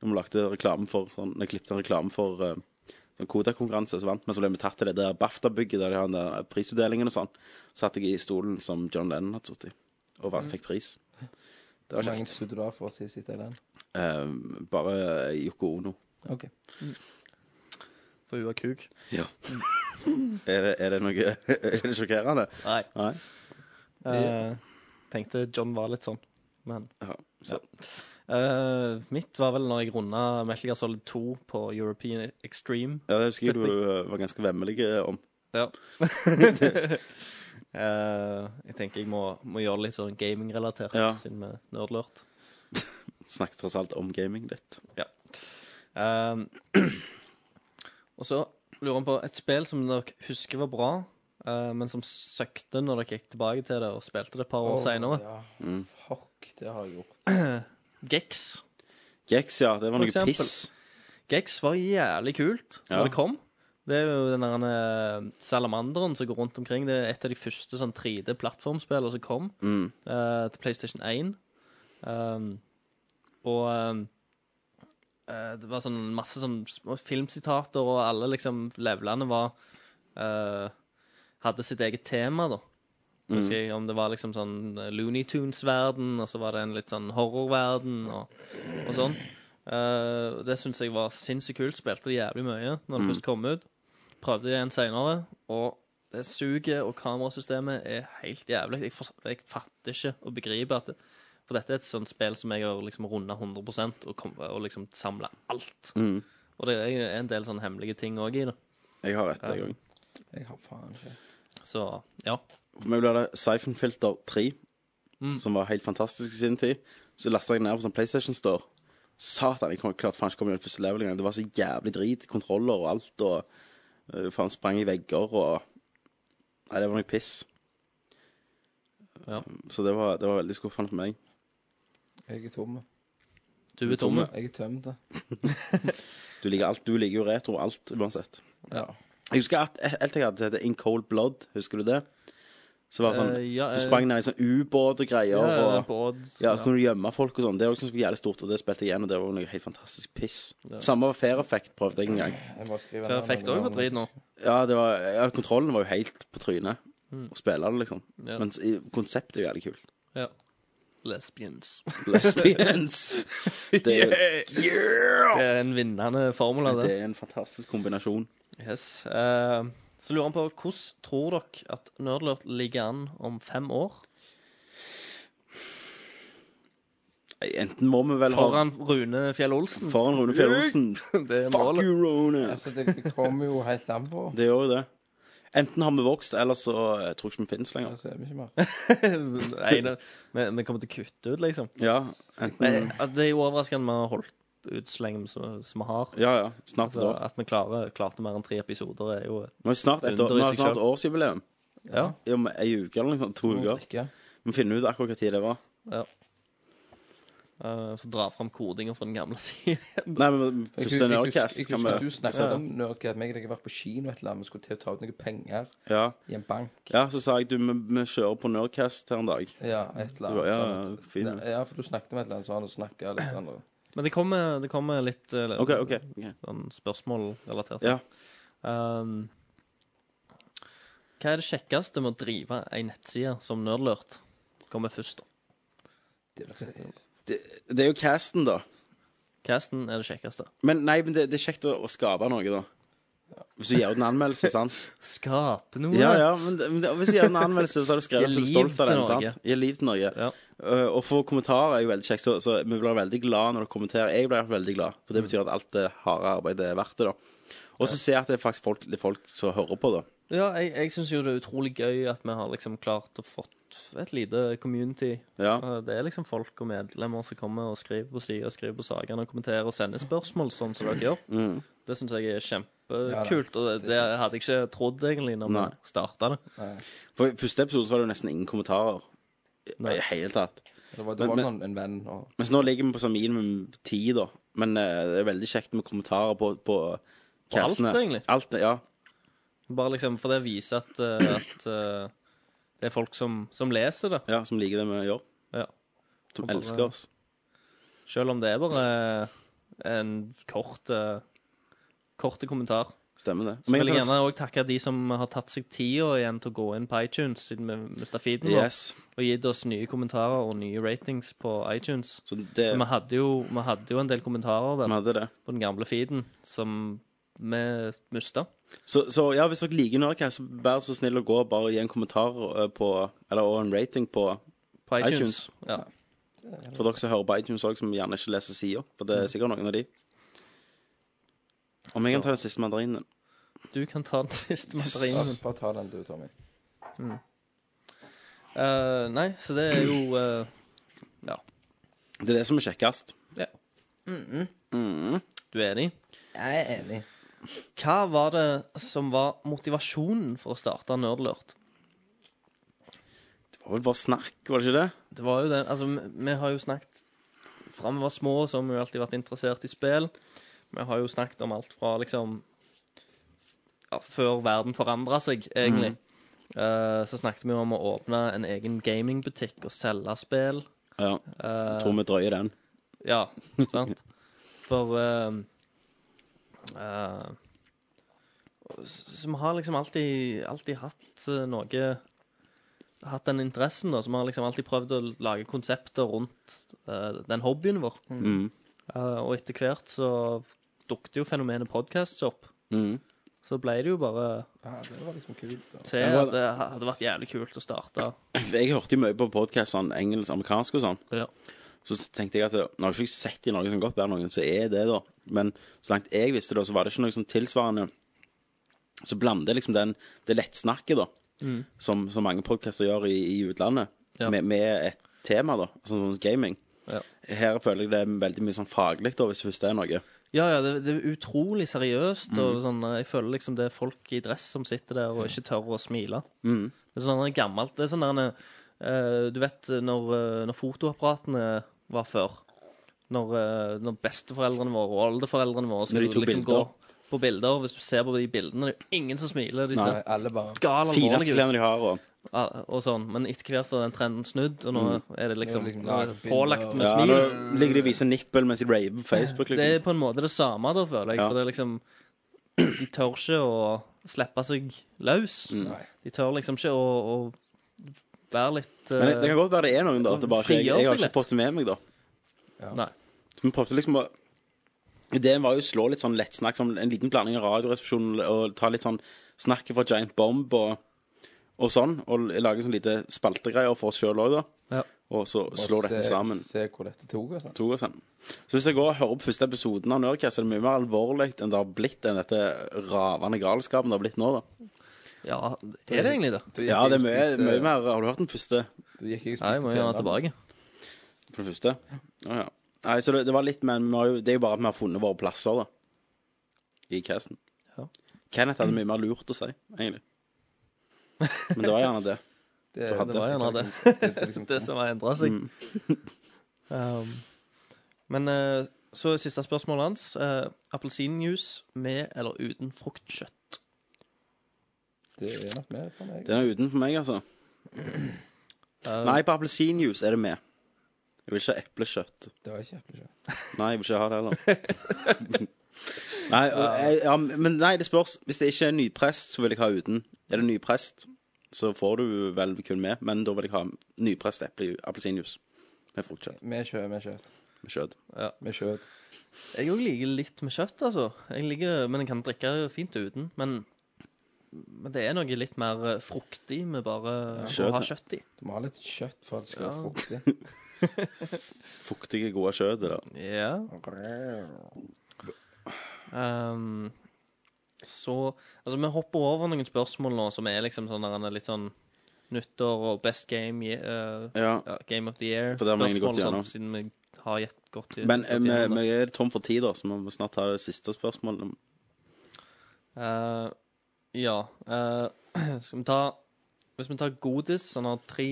A: Når vi lagde reklame for sånn, når jeg klippet en reklame for eh, sånn Kodak-konkurranse, så vant vi, så ble vi tatt til det der BAFTA-bygget der de har den der prisutdelingen og sånn. Så satt jeg i stolen som John Lennon hadde sittet i, og vant, fikk pris. Det
C: Hvor
A: var
C: mange
A: kjekt.
C: skulle du da for å si sitte i den?
A: Eh, bare Yoko Ono.
C: OK.
G: For hun var kuk.
A: Ja. er, det, er det noe *laughs* Er det sjokkerende?
G: Nei.
A: Nei.
G: Eh, tenkte John var litt sånn. med han.
A: Ja, så.
G: Eh, mitt var vel når jeg runda Metal Gear Solid 2 på European Extreme.
A: ja, det husker jeg du eh, var ganske vemmelig eh, om.
G: Ja. *laughs* Eh, jeg tenker jeg må, må gjøre det litt sånn gamingrelatert,
A: Ja.
G: siden vi er nerdlurt.
A: Snakket tross alt om gaming litt.
G: Ehm, *clears throat* og så lurer han på et spill som dere husker var bra, eh, men som søkte når dere gikk tilbake til det og spilte det et par år senere.
C: Ja.
A: Mm.
C: Fuck, det har jeg gjort.
G: Gex.
A: Gex, ja. Det var
G: For
A: noe
G: eksempel.
A: piss.
G: Gex var jævlig kult
A: Ja.
G: når det kom. Det er jo den der eh, salamanderen som går rundt omkring. Det er et av de første sånn 3D-plattformspillene som kom
A: Mm.
G: eh, til PlayStation 1. Ehm, og ehm, eh, det var sånn masse sånn små filmsitater, og alle liksom levelene var eh, Hadde sitt eget tema, da.
A: Mm.
G: Husker jeg om det var liksom sånn eh, Looney Tunes-verden, og så var det en litt sånn horrorverden, og, og sånn. Eh, og det syns jeg var sinnssykt kult. Spilte jævlig mye når det
A: Mm.
G: først kom ut. Prøvde det igjen seinere, og det suger, og kamerasystemet er helt jævlig. Jeg, for, jeg fatter ikke og begriper at det, For dette er et sånt spill som jeg har liksom runda 100 og, kom, og liksom samla alt.
A: Mm.
G: Og det er jo en del sånne hemmelige ting òg i det.
A: Jeg har ett, jeg òg.
C: Jeg har faen ikke.
G: Så ja.
A: For meg ble det Siphon Filter 3,
G: Mm.
A: som var helt fantastisk i sin tid. Så lasta jeg ned på sånn PlayStation Store. Satan, jeg kom, klarte faen ikke å komme gjennom første level engang. Det var så jævlig drit. Kontroller og alt, og eh, faen sprang i vegger og Nei, det var noe piss. Um,
G: Ja.
A: Så det var, det var veldig skuffende for meg.
C: Jeg er tom.
G: Du er tomme.
C: Jeg er tømt.
A: Du liker alt, du liker jo retro alt, uansett.
C: Ja.
A: Jeg husker at helt til jeg hadde sett In Cold Blood, husker du det? Så var det sånn
G: Eh, ja,
A: Du
G: eh,
A: sprang ned i sånn ubåt og greier.
G: Ja,
A: og...
G: Bård,
A: Ja, så
G: ja.
A: kunne du gjemme folk og sånn. Det er også noe som var jævlig stort, og det spilte jeg igjen, og det var noe helt fantastisk piss. Samme var Fair Effect, prøvde jeg en gang.
C: Jeg må skrive
G: Fair
C: ned
G: Effect
C: noe
G: òg var
C: om-
G: drit nå.
A: Ja, det var, ja, kontrollen var jo helt på trynet. Å spille det, liksom.
G: Mm. Ja.
A: Mens i- konseptet er jo jævlig kult.
G: Ja. Lesbians.
A: Lesbians!
G: *laughs*
A: Det er, jo-
G: Det er en vinnende formel av
A: det
G: det.
A: er en fantastisk kombinasjon.
G: Yes. Eh, så lurer han på hvordan tror dere at Nerdlurt ligger an om fem år?
A: Enten må vi vel ha
G: Foran Rune Fjell Olsen.
A: Foran Rune Fjell Olsen.
G: *laughs* Det er
A: Fuck
G: målet.
A: you, Rune!
C: Altså, det, det kommer jo helt an på.
A: Det gjør jo det. Enten har vi vokst, eller så eh, tror jeg ikke vi finnes lenger.
C: Altså, jeg vet ikke mer.
G: Nei, det- vi, vi kommer til å kutte ut, liksom.
A: Ja,
G: Nei,
A: enten
G: altså, det er jo overraskende vi har holdt ut så lenge som som vi har.
A: Ja, ja. Snart et
G: Altså,
A: år.
G: at vi klarer, klarte mer enn tre episoder, er jo
A: Nå er det snart et år.
G: Under i
A: Nå er det
G: seg
A: snart
G: selv.
A: årsjubileum.
G: Ja.
A: i om ei uke eller noe sånt. To uker.
C: Drikke.
A: Vi finner ut akkurat hva tid det var.
G: eh, Få dra fram kodinga fra den gamle *laughs* sida.
A: Nei, men
C: Jeg
A: første
C: husker- jeg
A: Nerdcast
C: husker- jeg
A: kan
C: husker at
A: vi
C: du snakket om Nerdcast. Meg og deg har vært på kino et eller annet. Vi skulle til å ta ut noen penger
A: ja.
C: i en bank.
A: ja, så sa jeg du, vi, vi kjører på Nerdcast her en dag.
C: Ja, et eller
A: Du,
C: annet.
A: ja,
C: sånn.
A: fin.
C: Ne- Ja, for du snakket om et eller annet, så han snakket
A: *clears throat*
C: litt andre.
G: Men det kommer, det kommer litt eh,
A: OK, OK. ok.
G: sånn spørsmål relatert.
A: Ja.
G: Um, hva er det kjekkeste med å drive ei nettside som Nerdlurt? Kommer først, da.
C: Det er-
A: Det, det er jo casten, da.
G: Casten er det kjekkeste.
A: Men nei, men det, det er kjekt å, å skape noe, da. Hvis du gir ut en anmeldelse, sant.
G: Skape noe!
A: Ja, ja, men, det- men det, hvis du gir ut en anmeldelse, så er du skrevet
G: *laughs* Gi
A: så er du stolt
G: liv
A: av
G: til
A: den.
G: Norge.
A: sant? Gi liv til Norge.
G: Ja.
A: Uh, og for kommentarer er jo veldig kjekt, så, så vi blir veldig glad når dere kommenterer. Jeg blir veldig glad, for det
G: Mm.
A: betyr at alt det harde arbeidet er verdt det, da. Og så ser jeg at det er faktisk folk, det er folk som hører på, da.
G: Ja, jeg, jeg syns jo det er utrolig gøy at vi har liksom klart å fått et lite community.
A: Ja.
G: Eh, Det er liksom folk og medlemmer som kommer og skriver på sida, skriver på sakene og kommenterer og sender spørsmål, sånn som dere gjør.
A: Mm.
G: Det syns jeg er kjempekult, og det, det hadde jeg ikke trodd egentlig når vi
A: Nei.
G: starta det.
A: For i første episode så var det jo nesten ingen kommentarer. I i hele tatt.
C: Det var, det
A: Men-
C: var sånn en venn og
A: Mens nå ligger vi på sånn minimum ti, da. Men eh, det er veldig kjekt med kommentarer på, på castene.
G: egentlig.
A: Alt, ja.
G: Bare liksom For det viser at, eh, at eh, det er folk som, som leser det.
A: ja. Som liker det vi gjør.
G: Ja.
A: Som
G: bare-
A: elsker oss.
G: Selv om det er bare eh, en kort eh, Korte kommentar.
A: Stemmer det.
G: Så
A: Men
G: vil jeg
A: jeg kan-
G: gjerne òg takke de som har tatt seg tida igjen til å gå inn på iTunes, siden vi mista feeden vår,
A: Yes.
G: og gitt oss nye kommentarer og nye ratings på iTunes.
A: Så det
G: Vi
A: Vi
G: hadde jo, vi hadde jo en del kommentarer der
A: hadde det.
G: på den gamle feeden som vi mista.
A: Så, så ja, hvis dere liker Nerdcast, så vær så snill å gå og bare gi en kommentar eh, på Eller og en rating på
G: På iTunes.
A: iTunes.
G: Ja.
A: For dere som hører på iTunes òg, som gjerne ikke leser sida. For
G: Mm.
A: det er sikkert noen av de. Om jeg kan ta den siste mandarinen
G: Du kan ta den siste mandarinen.
C: Bare ta den du, Tommy.
G: Eh, nei, så det er jo eh,
A: Det er det som er kjekkest.
G: Du er enig?
C: Jeg er enig.
G: Hva var det som var motivasjonen for å starte Nerdlurt?
A: Det var vel bare snakk, var det ikke det?
G: Det var jo den, altså vi- Vi har jo snakket Fra vi var små, så har vi jo alltid vært interessert i spill. Vi har jo snakket om alt fra liksom ja, Før verden forandra seg, egentlig. Eh, så snakket vi jo om å åpne en egen gamingbutikk og selge spill.
A: Ja.
G: Eh,
A: Jeg tror vi drøyer den.
G: Ja, sant? For ehm, eh, s- Så vi har liksom alltid, alltid hatt eh, noe Hatt den interessen, da. Så vi har liksom alltid prøvd å lage konsepter rundt eh, den hobbyen vår. Eh, og etter hvert så dukket jo fenomenet podcasts opp.
A: Mhm.
G: Så ble det jo bare
C: Ja, det var liksom kult. Da.
G: til at det hadde vært jævlig kult å starte.
A: Jeg hørte jo mye på podkast, sånn engelsk, amerikansk og sånn.
G: Ja.
A: Så tenkte jeg at altså, Nå har jeg ikke sett i Norge som godt være noen, så er det, da. Men så langt jeg visste det, så var det ikke noe sånn tilsvarende Så blander liksom den, det lettsnakket, da, som, som mange podkaster gjør i, i utlandet,
G: Mm. Ja.
A: med, med et tema, da, sånn som gaming.
G: Ja.
A: Her føler jeg det er veldig mye sånn faglig, da, hvis det først er noe.
G: Ja, ja, det, det er utrolig seriøst.
A: Mm.
G: Og sånn, jeg føler liksom det er folk i dress som sitter der og ikke tør å smile.
A: Mm.
G: Det er sånn der gammelt Det er sånn der eh, Du vet når, eh, når fotoapparatene var før. Når, eh, når besteforeldrene våre og oldeforeldrene våre
A: Når de
G: skulle
A: tok
G: liksom
A: bilder.
G: gå på bilder. og Hvis du ser på de bildene, det er jo ingen som smiler. De ser
C: Alle bare
G: gal
A: Fineste
G: alvorlige ut.
A: klærne de har, og
G: Ja, og sånn. Men etter hvert så har den trenden snudd, og nå er det liksom,
C: Nå er det liksom
G: nå er det
C: lagbilder
G: pålagt
C: og-
G: med
A: Mm. ja,
G: smil.
A: Nå ligger de og viser nippel mens de raver på Facebook,
G: Det
A: liksom.
G: er på en måte det samme, da, føler jeg.
A: Ja.
G: For det er liksom De tør ikke å slippe seg løs.
A: Mm.
C: Nei.
G: De tør liksom ikke å, å være litt eh,
A: Men det, det kan godt være det er noen, da. At det bare ikke, jeg,
G: Frigjør
A: jeg har
G: seg
A: ikke fått det med meg, da.
G: Nei.
A: Vi prøvde liksom å Ideen var jo å slå litt sånn lettsnakk, som en liten blanding av Radioresepsjonen og ta litt sånn snakket fra Giant Bomb og, og sånn. Og lage sånn lite spaltegreier for oss sjøl òg, da.
G: Ja.
A: Og så slå dette
C: se-
A: sammen.
C: Se hvor dette tok oss. da.
A: To og sånn. Så hvis jeg går og hører på første episoden av Nerdcast, så er det mye mer alvorlig enn det har blitt enn dette ravende galskapen det har blitt nå, da.
G: Ja, er det egentlig det?
C: Da gikk
A: Ja,
C: jeg
A: det
C: og
A: er mye,
C: spiste-
A: mye mer Har du hørt den første?
C: Da gikk jeg og
G: Nei, jeg må
C: spiste
G: gjøre den
C: fjellene.
G: tilbake.
A: For det første? Å ja. Nei, så det, det var litt, men vi har jo, det er jo bare at vi har funnet våre plasser, da. I casten.
G: Ja.
A: Kenneth hadde mye mer lurt å si, egentlig. Men det var gjerne det.
C: Det,
A: Du hadde-
G: Det var gjerne det.
C: det, det, liksom,
G: *laughs* Det som har endra seg.
A: Mm. *laughs*
G: um, men eh, så siste spørsmålet hans. Uh, Appelsinjuice med eller uten fruktkjøtt?
C: det er nok mer for meg.
A: Den er utenfor meg, altså.
G: Eh,
A: Nei, på appelsinjuice er det med. Jeg vil ikke ha eplekjøtt.
C: Det var ikke eplekjøtt.
A: Nei, jeg vil ikke ha det heller. *laughs* nei, jeg, ja, men nei, det spørs. Hvis det ikke er nyprest, så vil jeg ha uten. Er det nyprest, så får du vel kun med, men da vil jeg ha nyprest eple, appelsinjuice med fruktkjøtt.
C: Med kjøtt. Med kjøtt.
A: Med kjøtt.
C: Med kjøtt.
G: Jeg òg liker litt med kjøtt, altså. Jeg liker, men jeg kan drikke fint uten. Men, men det er noe litt mer eh, fruktig med bare
A: Kjøtt,
G: å ha
A: ja.
G: kjøtt i.
C: Du må ha litt kjøtt for at det skal være
G: Ja.
A: *laughs*
C: fruktig.
A: Fuktige, gode kjøtt. det der.
G: Ja. Ehm, så Altså, vi hopper over noen spørsmål nå som er liksom sånn der, en litt sånn nyttår og best game eh,
A: Ja.
G: ja, Game of the year.
A: For det har vi egentlig gått
G: spørsmål og
A: gjennom.
G: sånt, siden vi har gjett godt til.
A: Men eh,
G: gått
A: vi
G: gjennom det.
A: vi er tom for tid, da, så vi må snart ta det siste spørsmålet.
G: Eh, ja. eh, *clears throat* skal vi ta Hvis vi tar Godis, han har tre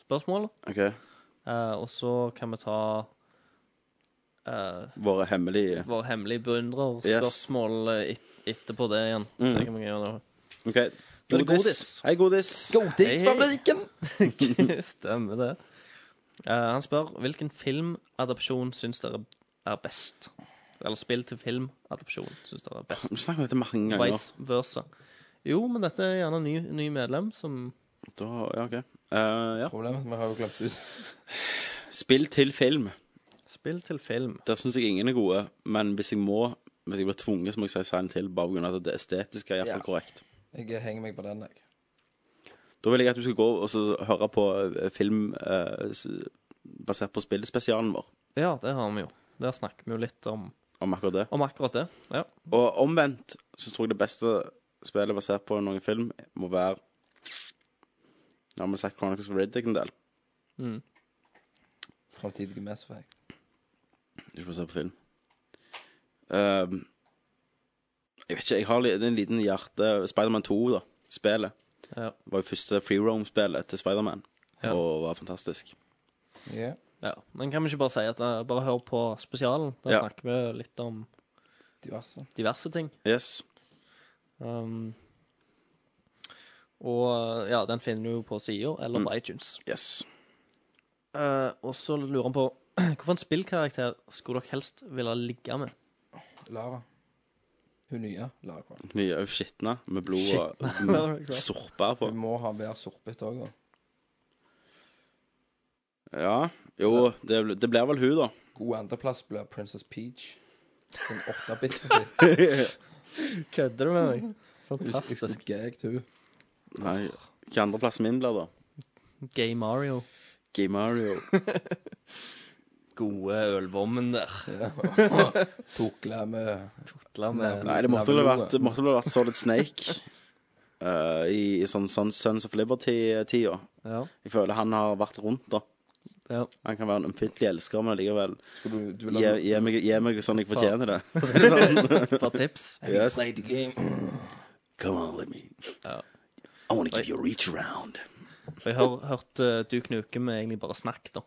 G: spørsmål,
A: OK.
G: eh, og så kan vi ta eh,
A: Våre hemmelige
G: vår hemmelige beundrer-spørsmål eh, et, etterpå det igjen.
A: Mm.
G: Så jeg kan gjøre det.
A: OK.
G: det godis.
A: Hei, godis.
C: Godisfabrikken!
G: Stemmer *laughs* det. Eh, han spør hvilken filmadopsjon syns dere er best? Eller spill til filmadopsjon syns dere er best?
A: Du snakker om dette mange ganger.
G: Vice versa. Jo, men dette er gjerne ny, ny medlem som
A: Da, ja, ok. Eh, ja.
C: Problemet er at vi har jo glemt ut.
A: Spill til film.
G: Spill til film.
A: Der syns jeg ingen er gode, men hvis jeg må Hvis jeg blir tvunget, så må jeg si Silent Hill, bare pga. at det estetiske er iallfall
C: Ja.
A: korrekt.
C: Jeg henger meg på den, jeg.
A: Da vil jeg at du skal gå og så høre på eh, film eh, s- basert på spillspesialen vår
G: Ja, det har vi jo. Der snakker vi jo litt om,
A: om akkurat det.
G: om akkurat det. Ja.
A: Og omvendt så tror jeg det beste spillet basert på noen film må være Nå har vi sagt Chronicles of Riddick en del.
C: Framtidige Mass Effect.
A: Du skal se på film. Ehm, jeg vet ikke, jeg har li- en liten hjerte Spiderman 2, da. Spillet.
G: Ja.
A: Var jo første free roam-spillet til Spiderman.
G: Ja.
A: Og var fantastisk.
C: Ja.
G: ja. Men kan vi ikke bare si at eh, Bare hør på spesialen. Der
A: Ja.
G: snakker vi litt om
C: Diverse.
G: diverse ting.
A: Yes.
G: Um, og eh, ja, den finner du på sida, eller på iTunes.
A: Yes.
G: Eh, og så lurer han på *clears throat* Hvilken spillkarakter skulle dere helst ville ligge med?
C: Lara. Hun nye Lara Croft.
A: Vi er jo skitne med blod og *laughs* sorper på.
C: Hun må ha hver sorbet òg, da.
A: Ja. Jo, det, bl- det blir vel hun, da.
C: God andreplass blir Princess Peach. Sånn
A: *laughs*
C: 8-bit.
G: Kødder du med meg? Fantastisk.
C: Fantastisk. Gag, hun.
A: Nei, hva andreplassen min blir, da?
G: Gay Mario.
A: Game
G: *laughs*
A: Mario.
G: Gode ølvommen der.
C: Tukle med
G: Tutla med
A: Nei, det måtte vel ha vært, um, det måtte vel ha vært Solid Snake. eh, I i sånn, sånn Sons of Liberty-tida.
G: Ja.
A: Jeg føler han har vært rundt, da.
G: ja.
A: Han kan være en ømfintlig elsker, men likevel
C: Skulle du, du
A: gi,
C: ville ha
A: gi, meg, gi meg sånn jeg fortjener det. Så er det sånn.
G: For tips.
A: *laughs* yes. Come on, let me
G: Ja.
A: I wanna give you a reach around.
G: For jeg har hørt uh, Duke Nukem er egentlig bare snakk, da.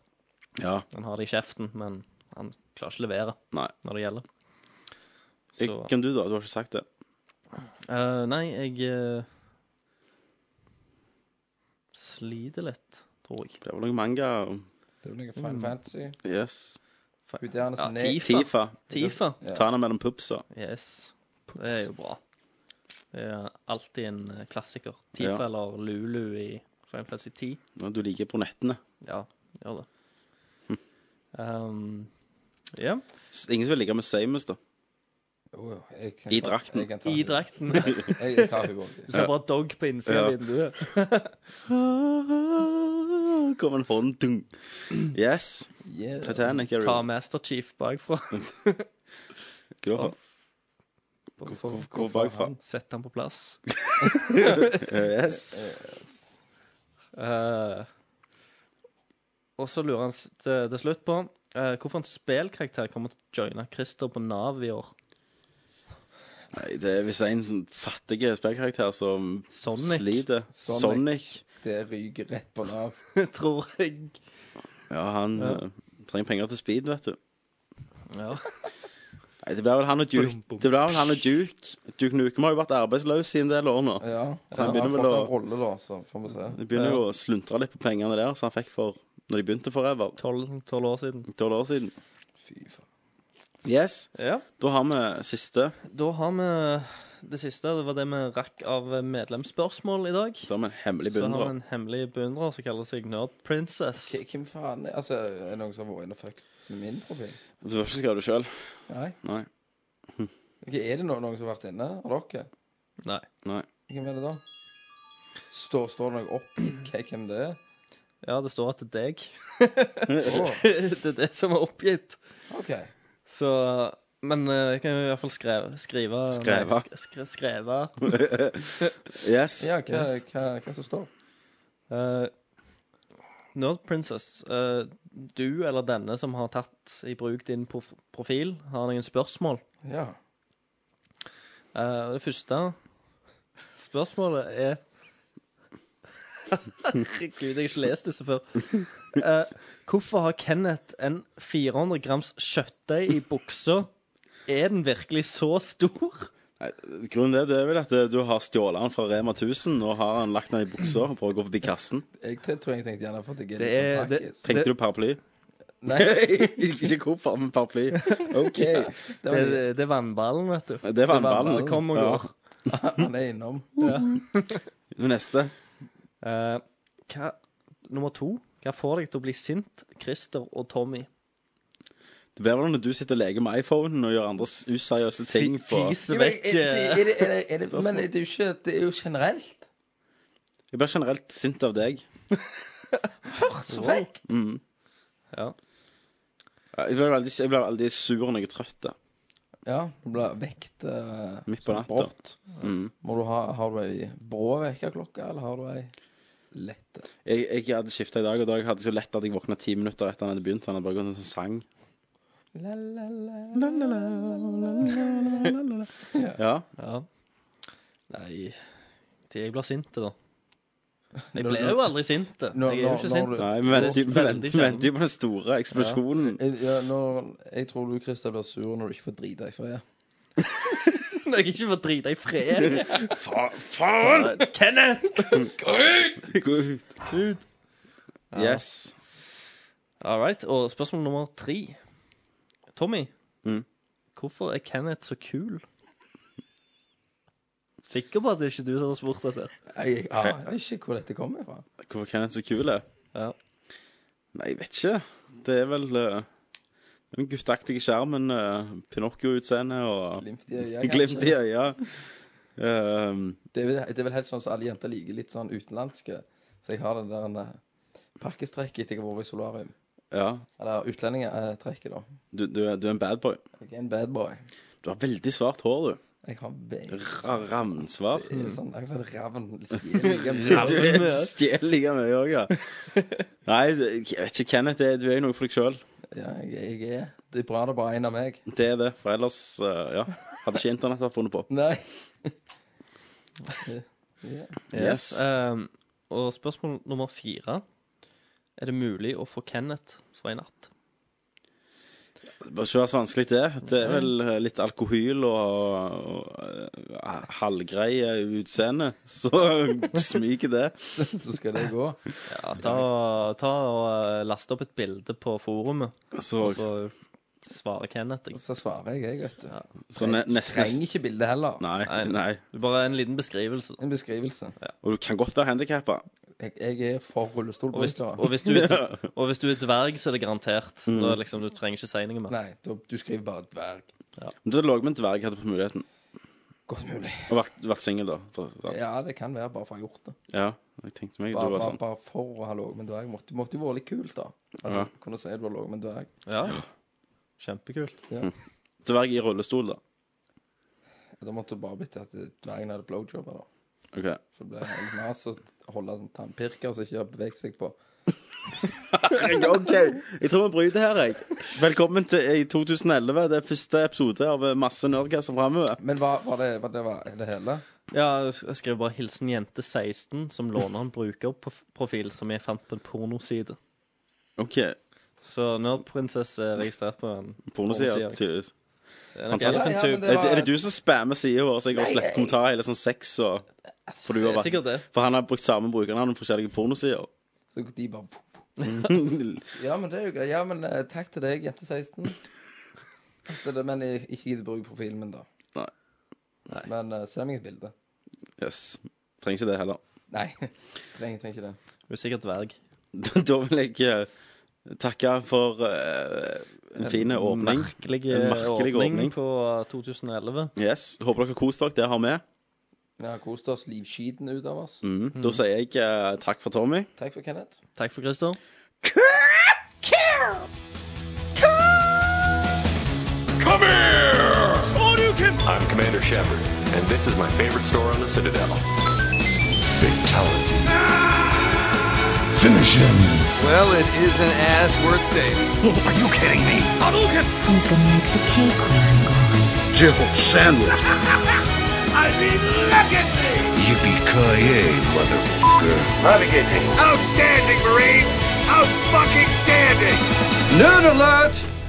A: Ja.
G: Han har det i kjeften, men han klarer ikke levere
A: Nei.
G: når det gjelder. Så
A: Jeg, hvem du, da? Du har ikke sagt det.
G: eh, Nei, jeg eh, Sliter litt, tror jeg.
A: Det er vel noe manga
C: Det er vel noe
A: Mm.
C: Final Fantasy.
A: Yes.
C: Hun der altså,
G: Ja,
C: som er
G: Tifa.
A: Tifa.
G: Tifa.
C: Ja.
A: Ta henne mellom pupsa.
G: Yes. Det er jo bra. Det er alltid en eh, klassiker. Tifa
A: Ja.
G: eller Lulu i Final Fantasy 10.
A: Når du liker brunettene.
G: Ja, gjør det. Um, ja.
A: Ingen som vil ligge med Samus, da.
C: Jo, jo, jeg kan
A: I
C: ta-
A: drakten.
C: Jeg, kan ta
G: I
C: hun.
G: *laughs* drakten.
C: jeg, jeg tar hun alltid.
G: Du ser bare dog på innsiden
A: Ja.
G: av vinduet.
A: Kom Ah, en hånd. Dung. Yes.
C: Yeah.
A: Titanic er
G: Ta
A: real.
G: Master Chief bakfra.
A: Hva da?
G: Hvorfor
A: Hvor bakfra?
G: Sett han på plass.
A: Yes.
G: Eh, og så lurer han s- til, til slutt på eh, hvorfor en spillkarakter kommer til å joine Christer på Nav i år.
A: Nei, det er hvis det er en sånn fattig spillkarakter som
G: Sonic.
A: sliter.
C: Sonic.
A: Sonic. *laughs*
C: Det ryker rett på Nav.
G: *laughs* Tror jeg.
A: Ja, han eh, trenger penger til speed, vet du.
G: Ja.
A: Nei, det blir vel han og Duke.
G: Bum, bum.
A: Det blir vel han og Duke. Duke Nukem har jo vært arbeidsløs i en del år nå.
C: Ja.
A: Så han
C: har
A: begynner vel
C: fått
A: å-
C: en rolle, da, så får vi se.
A: Det begynner jo å sluntre litt på pengene der som han fikk for når de begynte Forever.
G: Tolv tolv år siden.
A: Tolv år siden.
C: Fy faen.
A: Yes.
G: Ja.
A: Da har vi siste.
G: Da har vi det siste. Det var det vi rakk av medlemsspørsmål i dag.
A: Så har vi en hemmelig
G: Så har vi
A: beundrer.
G: en hemmelig beundrer som kaller seg Nerd Princess.
C: K- Hvem faen er Altså, er det noen som har vært inne og fucket med min profil?
A: Du har ikke skrevet det sjøl?
C: Nei.
A: Nei.
C: Ok, er det no noen som har vært inne? Har dere?
G: Nei.
A: Nei.
C: Hvem er det da? Står, står det noe oppgitt hva- hvem det er?
G: Ja, det står at det er deg. *laughs*
C: Åh,
G: det er det som er oppgitt.
C: OK.
G: Så Men eh, jeg kan jo i hvert fall skrev, skrive
A: Skreve.
G: nei, sk- skre, Skreve.
A: Yes.
C: Ja, hva, hva, hva som står?
G: Eh, Nerd Princess, eh, du eller denne som har tatt i bruk din prof profil, har noen spørsmål.
C: Ja.
G: Eh, og det første spørsmålet er Herregud, jeg har ikke lest disse før. Eh, hvorfor har Kenneth en 400 grams kjøttdeig i buksa? Er den virkelig så stor?
A: Nei, grunnen til det, det er vel at eh, du har stjålet den fra Rema 1000 og har han lagt den i buksa for å gå forbi kassen.
C: Jeg t- tror jeg tenkte gjerne for at jeg er
G: Det
C: litt
G: er-
C: sånn
G: det-
A: *laughs*
C: pakkis.
A: Tenkte
G: Det-
A: du paraply?
C: Nei,
A: Ikke hvorfor, men paraply. OK.
C: det
G: Det,
C: var det.
G: det er vannballen, vet du.
A: Det var en
C: var en
A: ball.
C: ball.
G: Kom og går.
C: Han er innom.
A: Neste.
G: Eh, hva, nummer to. Hva får deg til å bli sint, Christer og Tommy?
A: Det blir vel når du sitter og leker med iPhonen og gjør andre s- useriøse ting på
G: Fise
C: Jo, men
G: vekk
C: er-
G: eh,
C: er det- er det- er det- Men det er jo ikke Det er jo generelt.
A: Jeg blir generelt sint av deg.
C: Så frekt.
G: Ja.
A: Jeg blir veldig, jeg blir veldig sur når jeg er trøtt. da.
C: Ja, du blir vekt eh,
A: Midt på
C: så
A: natta.
C: brått.
A: Mm.
C: Må du ha, har du ei brå vekkerklokke, eller har du ei lette?
A: Jeg, jeg hadde skifta i dag, og da hadde jeg så lett at jeg våkna ti minutter etter han hadde begynt. så Han hadde bare gått en sånn sang.
C: La, la, la.
A: Ja.
G: Ja. Nei Til jeg blir sint, da. Jeg ble jo aldri sint. Jeg
C: Når-
G: er jo
C: når-
G: ikke
C: når
G: sint.
C: du-
A: Nei, vi venter jo- vi venter-
G: Veldig
A: vi venter jo på den store eksplosjonen.
C: Jeg, ja, når, jeg tror du, Christer, blir sur når du ikke får drite deg fred.
G: *laughs* Når jeg ikke får drite i fred.
A: Fa- faen!
G: Kenneth!
C: *laughs*
A: Gå ut! Yes.
G: All right. Og spørsmål nummer tre. Tommy,
A: Mm.
G: hvorfor er Kenneth så kul? Sikker på at det ikke er du som har spurt dette?
C: Jeg jeg aner ikke hvor dette kommer fra.
A: Hvorfor kan en så kul er?
G: Ja.
A: Nei, jeg vet ikke. Det er vel eh, den gutteaktige skjermen, eh, Pinocchio-utseendet og
C: Glimt i øyet. kanskje.
A: glimt i øya. Ehm,
C: Det er, vel, det er vel helt sånn som alle jenter liker, litt sånn utenlandske. Så jeg har den der eh, pakkestrekket etter jeg har vært i solarium.
A: ja.
C: Eller utlendingstrekket, da.
A: Du, du, er- du er en bad boy.
C: Jeg er en bad boy.
A: Du har veldig svart hår, du.
C: Jeg har veldig
A: Ra- Ramsvart.
C: Det er Sånn, jeg har et ravn.
A: *laughs*
C: skjelig,
A: Du
C: ravn.
A: er- stjeler like mye òg,
C: *laughs*
A: ja. Nei, det- jeg vet ikke, Kenneth. det- Du er jo noe for deg sjøl.
C: Ja, jeg, jeg er Det er bra det er bare er en av meg.
A: Det er det. For ellers, eh, ja. Hadde ikke internett vært funnet på.
C: Nei. *laughs*
A: Yes.
G: Ehm, og spørsmål nummer fire. Er det mulig å få Kenneth for en natt?
A: Det bør ikke være så vanskelig, det. Det er vel eh, litt alkohol og, og eh, halvgreie utseende. *laughs* Så smyker det.
C: Så skal det gå.
G: Ja, ta, ta og eh, laste opp et bilde på forumet,
A: Så,
G: og så svarer Kenneth. ikke sant?
C: Så svarer jeg, jeg, vet du.
A: så ne, nest,
C: Trenger
A: nest,
C: ikke bildet heller.
A: Nei,
G: Nei, nei.
A: nei.
G: Det er Bare en liten beskrivelse.
C: En beskrivelse.
A: Og du kan godt være handikappa.
C: Jeg, jeg er for
G: Og hvis,
C: rullestolbrukere.
G: og, hvis
A: *laughs*
G: du, er- og hvis du er dverg, så er det garantert. Da liksom, Du trenger ikke si noe mer.
C: Nei, du, du skriver bare dverg.
A: Men du hadde ligget med en dverg, hadde fått muligheten.
C: Godt mulig.
A: Og vært, vært singel, da. tross alt.
C: Ja, det kan være bare for å ha gjort det.
A: Ja, jeg tenkte meg du
C: Bare,
A: var
C: bare,
A: sånn.
C: bare for å ha ligget med en dverg. Måtte, måtte jo vært litt kult, da. Altså,
A: Ja.
C: Kunne si du har ligget med en dverg.
G: Ja. Kjempekult.
A: Dverg i rullestol, da.
C: Da måtte det bare blitt til at eh, dvergen hadde blowjobber, da.
A: OK.
C: For det ble helt mas å holde sånn tannpirker som ikke har beveget seg på.
A: OK, jeg tror vi bryter her, jeg. Velkommen til i 2011. Det er første episode av eh, masse nerdgasser framover.
C: Men hva var det, var det, var det hele?
G: Ja, jeg skrev bare 'Hilsen jente 16', som låner en brukerprofil som jeg fant på en pornoside.
A: OK.
G: Så nerdprinsesse er registrert på en
A: Pornosida,
G: Pornosida.
A: tydeligvis.
G: en
A: Fantastisk.
G: casting
C: Ja, ja,
G: tube.
C: men
A: Er
C: var-
A: det, er det du som spammer sida vår, så jeg har slett kommentarer eller sånn sex og for, du har
G: Det er
A: vært,
G: sikkert det.
A: for han har brukt samme brukernavn på forskjellige pornosider. *laughs*
C: Så de bare Ja, men det er jo greit. Ja, men eh, takk til deg, jente 16. Det er det, men jeg ikke gidd bruke profilen min, da.
A: Nei.
C: Men eh, send meg et bilde.
A: yes. Trenger ikke det heller. *laughs*
C: Nei. *laughs* Trenger, trenger ikke det.
G: Hun er sikkert dverg.
A: Da, da vil jeg eh, takke for eh, en fin åpning.
G: Merkelig, eh,
A: En merkelig
G: åpning,
A: åpning.
G: på eh, 2011.
A: Yes. Håper dere har kost dere. Det har vi.
C: Vi har kost oss livskiten ut av oss.
A: Mm. Da sier jeg eh, takk for Tommy.
C: Takk for Kenneth.
G: Takk for Christer.
H: Come here! I'm Commander Shepard, and this is my favorite store on the Citadel. Fatality.
E: Well, it isn't as worth saving.
I: Who's gonna make the cake run, Gory?
D: Outstanding, Marines! Out fucking standing!